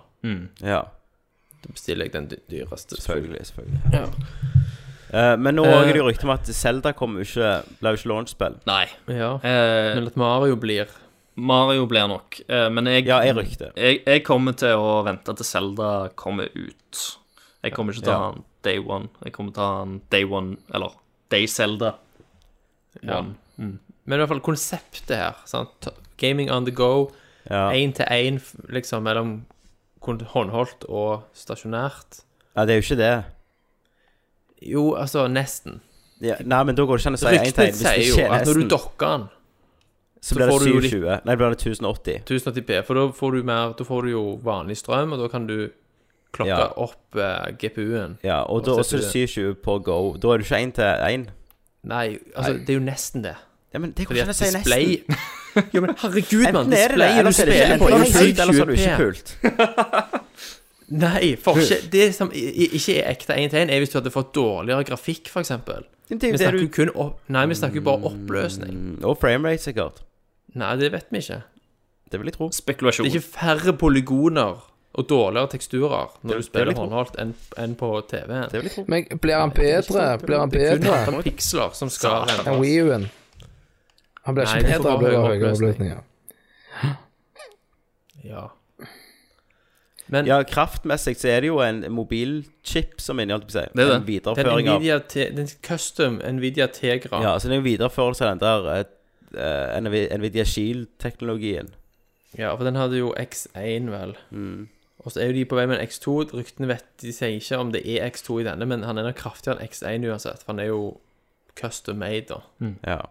ja. Da bestiller jeg den dy- dyreste. Selvfølgelig. selvfølgelig. Eh, men nå er det jo rykter om at Zelda kom jo ikke, ble jo ikke launchspill. Nei. Ja. Eh, Men at Mario blir Mario blir nok. Eh, men jeg, Ja, jeg rykte. jeg, jeg kommer til å vente til Zelda kommer ut. Jeg kommer ikke til å Ja. ha den day one. Jeg kommer til å ha den day one, eller day Zelda. Ja. One. Men i hvert fall konseptet her. sant? Gaming on the go. Ja. Én til én, liksom, mellom kon- håndholdt og stasjonært. ja, det er jo ikke det. Jo, altså, nesten. Ja, nei, men da går det ikke an å si én Ryktene tegn. Hvis det sier jo ikke er at når du nesten, dokker den så blir det får du jo litt- 720. Nei, blir det 1080. 1080p, for da får du mer Da får du jo vanlig strøm, og da kan du klokke Ja. opp eh, GPU-en. Ja, og da Og også er det setter 720 på Go. Da er det ikke én til én. Nei, altså, det er jo nesten det. Ja, men det går Fordi ikke an å at si display nesten. Jo, men herregud, mann! Enten er det det, Displayet eller du så er det spiller ikke på, enten er er det kult, eller så er det ikke 720p. kult. Nei, forskjell Det som i- i- ikke er ekte 1 til 1, er hvis du hadde fått dårligere grafikk, f.eks. Men det er Vi jo det snakker jo du kun opp... Nei, vi snakker jo bare oppløsning. Mm, Og framerate, sikkert. Nei, det vet vi ikke. Det vil jeg tro. Spekulasjon. Det er ikke færre polygoner og dårligere teksturer Det- det vil når du jeg spiller tro. håndholdt enn enn på TV-en. Det vil jeg tro. Men blir han bedre? Blir han Det er kun bedre antall piksler som skal Satan. enn Wii U-en? Han blir Nei, ikke det får bedre, han blir være bare høyere høyere oppløsning. oppløsninger. Ja. Men Ja, kraftmessig så er det jo en mobilchip som inni, holdt jeg på å si. Det er det. En den videreføring av Nvidia, T- den custom Nvidia Tegra Ja, så det er jo en videreførelse av den der eh, eh, NV- Nvidia Shield-teknologien. Ja, for den hadde jo X1, vel. Mm. Og så er jo de på vei med en X2. Ryktene vet de sier ikke om det er X2 i denne, men han er nok kraftigere enn X1 uansett. For han er jo custom made, da. Ja.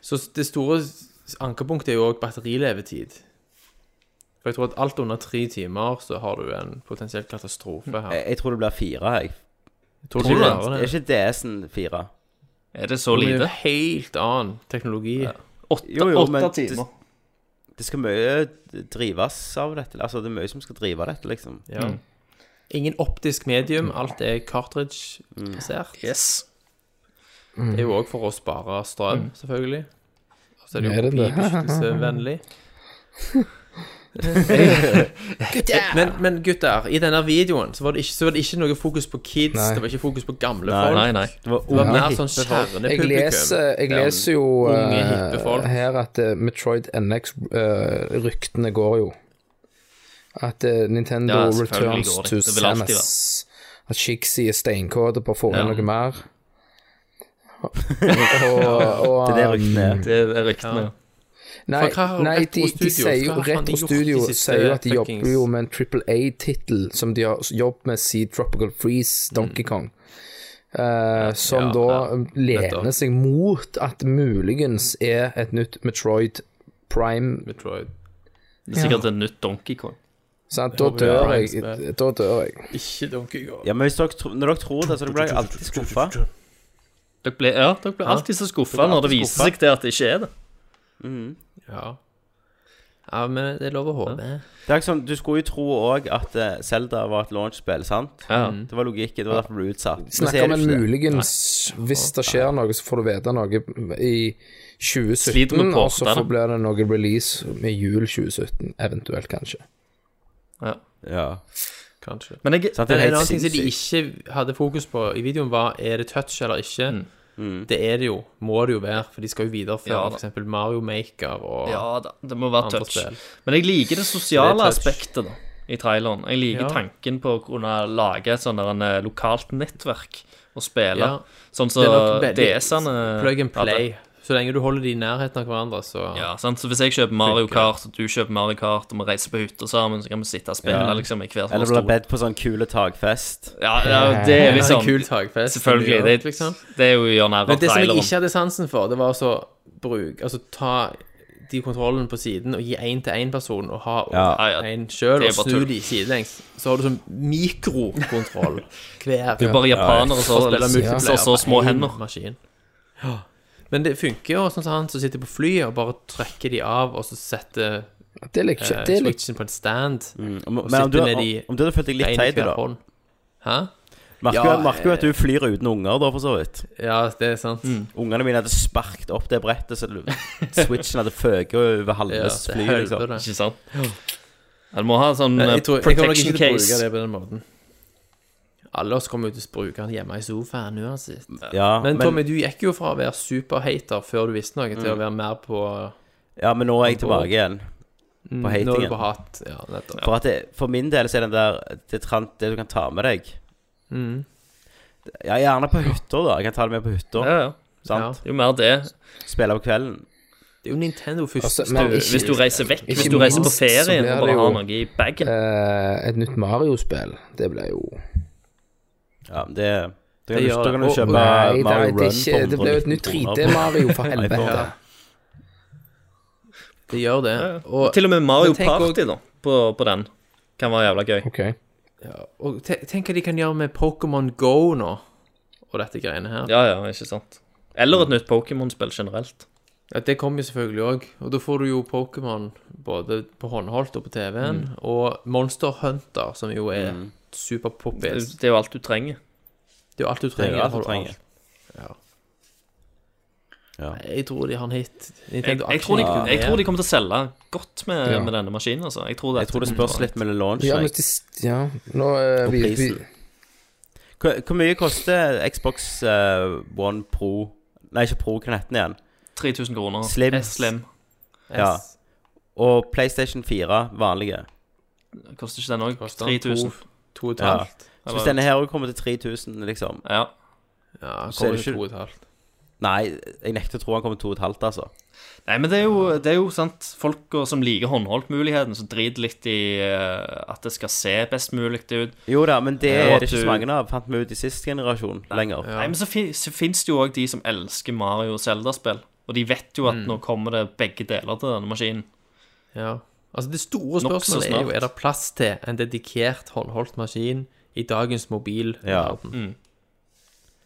Så det store ankepunktet er jo òg batterilevetid. For jeg tror at alt under tre timer så har du en potensiell katastrofe her. Jeg, jeg tror det blir fire, jeg. Tror tror du det? Mm. Er ikke DS-en fire? Er det så Det er jo lite? en helt annen teknologi. Åtte Jo, jo, men åtte det- timer. Det skal mye drives av dette. Altså, det er mye som skal drive dette, liksom. Ja. Mm. Ingen optisk medium, alt er cartridge-basert. Yes. Mm. Det er jo òg for å spare strøm, selvfølgelig. Og så er det Er jo det det? kopibeskyttelsevennlig. men, men gutter, i denne videoen så var det ikke, så var det ikke noe fokus på kids, Nei. det var ikke fokus på gamle Nei, folk. Nei, nei. Det var Det var unge, mer sånn hippe folk. Jeg kjernepublikum. leser, jeg leser jo unge, eh, hippe folk. her at eh, Metroid NX-ryktene går jo. At eh, Nintendo Ja, selvfølgelig returns går det. to Det vil alltid Samus. At Shixi er steinkåte på å få inn Ja. noe mer. og, og, Det er det ryktene er. Det er ryktene. Ja. Nei, For hva har nei de, Retro de Studios- sier jo hva har faen de Retro gjort Studio de siste sier jo at de fuckings- jobber jo med en Triple A-tittel som de har jobbet med siden Tropical Freeze, Donkey Kong. eh, som Mm. ja, da ja. lener Nettopp. seg mot at muligens er et nytt Metroid Prime. Metroid. Det er sikkert et nytt Donkey Kong. Sant? Da håper det er dør jeg. Prime-spill. Da dør jeg. Ikke Donkey Kong. Ja, men hvis dere, tro- Når dere tror det, så blir jeg alltid skuffa. Dere ble, ja, dere ble alltid så skuffa når det viser skuffet. seg til at det ikke er det. Ja. ja, men det er lov å håpe. Det er ikke sånn, Du skulle jo tro òg at eh, Zelda var et launchspill, sant? Ja. Det var logikken. Det var derfor det ble utsatt. Men så er Snakker om det en ikke det. muligens Hvis det skjer noe, så får du vite noe i 2017. Sliter med Og så portene. får- blir det noe release med jul 2017, eventuelt, kanskje. Ja. Ja. Kanskje. Men jeg, Sant, Men det er en helt annen ting som de sinnssykt. ikke hadde fokus på i videoen, var er det touch eller ikke. Det er det jo. Må det jo være, for de skal jo videreføre Mm. Ja, for da. f.eks. Mario Maker og ja da, det må være Andre touch. spill. Men jeg liker det sosiale Det er touch. aspektet da, i traileren. Jeg liker Ja. tanken på å kunne lage et sånn der en, eh, lokalt nettverk og spille. Ja. Sånn Det er som nok veldig- DS-ene Plug and hadde. play. Så lenge du holder de i nærheten av hverandre, så Ja, sant? Så hvis jeg kjøper Mario Funker. Kart, og du kjøper Mario Kart, og vi reiser på hytta sammen, så kan vi sitte og spille Ja. liksom, i hver Eller ble vår stol. bedt på sånn kule takfest. Ja, ja, det er Det er liksom en kul tagfest. Selvfølgelig. Det, Det, liksom. det er jo å gjøre narr Men av det som jeg traileren. ikke hadde sansen for, det var altså bruk Altså ta de kontrollene på siden og gi én til én person og ha Ja. Ja, ja. én sjøl Det er og bare snu tull. de sidelengs. Så har du sånn mikrokontroll hver. Det er bare japanere som Og spiller multiplayer har så på små en hender. Maskin. Ja. Men det funker jo, sånn som han som sitter på flyet og bare trekker de av, og så setter Det liker eh, ikke det liker, switchen på en stand. Mm, Om- Og Men om du, sitte med om, de- om du hadde følt deg en i litt teit, hver da hånd. Hæ? Merker Ja, jo- merker jo at du flyr uten unger, da, for så vidt. Ja, det er sant. Mm. Ungene mine hadde sparket opp det brettet, så du- switchen hadde føket over Ja, halve det flyet, liksom. helvete. Ikke sant? Ja, Du må ha sånn Men eh, jeg tror, jeg kommer nok protection ikke til å bruke case. det på den måten. Alle oss kommer jo til å bruke den hjemme i sofaen uansett. Ja, Men, men, Tommy, du gikk jo fra å være superhater før du visste noe, Mm. til å være mer på mm, ja, men nå er jeg tilbake igjen. Mm, Nå er du hatingen. på hat. Ja, nettopp. For, at det, for min del så er den der det, tran- det du kan ta med deg Mm. Ja, gjerne på hytta, da. Jeg kan ta det med på hytta. Ja, ja. Sant? Jo mer det. Spille på kvelden. Det er jo Nintendo først. Altså, men ikke- Hvis du reiser vekk, ikke hvis du reiser på minst, så ferien blir og det bare jo- har noe i bagen eh, Et nytt Mario-spill, det blir jo Ja, men det Da kan Det du, gjør da kan du det. kjøpe Og- og- Nei, det, Mario det, er Run ikke, det for blir jo et 119 nytt kroner. 3D-Mario, for helvete. iPhone. Det gjør det. Og, Til og med Mario Men tenk også- Party, da, på, på den, kan være jævla gøy. Ok. og te- tenk hva de kan gjøre med Pokémon Go nå, og dette greiene her. Ja, ja, ikke sant. Eller et nytt Pokémon-spill generelt. Ja, det kommer jo selvfølgelig òg. Og da får du jo Pokémon både på håndholdt og på TV-en. Mm. Og Monster Hunter, som jo er Det, superpoppis. det er jo alt du trenger. Det er jo alt du Det er trenger. jo alt du for trenger. Jeg tror de har en hit. Jeg, Nintendo jeg, tror de, aksjer- jeg tror de kommer til å selge godt med, Ja. med denne maskinen, altså. Jeg tror det, Jeg tror det spørs litt med launch. Ja, men jeg. de, ja, nå eh, Og vi, vi, prisen. Hvor, hvor mye koster Xbox eh, One Pro Nei, ikke Pro, hva heter den igjen? 3000 kroner. Slim. Eh, Slim. Ja. S. Og PlayStation 4, vanlige. Koster ikke den òg? Koster den 3000. to- To og et Ja. halvt. Så hvis denne her også kommer til 3000, liksom Ja. Ja, Så er kommer det til ikke- to og et halvt. Nei, jeg nekter å tro han kommer til 2,5, altså. Nei, men det er jo, det er jo sant, folk som liker håndholdtmuligheten, som driter litt i eh, at det skal se best mulig ut. Jo da, men det Ja, er at det ikke du- så mange av. Fant vi ut i sist generasjon lenger. Nei, men så, fin, så finnes det jo òg de som elsker Mario og Zelda-spill. Og de vet jo Mm. at nå kommer det begge deler til denne maskinen. Ja. Altså, det store Nok så spørsmålet er jo snart. er det plass til en dedikert håndholdt maskin i dagens mobilverden.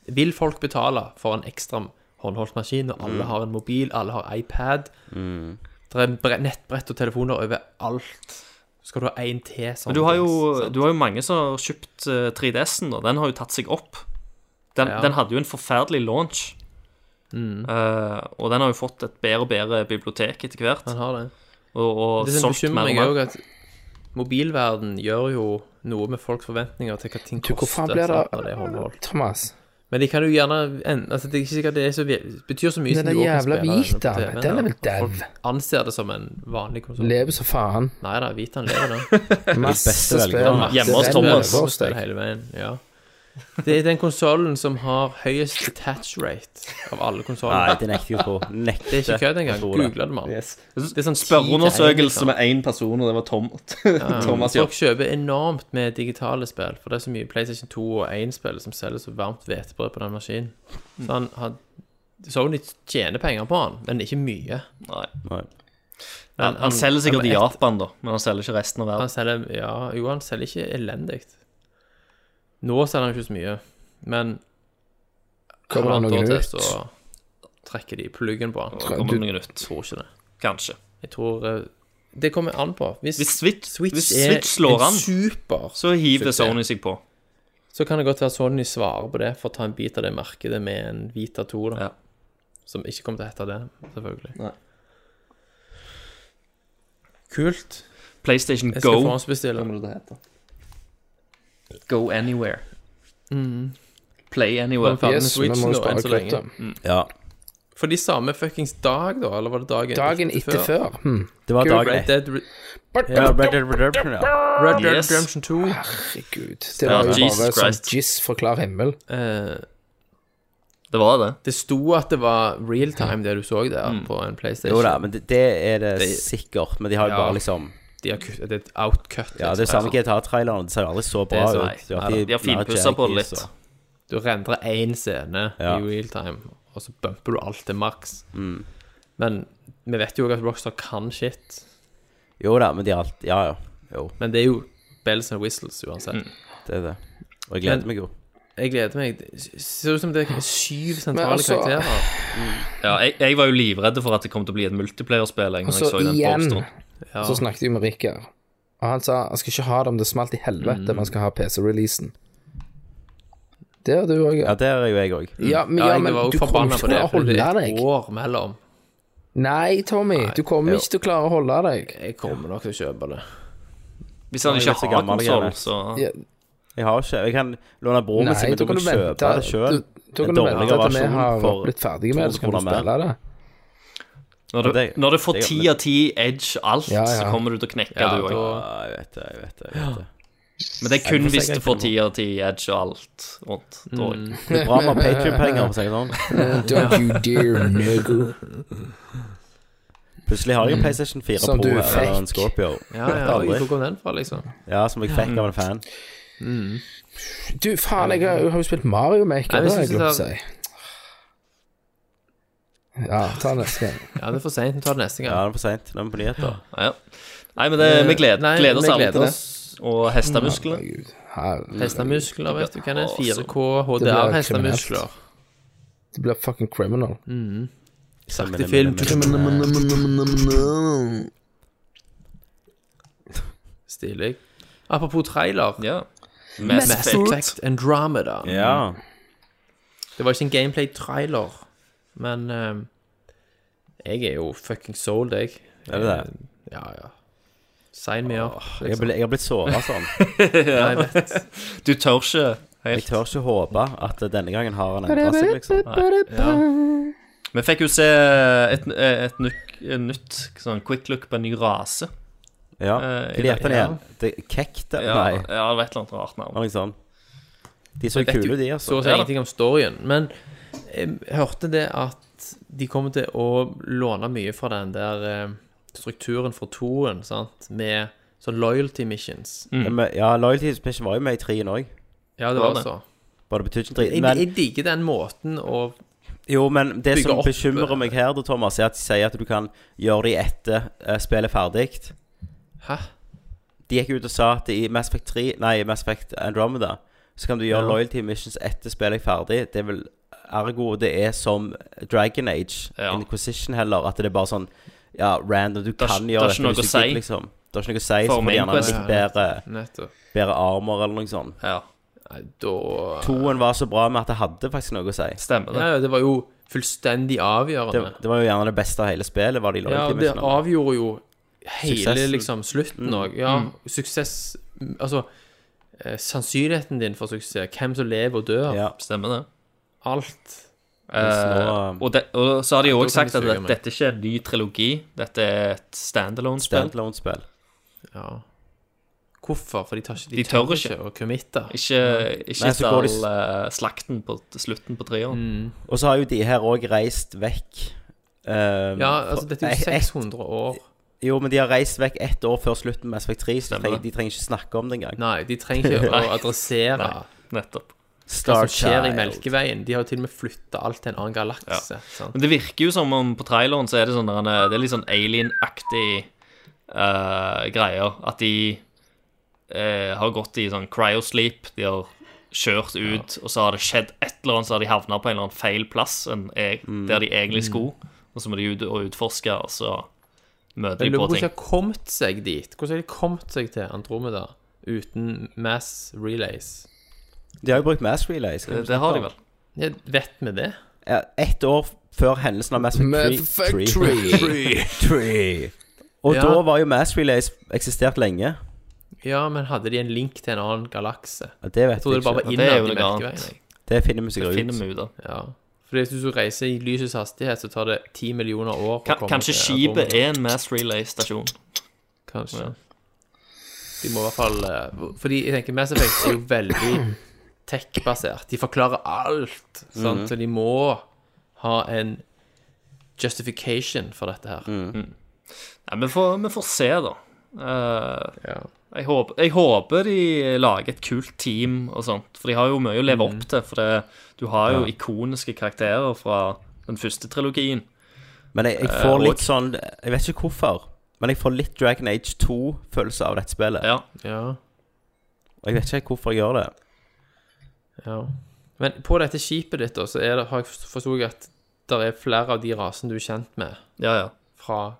Mm. Vil folk betale for en ekstra håndholdt maskin når Mm. alle har en mobil, alle har iPad? Det er bre- nettbrett og telefoner overalt. Skal du ha en til sånn? Men du har jo, sant? du har jo mange som har kjøpt eh, 3DS-en, da. Den har jo tatt seg opp. Den, Ja. Mm. den hadde jo en forferdelig launch. Eh, og den har jo fått et bedre og bedre bibliotek etter hvert. Han har det. Og, og Det sånn som solgt bekymrer mer meg og mer. òg, at mobilverden gjør jo noe med folks forventninger til hva ting du, koster. hvor faen blir sant, når det er håndholdt. det Thomas? Men de kan jo gjerne en, altså Det er ikke sikkert det er så, vi- betyr så mye Den som der du også jævla kan spille den på Vitaen, TV-en, den er da. vel dau? Folk Anser det som en vanlig konsoll. Lever så faen. Nei da, Vitaen lever, da. Masse velgerne. spill. masse Hjemme hos spill, Thomas. lever hos Det deg. hele veien, ja. Det er den konsollen som har høyest attach rate av alle Nei, konsoller. det nekter jeg å tro. Nekter. Det er ikke kødd engang. å tro det. Google det, mann. Yes. Det er sånn liksom. Spørreundersøkelse ti til en, med én person, og det var Tom, Thomas Folk Hjort. kjøper enormt med digitale spill, for det er så mye PlayStation 2 og 1-spill som selger så varmt hvetebrød på den maskinen. Så han har Sony tjener penger på han, men ikke mye. Nei. Nei. Han, han selger sikkert i Japan, da, men han selger ikke resten av Han verden. selger, ja, jo, han selger ikke elendig. Nå selger han ikke så mye, men Kommer det noe halvannet år nytt? til, Så trekker de pluggen på han. Så kommer det noe nytt. Jeg tror ikke det. Kanskje. Jeg tror eh, Det kommer an på. Hvis, Hvis Switch, Switch, hvis er Switch slår en an, super, så hiver Suksess. Sony seg på. så kan det godt være Sony svarer på det for å ta en bit av det markedet med en Vita 2, da. Ja. Som ikke kommer til å hete det, selvfølgelig. Nei. Kult. PlayStation Jeg skal Go, forhåndsbestille. Hva må det hete? go anywhere. Mm. Play Var anywhere. vi ferdig med Yes, vi Switchen må jo nå, enn spare så lenge? kruttet. Ja. For de samme fuckings dag, da? Eller var det dagen, Dagen etter før. Hm. Det var Gud, dag Red ett. Dead, Re- Ja, Red Dead Redemption, ja. Red Dead Yes. Redemption 2. Herregud. Det var jo Jesus bare sånn Christ. jizz fra klar himmel. Eh, Det var det. det sto at det var real time, det du så der, på en PlayStation. Jo da, men det, det er det, Det- sikkert. Men de har jo Ja. bare liksom De har kutt, det er et outcut. Ja, det er jo samme GTA-traileren. Det ser jo aldri så bra Det er så- ut. nei, Det er nei alltid De har mer finpussa på det jerkies litt. og- Du rendrer én scene Ja. i real time, og så bumper du alt til maks. Men vi vet jo også at Rockstar kan shit. Jo da, men de har alt Ja, ja. Jo, Men det er jo bells and whistles uansett. det er det. Og jeg gleder Men- meg jo. Jeg gleder meg. Det ser ut som det er syv sentrale Men altså- karakterer. Ja, jeg, jeg var jo livredd for at det kom til å bli et multiplayer-spill. jeg, når Altså, jeg så den igjen. posteren. Ja. Så snakket jeg med Rikard, og han sa han skal ikke ha det om det smalt i helvete, man skal ha PC-releasen. Det har du òg. Ja, Ja, der er jo jeg òg. ja, men, Ja, ja, jeg men var du jo kommer ikke forbanna på til det, å for det holde er et deg. år mellom. Nei, Tommy, du kommer ikke til å klare å holde deg. Jeg kommer nok til å kjøpe det. Hvis han Ja, ikke jeg vet så har gammel jeg er. konsoll, så Ja, Jeg har ikke Jeg kan låne broren min Nei, sin, men da da kan må du jeg vente kjøpe det sjøl. du- Da kan En du vente dårligere til vi versjon har for blitt ferdige med det, så kan du 200 kroner spille det. Når du, det- når du får det gjør ti det. av ti edge alt, Ja, ja. så kommer du til å knekke, Ja, du òg. da- Ja, Ah, jeg vet det, jeg vet det. Jeg vet det. Men det er kun Jeg får hvis sikkert du får ikke ti av ti edge og alt rundt. tror jeg. Det er bra med Patrion-penger, for å si det sånn. Don't you dear nigger. Plutselig har jeg en PlayStation 4 Mm. Som Pro du eller en fikk. Scorpio. Ja, Vet ja, aldri. Hvor kom den fra, liksom? Ja, som jeg fikk av en fan. Du, faen, jeg har jeg har jo spilt Mario Nei, Maker, men det har jeg synes glemt å jeg si. Ja, ta neste gang. Ja, det er for seint. Vi tar det neste Ja, gang. det er for seint. Nå er vi på nyheter. Ja, ja. Nei, men det, vi gleder, Nei, gleder oss vi alle gleder til det. Og hestemuskler. Herregud. Herregud. Hestemuskler, vet du hva det er? Å, så- 4K kriminelt. HDR-hestemuskler. Det blir fucking criminal. Sakte film. Stilig. Apropos trailer. Ja. Mass Mass Effect. Effect Andromeda. Ja. Det var ikke en gameplay-trailer, men eh, jeg er jo fucking sold, jeg. Eh, Er det det? Ja, ja. Sign me up. Jeg har Liksom. blitt- jeg har blitt såra sånn. Ja, jeg vet. Du tør ikke Jeg helt. tør ikke håpe at denne gangen har han endra seg, liksom. Vi fikk jo se et, et, nytt- et nytt sånn quick look på en ny rase. Ja. Eh, Hva heter den igjen? Det Kekt? Ja, Nei, ja, det var et eller annet rart navn. noe sånt. De så vet kule jo ut, de, Så altså. å si ingenting om storyen, men jeg hørte det at de kommer til å låne mye fra den der eh, strukturen for toen, sant, med sånn loyalty missions. Mm. Men, ja, Loyalty Mission var jo med i trien òg. Ja, det altså. Var var det? så. Bare det betydde ikke en drit. Jeg, Men, jeg digger den måten å jo, men det bygger som opp, eh, bekymrer meg her, da, Thomas, er at de sier at du kan gjøre det etter eh, spillet er ferdig. Hæ? De gikk ut og sa at i Mass Effect 3 Nei, i Mass Effect Andromeda så kan du gjøre Ja. loyalty missions etter spillet er ferdig. Det er vel ergo det er som Dragon Age, Ja. Inquisition heller, at det er bare sånn ja, random. Du er kan ikke- gjøre det er ikke hvis noe å du si. gidder, liksom. Det har ikke noe å si, så For får de gjerne Mainquest. litt bedre, Nettopp. bedre armor eller noe sånt. Ja, Nei, da Toen var så bra med at det hadde faktisk noe å si. stemmer det. Ja, ja, det var jo fullstendig Det, avgjørende. det var jo gjerne det beste av hele spillet, var de ja, loyalty det missionene. avgjorde jo hele Suksessen. liksom slutten Mm. òg. Ja, suksess Altså, eh, sannsynligheten din for suksess, hvem som lever og dør, Ja. Stemmer det. alt. Mens nå, Eh, og, de, og så har de jo da også kan sagt de at suge det, meg. dette ikke er en ny trilogi. Dette er et standalone-spill. Standalone-spill. Ja. Hvorfor? For de, tar, ikke- De tør ikke. å committe. Ikke, ikke Nei, så går de- til eh, slakten på t- slutten på treeren. Mm. Og så har jo de her òg reist vekk eh, Ja, altså, dette er jo fra- et- 600 år Jo, men de har reist vekk ett år før slutten med Aspect 3, så de Stemmer trenger, det. de trenger ikke snakke om det engang. Nei, de trenger ikke å Nei. adressere Nei. Nettopp. hva som skjer i Starchild. Melkeveien. De har jo til og med flytta alt til en annen galakse. sant? Men det virker jo som om på traileren så er det sånn der en, eh, Det er litt sånn alien-aktig eh, greier. At de eh, har gått i sånn cryosleep. De har kjørt ut, og så har det skjedd et eller annet, så har de havna på en eller annen feil plass enn e Mm. der de egentlig skulle. Og så må de ut og utforske, og så møter Jeg de lurer på på hvordan de ting. har kommet seg dit. Hvordan har de kommet seg til Andromeda uten mass relays? De har jo brukt Mass Relay. skal Det, vi det har de snakke om. vel. Ja, vet vi det? Ja, Ett år før hendelsen av Mass Med fuck Effect 3. tree. Og Ja. da var jo Mass Relays eksistert lenge. Ja, men hadde de en link til en annen galakse? Ja, Det Jeg vet trodde jeg det bare ikke. var Ja, det er jo innad i noe annet. Melkeveien. jeg. Det finner vi Det sikkert finner ut. vi ut av. Ja. For hvis du reiser i lysets hastighet, så tar det ti millioner år å Ka- komme Kanskje til skipet Andromeda. er en mass relay-stasjon. Kanskje. Ja. De må i hvert fall eh, Fordi jeg tenker Mass Effect er jo veldig tech-basert. De forklarer alt, sant? Mhm. så de må ha en justification for dette her. Mm. Nei, vi får, vi får se, da. Eh, Ja. jeg, håper, jeg håper de lager et kult team og sånt, for de har jo mye å leve opp til. For det, du har jo ikoniske karakterer fra den første trilogien. Men jeg, jeg Eh, får og- litt sånn Jeg vet ikke hvorfor, men jeg får litt Dragon Age 2-følelse av dette spillet. Ja, ja. Og jeg vet ikke hvorfor jeg gjør det. ja. Men på dette skipet ditt, da, så er det, har jeg forstått at det er flere av de rasene du er kjent med ja. ja. fra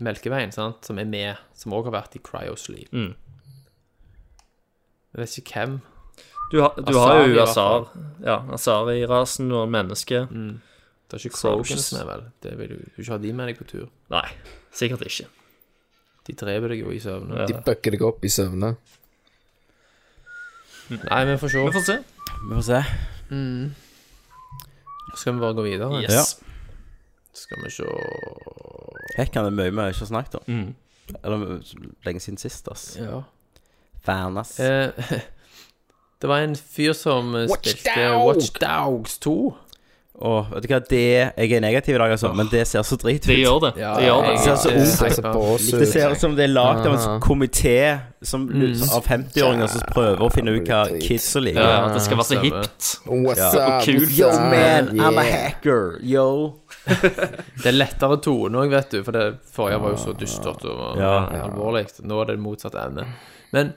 Melkeveien, sant? som er med, som òg har vært i Cryosleep. Mm. Jeg vet ikke hvem. Du, har- du Asari har i jo hvert Asar. Ja, Asari-rasen og mennesket. Det er ikke Soldiers. Crogans med, vel? Det vil du, du vil ikke ha de med deg på tur. Nei, sikkert ikke. De dreper deg jo i søvne. Ja. De bøkker deg opp i søvne. Nei, vi får se. Vi får se. Vi får se. Skal vi bare gå videre? Yes. Skal vi se Hekkan er mye vi ikke har snakket om. Mm. Eller lenge siden sist, ass. Ja. Fan, ass. Eh, det var en fyr som eh, Watch spilte Dog! Watch Dogs 2. Åh, vet du hva, det Jeg er negativ i dag, altså, men det ser så drit ut. Det gjør det. det, gjør det. jeg- ser så eh, ungt ut. hyper. Bås Det ser ut som det er lagd av en Ah. sånn komité som- av 50-åringer som prøver å finne ut hva Jævlig drit. kidsa liker. Mm. Ja, at det skal være så stemmer. hipt. What's Og up? kult. what's Yo, up? man, I'm a Yeah. hacker. Yo. Det er lettere tone òg, vet du, for det forrige var jo så dystert og Ja. alvorlig. Nå er det motsatt ende. Men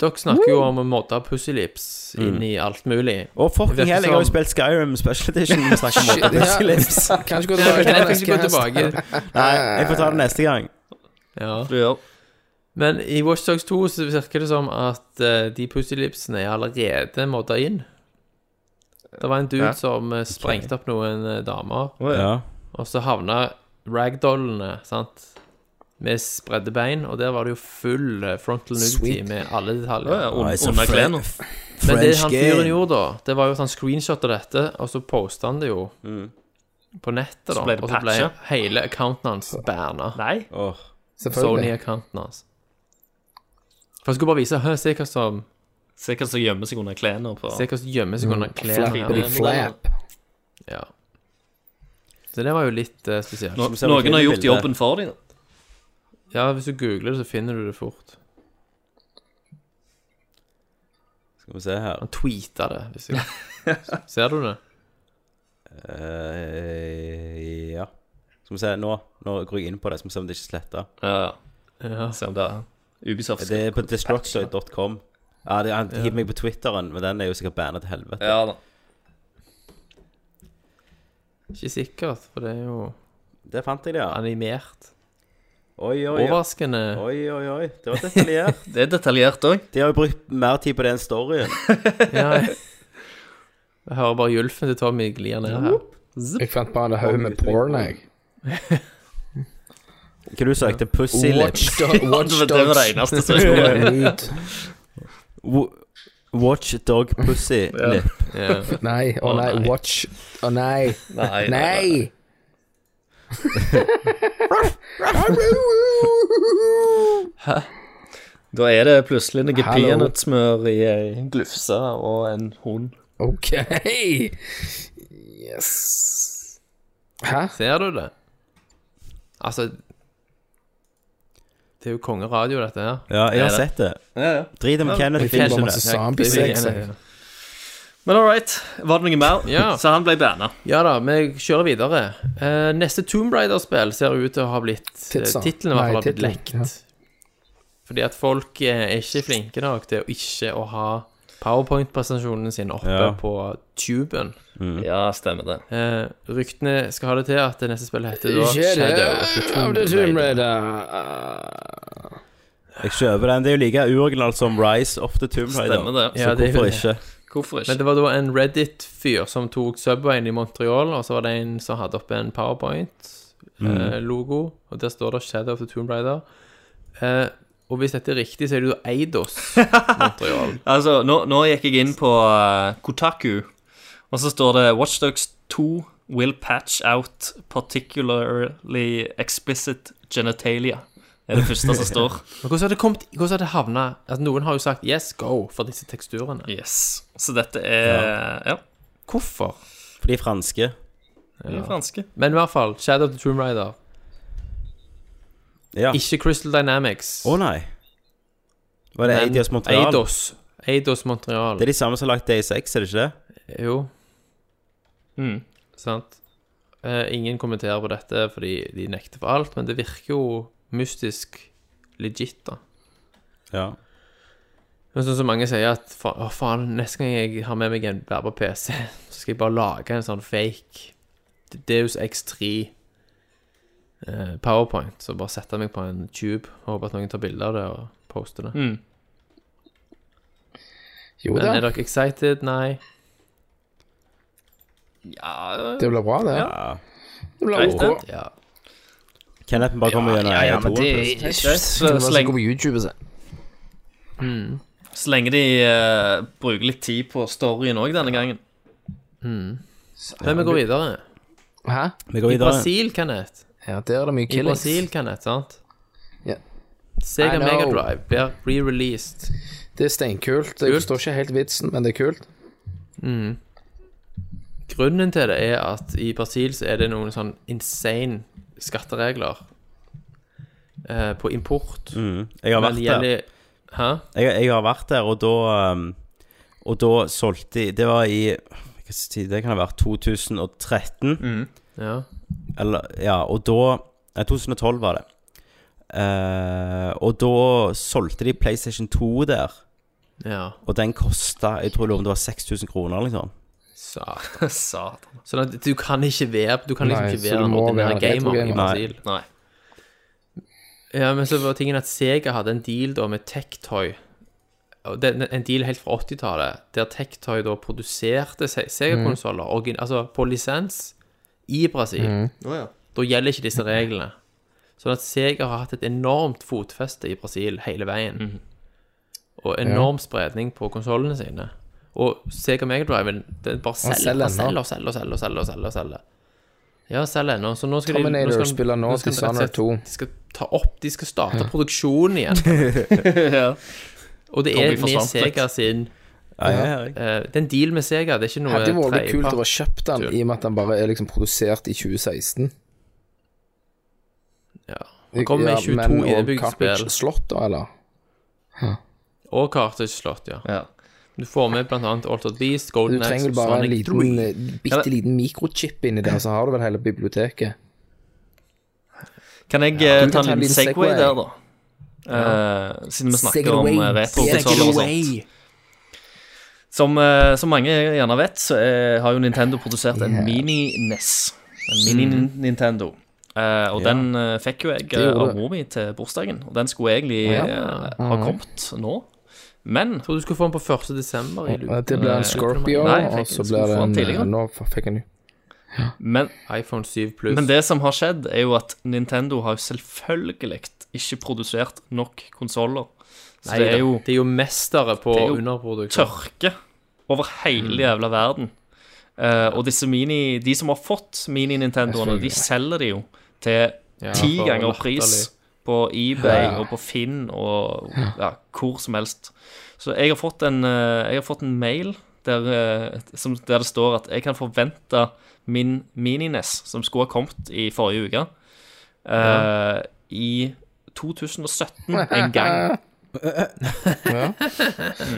dere snakker jo om å modde Pussylips Mm. inn i alt mulig. Og fucking Virker hell, jeg har jo som- sånn- spilt Skyrim Special Edition. Vi snakker om Shit, åtte ja. pussellips. Kan ikke gå Nei, tilbake men til jeg neste tenker gå hest. tilbake. Nei, jeg får ta det neste gang. Ja. Du gjør. Men i Watch Dogs 2 så virker det som at eh, de pussylipsene er allerede modda inn. Det var en dude som eh, sprengte opp noen eh, damer, Ja. og så havna ragdollene, sant, med spredde bein, og der var det jo full eh, frontal nudity Sweet. med alle Ja, detaljer. ja, un- Nei, så Under fre- klærne. Men det French han fyren game. gjorde da, det var jo at han screenshotta dette, og så posta han det jo på nettet, da. Mm. Så ble det og så ble patchet. hele accounten hans banna. Nei. Åh. Selvfølgelig. Sony-accounten hans. For jeg skulle bare vise Hø, se hva som Se hva som gjemmer seg under klærne. på- Se hva som gjemmer seg Mm. under klærne Flappity her. flap. Ja. Så det var jo litt eh, spesielt. Nå- ser på Noen har gjort kvinnebildet. jobben for dem. Ja, hvis du googler det, så finner du det fort. Skal vi se her Han tweeta det. Hvis jeg... Ser du det? Eh, Ja. Skal vi se, nå Nå går jeg inn på det, så skal vi se om det ikke er sletta. Ja, ja. Ja. Se om det er Ubisoft. Det er på destructoid.com. Ja, det, han hiver meg på Twitteren, men den er jo sikkert banna til helvete. Ja da. Ikke sikkert, for det er jo Det fant jeg, det, ja. animert. Oi, oi, oi. Overraskende. Oi, oi, oi. Det var detaljert. Det er detaljert òg. De har jo brukt mer tid på det enn storyen. Ja. Jeg hører bare Julfen til Tommy glir ned her. Jeg fant bare en haug med porn, jeg. Hva du søkte? Pussy lips? Watch, do watch Det var det dogs. eneste som gjorde det. Nude. Wo- Watch dog pussy lip. Ja. Nei, å nei, nei. watch Å nei. Nei, Nei! Da er det plutselig noe Hallo. peanøttsmør i ei glufse og en hund. OK! Yes. Hæ? Ser du det? Altså Det er jo kongeradio, dette her. Ja, jeg har det. sett det. Ja, ja. Drit om Kenneth Det er finner bare det. masse zombiesex. Ja, ja. Men all right, var det noe mer? Ja. Så han ble banna. Ja da, vi kjører videre. Eh, neste Tomb Raider-spill ser ut til å ha blitt eh, Titsa. Titlene i hvert fall har Nei, blitt lekt. titlen, Fordi at folk eh, er ikke flinke nok til å ikke å ha powerpoint-presentasjonene sine oppe Ja. på tuben. Mm. Ja, stemmer det. Eh, ryktene skal ha det til at det neste spillet heter da Shadow of the Shadow of the Tomb Eh, Raider. Jeg kjøper den. Det er jo like uoriginalt som Rise of the Tomb Raider. Stemmer det. Så Ja, det er jo hvorfor det. ikke? Hvorfor Men ikke? det var da en Reddit-fyr som tok Subwayen i Montreal, og så var det en som hadde oppe en Mm. PowerPoint-logo, og der står det Shadow of the Tomb Raider. Eh, og hvis dette er riktig, så er det jo Eidos Montreal. Altså, nå, nå gikk jeg inn på eh, Kotaku, og så står det Watchdogs 2 will patch out particularly explicit genitalia. Det er det første som står. Men hvordan har det kommet Hvordan har det havna altså, Noen har jo sagt 'yes, go' for disse teksturene. Yes. Så dette er Ja, Hvorfor? For de er franske. det er franske. Men i hvert fall, Shadow of the Tomb Raider. Ja. Å Ikke Crystal Dynamics. nei. Var det men Adios Montreal? Eidos. Eidos Montreal. Det er de samme som har lagt Day 6, er det ikke det? Jo. Mm. Sant. Eh, ingen kommenterer på dette fordi de nekter for alt, men det virker jo mystisk legit, da. Ja. Men sånn som mange sier at fa å faen, neste gang jeg har med meg en bærbar PC, så skal jeg bare lage en sånn fake Deus X3 eh, powerpoint, så bare sette meg på en tube og håpe at noen tar bilde av det og poster det. Mm. Jo Men er da, dere excited? Nei. Ja det blir bra, det. ja. Det blir OK. Greit, Ja. Kenneth bare kommer gjennom ja, ja, men det Eiatoren. er Det så, var så som går lenge, på YouTube og se. så lenge de eh, bruker litt tid på storyen òg denne gangen. Men vi går videre. Hæ? Vi går I videre. Brasil, Kenneth. Ja, der er det mye I killings. Brasil, Kenneth, sant? Ja. Sega I know. Mega Drive blir re-released. Det er steinkult. Jeg forstår ikke helt vitsen, men det er kult. Grunnen til det er at i Brasil så er det noen sånn insane skatteregler eh, på import. Mm. Jeg har Men vært det der. gjelder- Hæ? Jeg, jeg har vært der, og da um, Og da solgte de Det var i hva slags tid, Det kan ha vært 2013. Mm. Ja. Eller, ja, og da Nei, 2012 var det. Eh, og da solgte de PlayStation 2 der, ja. og den kosta Jeg tror det var- det var 6000 kroner, liksom. Satan. Satan. Sånn at du kan ikke være Du kan liksom Nei, ikke så være du en må være ordinær retro gamer i gamer. Brasil. Nei. Ja, men så var tingen at Sega hadde en deal da med Tech-Toy. Og det- En deal helt fra 80-tallet, der Tech-Toy da produserte Se- Sega-konsoller Mm. origin- altså på lisens i Brasil. ja. Da gjelder ikke disse reglene. Sånn at Sega har hatt et enormt fotfeste i Brasil hele veien. Og enorm spredning på konsollene sine. Og Sega Megadriven bare selger selger ennå. han selger og selger og selger. og selger, og selger, og selger. Ja, selger ennå. Så nå skal de Terminator nå skal, spiller nå skal de rett og Dishonored slett- 2. De skal ta opp De skal starte produksjonen igjen. Ja. Og det Da er med blir forsvant litt. Sega sin Ja, ja, ja. eh, Det er en deal med Sega, det er ikke noe Hadde jo vært kult å ha tredjepart. kjøpt den, i og med at den bare er liksom produsert i 2016. Ja. Han kommer med 22 innebygde spill. Slott, da, eller? Og Cartage Slott, ja. Ja. Du får med blant annet Altered Beast, Du Golden trenger Axe, vel bare en Sonic 3. liten, eh, bitte liten mikrochip inni der, så har du vel hele biblioteket. Kan jeg eh, du ta kan ta en liten Segway segway. der, da? Eh, siden vi snakker om eh, retrokonsoller og sånt. Som, eh, som mange gjerne vet, så eh, har jo Nintendo produsert en mini-NES. En mini-Nintendo. Eh, og den eh, fikk jo jeg eh, gjorde av Mm. det. Mm. mor mi til bursdagen. Og den skulle egentlig eh, ha kommet nå. Men Jeg trodde du skulle få den på 1. desember. i Eh, luke. Det blir en Scorpio, Nei, jeg fikk- og så jeg skulle blir få den det en tidligere. eh, Nå fikk jeg en ny. Men, iPhone 7 Plus. men det som har skjedd, er jo at Nintendo har jo selvfølgelig ikke produsert nok konsoller. Så det er jo det er jo mestere på Det er jo underproduksjon. tørke over hele jævla verden. Eh, og disse mini, de som har fått mini-Nintendoene, de selger de jo til ti for ganger latterlig. pris på eBay Ja. og på Finn og ja, hvor som helst. Så jeg har fått en, eh, jeg har fått en mail der, eh, som, der det står at jeg kan forvente min Mininess, som skulle ha kommet i forrige uke, eh, i 2017 en gang.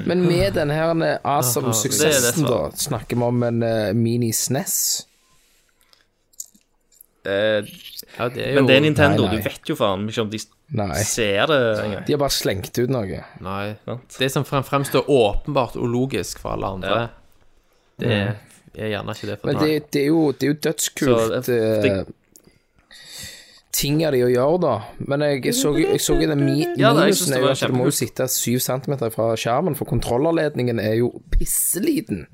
Men med den her Det er det Asam-suksessen, som- da, snakker vi om en eh, mini SNES. Eh, Ja, det er jo men det er Nintendo, Nei, nei. du vet jo faen ikke om de Nei. ser det engang. De har bare slengt ut noe. Nei. Sant? Det som frem, fremstår åpenbart ulogisk for alle andre, det er, er gjerne ikke det for Mm. Men det, det, er, jo, det er jo Så dødskult. det- det- eh, Tinga de å gjøre, da. Men jeg så, jeg så jo den mi Ja, nei, jeg minusen synes det er jo var at du må jo kjempekult. sitte 7 cm fra skjermen, for kontrollerledningen er jo pisseliten.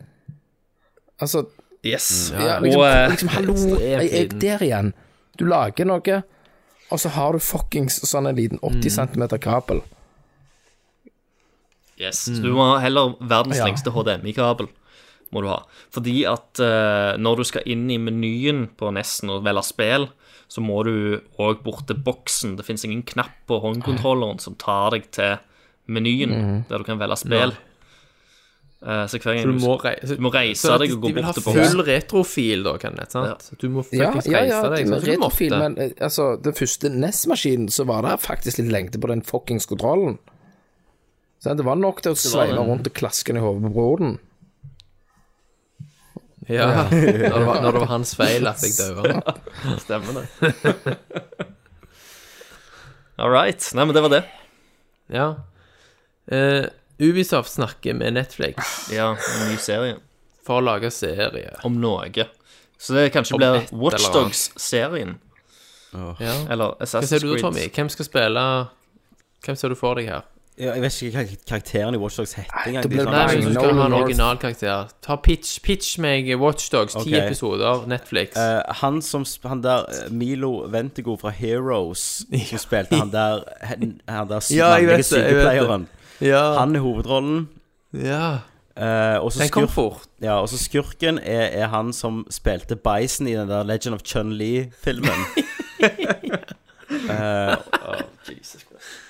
Altså Yes. Mm. ja, liksom, Og eh, liksom Hallo, jeg jeg er der igjen. Du lager noe, og så har du fuckings sånn en liten Mm. 80 cm kabel. Yes, Mm. så du må ha heller verdens Ja. lengste HDMI-kabel. må du ha. Fordi at eh, når du skal inn i menyen på Nesten og velge spill, så må du òg bort til boksen. Det fins ingen knapp på håndkontrolleren som tar deg til menyen, der du kan velge spill. Eh, så hver gang Mm. Du du, må, rei du må reise så at deg og gå de vil bort til ha boksen. full retrofil, da, Kenneth. Sant? Du må Ja, faktisk ja, reise ja. deg. Sånn, som du Retrofil, måtte. men eh, altså, den første NES-maskinen, så var det faktisk litt lengde på den fuckings kontrollen. Så det var nok til å sveive rundt og klaske den i hodet på broren. Ja. når, det var, når det var hans feil at jeg døde. Stemmer det. All right. Nei, men det var det. Ja. Eh, Ubisoft snakker med Netflix Ja, en ny serie for å lage serie. om noe. Så det kanskje Om blir et eller annet. Watchdogs-serien. Ja. Eller Hva ser Assassin's du da, Tommy? Creed. Hvem skal spille Hvem ser du for deg her? Ja, jeg vet ikke hva karakteren i Watchdogs heter engang. liksom. det De ble sa- Nei, men du Nolan skal ha en North. originalkarakter. Ta pitch, pitch meg Watchdogs, ti Ok. episoder, Netflix. Eh, han som sp- Han der eh, Milo Ventego fra Heroes, som spilte han der Han, han der sy- Ja, jeg mannlige vet det, jeg vet sykepleieren. det. ja. Han er hovedrollen. ja. eh, og så Den kom skurk, fort. ja, og så skurken er, er han som spilte Bison i den der Legend of Chun-Li-filmen. Eh,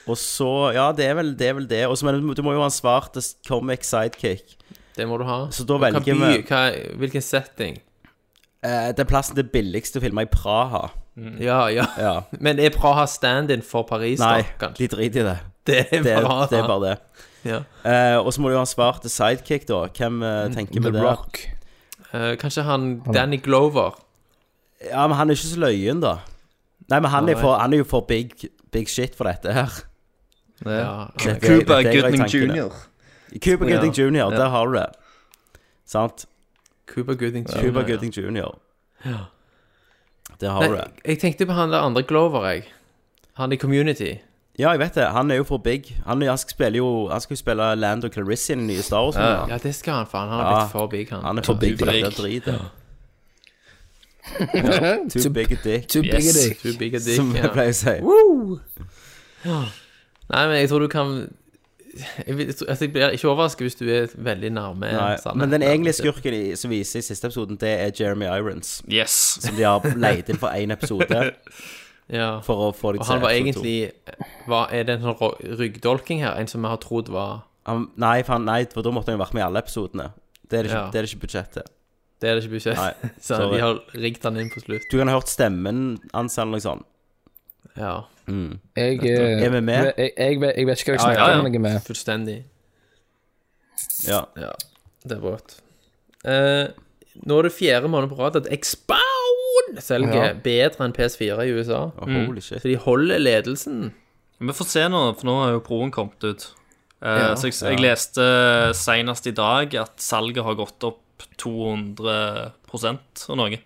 og så Ja, det er vel det. Er vel det. Og så men du må jo ha en svart comic sidekick. Det må du ha. Så da Og hva velger by, vi- hva, Hvilken setting? Eh, den plassen det er billigst å filme i Praha. Ja, ja. Ja. Men er Praha stand-in for Paris, Nei, da? Kanskje? de driter i det. Det er Det, Praha. det er bare det. Ja. Mm, Eh, og så må du jo ha en svart sidekick, da. Hvem eh, tenker vi The det? Rock. Eh, kanskje han Danny Glover. Ja, men han er ikke så løyen, da. Nei, men han, er, Nei. for, han er jo for big, big shit for dette her. Ja. Dette er- Cooper dette er Gooding jeg tenker det. Jr. Cooper Gooding Ja. Jr., der har du det. Sant? Cooper Gooding. Jr. Cooper Gooding Jr. Ja. Der har Nei, du det. jeg tenkte på han der andre Glover, jeg. Han i Community. Ja, jeg vet det. Han er jo for big. Han, han skal spille jo Han skal jo spille Land og Clarissa i den nye Star Wars-filmen. Ja, det skal han, faen. Han har Ja. blitt for big, han. Han er for big for big. dette dritet. Too big a dick, Too big a Yes. dick. Too big a dick. som ja. jeg pleier å si. Nei, men jeg tror du kan Jeg, vil- jeg tror- altså, jeg blir ikke overrasket hvis du er veldig nærme Nei, sannheten. men den egentlige skurken i- som viser i siste episoden, det er Jeremy Irons. Yes. Som de har leid inn for én episode Ja. for å få dem Og til han var episode to. egentlig hva, Er det en sånn ro- ryggdolking her? En som vi har trodd var Han- Nei, for han, nei, for da måtte han jo vært med i alle episodene. Det er det ikke, Ja. det er det ikke budsjett til. Det er det ikke budsjett. Nei, Så sorry. de har rigget han inn på slutt. Du kan ha hørt stemmen liksom. hans eller noe sånt. Ja, Jeg, eh, Er vi med? Jeg, jeg, vet- jeg vet ikke hva jeg snakker ja, ja. om. Jeg er med. fullstendig. Ja. Ja, det er rått. Eh, nå er det fjerde måned på rad at Expound selger Ja. bedre enn PS4 i USA. Å, holy shit. Så de holder ledelsen. Vi får se nå, for nå har jo proen kommet ut. Eh, Ja, så jeg, jeg leste senest i dag at salget har gått opp 200 og noe.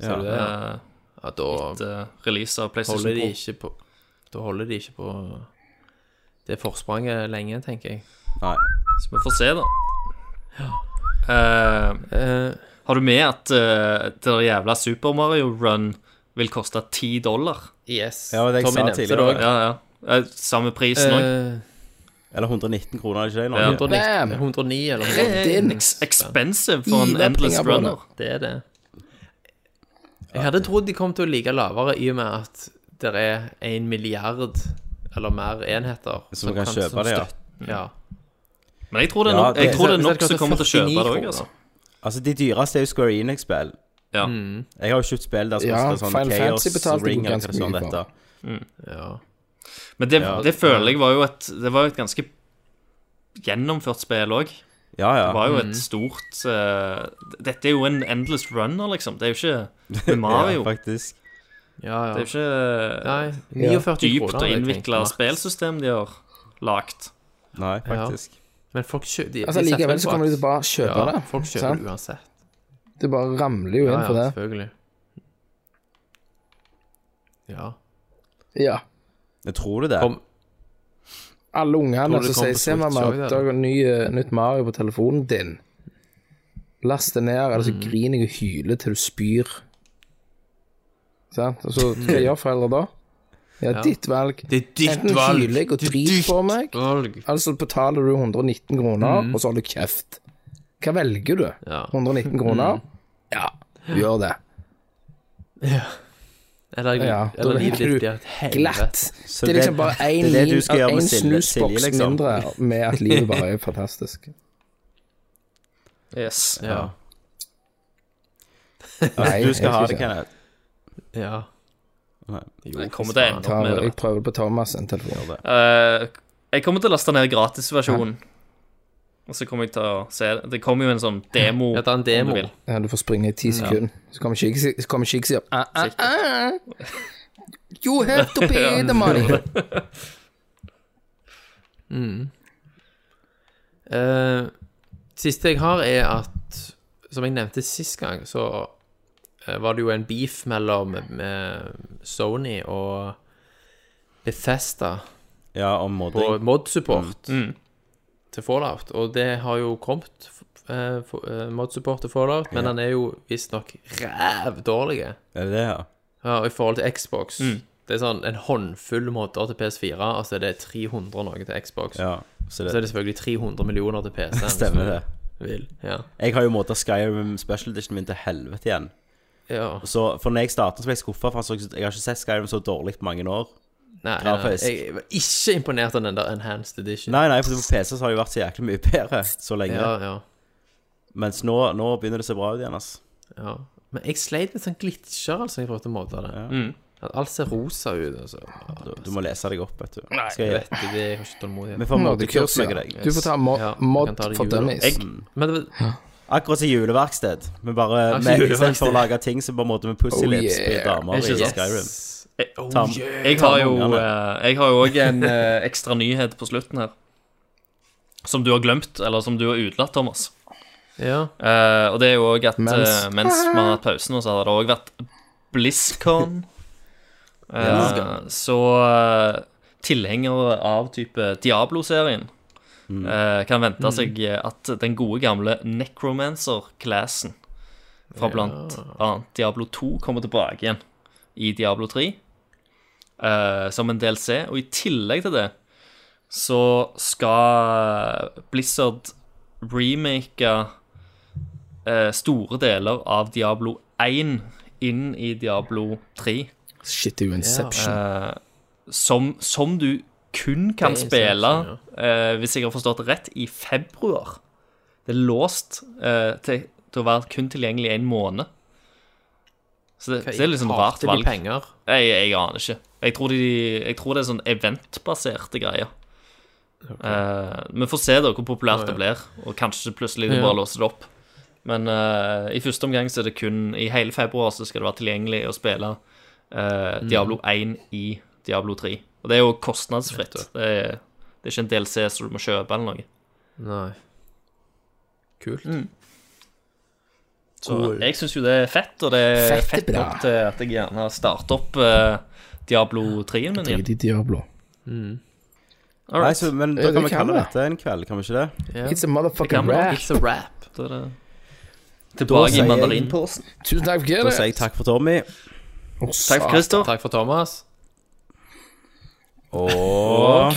Ser du det? eh, Ja, da Etter release av PlayStation holder de Pro. ikke på Da holder de ikke på det forspranget lenge, tenker jeg. Nei. Så vi får se, da. Eh, Eh, har du med at eh, det jævla Super Mario Run vil koste 10 dollar? yes. Ja, det var det jeg Tommy sa nevnte det tidligere. også. Ja, ja. Eh, Samme prisen òg. Eh, Eller 119 kroner, er det ikke det? i Ja. Norge? 119, Bam! 109 eller Rett inn. Expensive for en Gi meg Endless penger på Runner. noe. Det er det. Jeg hadde trodd de kom til å ligge lavere i og med at der er en milliard eller mer enheter Som kan kjøpe som det, ja. støt- ja. Men jeg tror det er Ja, nok, jeg det- tror det er Hvis det nok som koster kommer til å kjøpe det 49 òg. Altså. kroner. Altså, de dyreste er jo Square Enix-spill. Ja. Jeg har jo kjøpt spill der som Mm. Ja, koster sånn Final Chaos Fantasy betalte Ring jo eller hva ganske sånt mye for. dette. ja. Men det, Ja. det føler jeg var jo et Det var jo et ganske gjennomført spill òg. Ja, Det ja. var jo et stort eh, Dette er jo en endless runner, liksom. Det er jo ikke det er Mario. Ja, faktisk. ja, ja. det er jo ikke Nei, 49 dypt kroner. og hadde jeg tenkt, innvikla Max. spillsystem de har lagt. Nei, faktisk. Men folk kjø de, Altså, de setter likevel jo så på kommer de til at- bare å kjøpe ja, det. Folk kjøper sant? det uansett. Det bare ramler jo Ja, inn ja, på det. selvfølgelig. Ja. Ja. Jeg tror du det? Kom, Alle Tror ungene du det som sier kommer på 'Se meg, Switch også, Mark, det, det er ny, nytt Mario på telefonen din'. Last det ned, eller så griner jeg og hyler til du spyr. Sant? Og så hva gjør foreldre da? Ja, ditt valg. det er ditt Enten valg. hyler jeg og Det er driter ditt på meg. valg. Altså betaler du 119 kroner, og så har du kjeft. Hva velger du? Ja. 119 kroner? Ja, du gjør det. Eller, Ja, da eller livet velger du ditt blir et helvete. Glatt. Så Det er liksom bare én det er det du skal gjøre med Silje- Silje, snusboks liksom. mindre med at livet bare er fantastisk. Yes. Ja. Nei, Du skal jeg ha ikke det, si Kenneth. ja. Nei. Jo, Jeg kommer til å ende Ta, opp med det. jeg prøver på Thomas en telefon. Eh, jeg kommer til å laste ned gratisversjonen. Og så kommer jeg til å se det. Det kommer jo en sånn demo. Ja, det er en om du demo. vil. Ja, du får springe i ti sekunder. Så kommer Shiggy så kommer Shiggy og sier ah, ah, ah. You have to pay the money. Eh, siste jeg har, er at Som jeg nevnte sist gang, så eh, var det jo en beef mellom eh, med Sony og Bethesda Ja, om på modding. mod-support Mm, til Fallout. Og det har jo kommet, eh, for- eh, mod-support til Fallout, men den er jo visstnok rævdårlig. Er det det, ja? Ja, og i forhold til Xbox. Mm. Det er sånn en håndfull modder til PS4, og så er det 300 og noe til Xbox. Ja, så Så er det det selvfølgelig 300 millioner til PC. hvis stemmer, du det. Vil. Ja. Jeg har jo modda Skyrim Special Edition min til helvete igjen. ja. Så, for når jeg startet, så ble jeg skuffa, for han så, jeg har ikke sett Skyrim så dårlig på mange år. Nei, nei, nei, Grafisk. jeg var ikke imponert av den der Enhanced Edition. Nei, nei, for på PC så har det jo vært så jæklig mye bedre så lenge. Ja, ja, Mens nå, nå begynner det å se bra ut igjen, ass. ja. Men jeg sleit med sånn glitcher, altså, i forhold til modder. det. At alt ser rosa ut, altså. Du, du må lese deg opp, vet du. Skal Jeg jeg, vet det, det jeg har ikke tålmodighet. vi får Moddekurs, moddekurs med ja. deg. Du får ta mod, Ja, vi mod kan ta det i for jula. dummies. Jeg, Men det var Akkurat som juleverksted. Vi bare Akkurat med, I juleverksted. stedet for å lage ting, så bare måtte vi pussy Oh, lips yeah. Oh, på damer i Ikke sant? Skyrim. yes. jeg, Tam. jeg har jo Ungene. eh, Jeg har jo òg en eh, ekstra nyhet på slutten her. Som du har glemt, eller som du har utelatt, Thomas. Ja. Eh, og det er jo òg at mens. Mens. mens vi har hatt pausen, nå, så har det òg vært BlizzCon. Eh, så eh, tilhengere av type Diablo-serien eh, kan vente seg eh, at den gode gamle Necromancer-classen fra blant annet Diablo 2 kommer tilbake igjen i Diablo 3 eh, som en DLC. Og i tillegg til det så skal Blizzard remake eh, store deler av Diablo 1 inn i Diablo 3. Shit, det er jo Inception. Som, som du kun kan Det er spille, sant, eh, hvis jeg har forstått det rett, i februar. Det er låst eh, til, til å være kun tilgjengelig i en måned. Så det, så det er litt sånn rart Hater de valg. penger. Jeg, jeg aner ikke. Jeg tror, de, jeg tror det er sånn eventbaserte greier. Eh, vi får se da hvor populært det blir, og kanskje plutselig de bare låser det opp. Men eh, i første omgang så er det kun I hele februar så skal det være tilgjengelig å spille eh, Mm. Diablo 1 i Diablo 3. Og det er jo kostnadsfritt. Det er, det er ikke en DLC som du må kjøpe eller noe. Nei. Kult. Mm. Så jeg syns jo det er fett, og det er Fett er fett, bra. nok til at jeg gjerne starter opp eh, Diablo 3-en min igjen. Drit i Diablo. All Nei, right. så, men Ja, da kan det vi kan kalle vi. dette en kveld, kan vi ikke det? Ja. It's a motherfucking Det kan man rap. It's a rap. Da er det Da tilbake sier i jeg- mandarinposen. Tusen takk for det. Da sier jeg takk for Tommy. Takk for Christer. Takk for Thomas. Og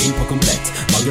Inn på komplett, mange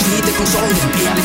Sliter konsollen, ærlig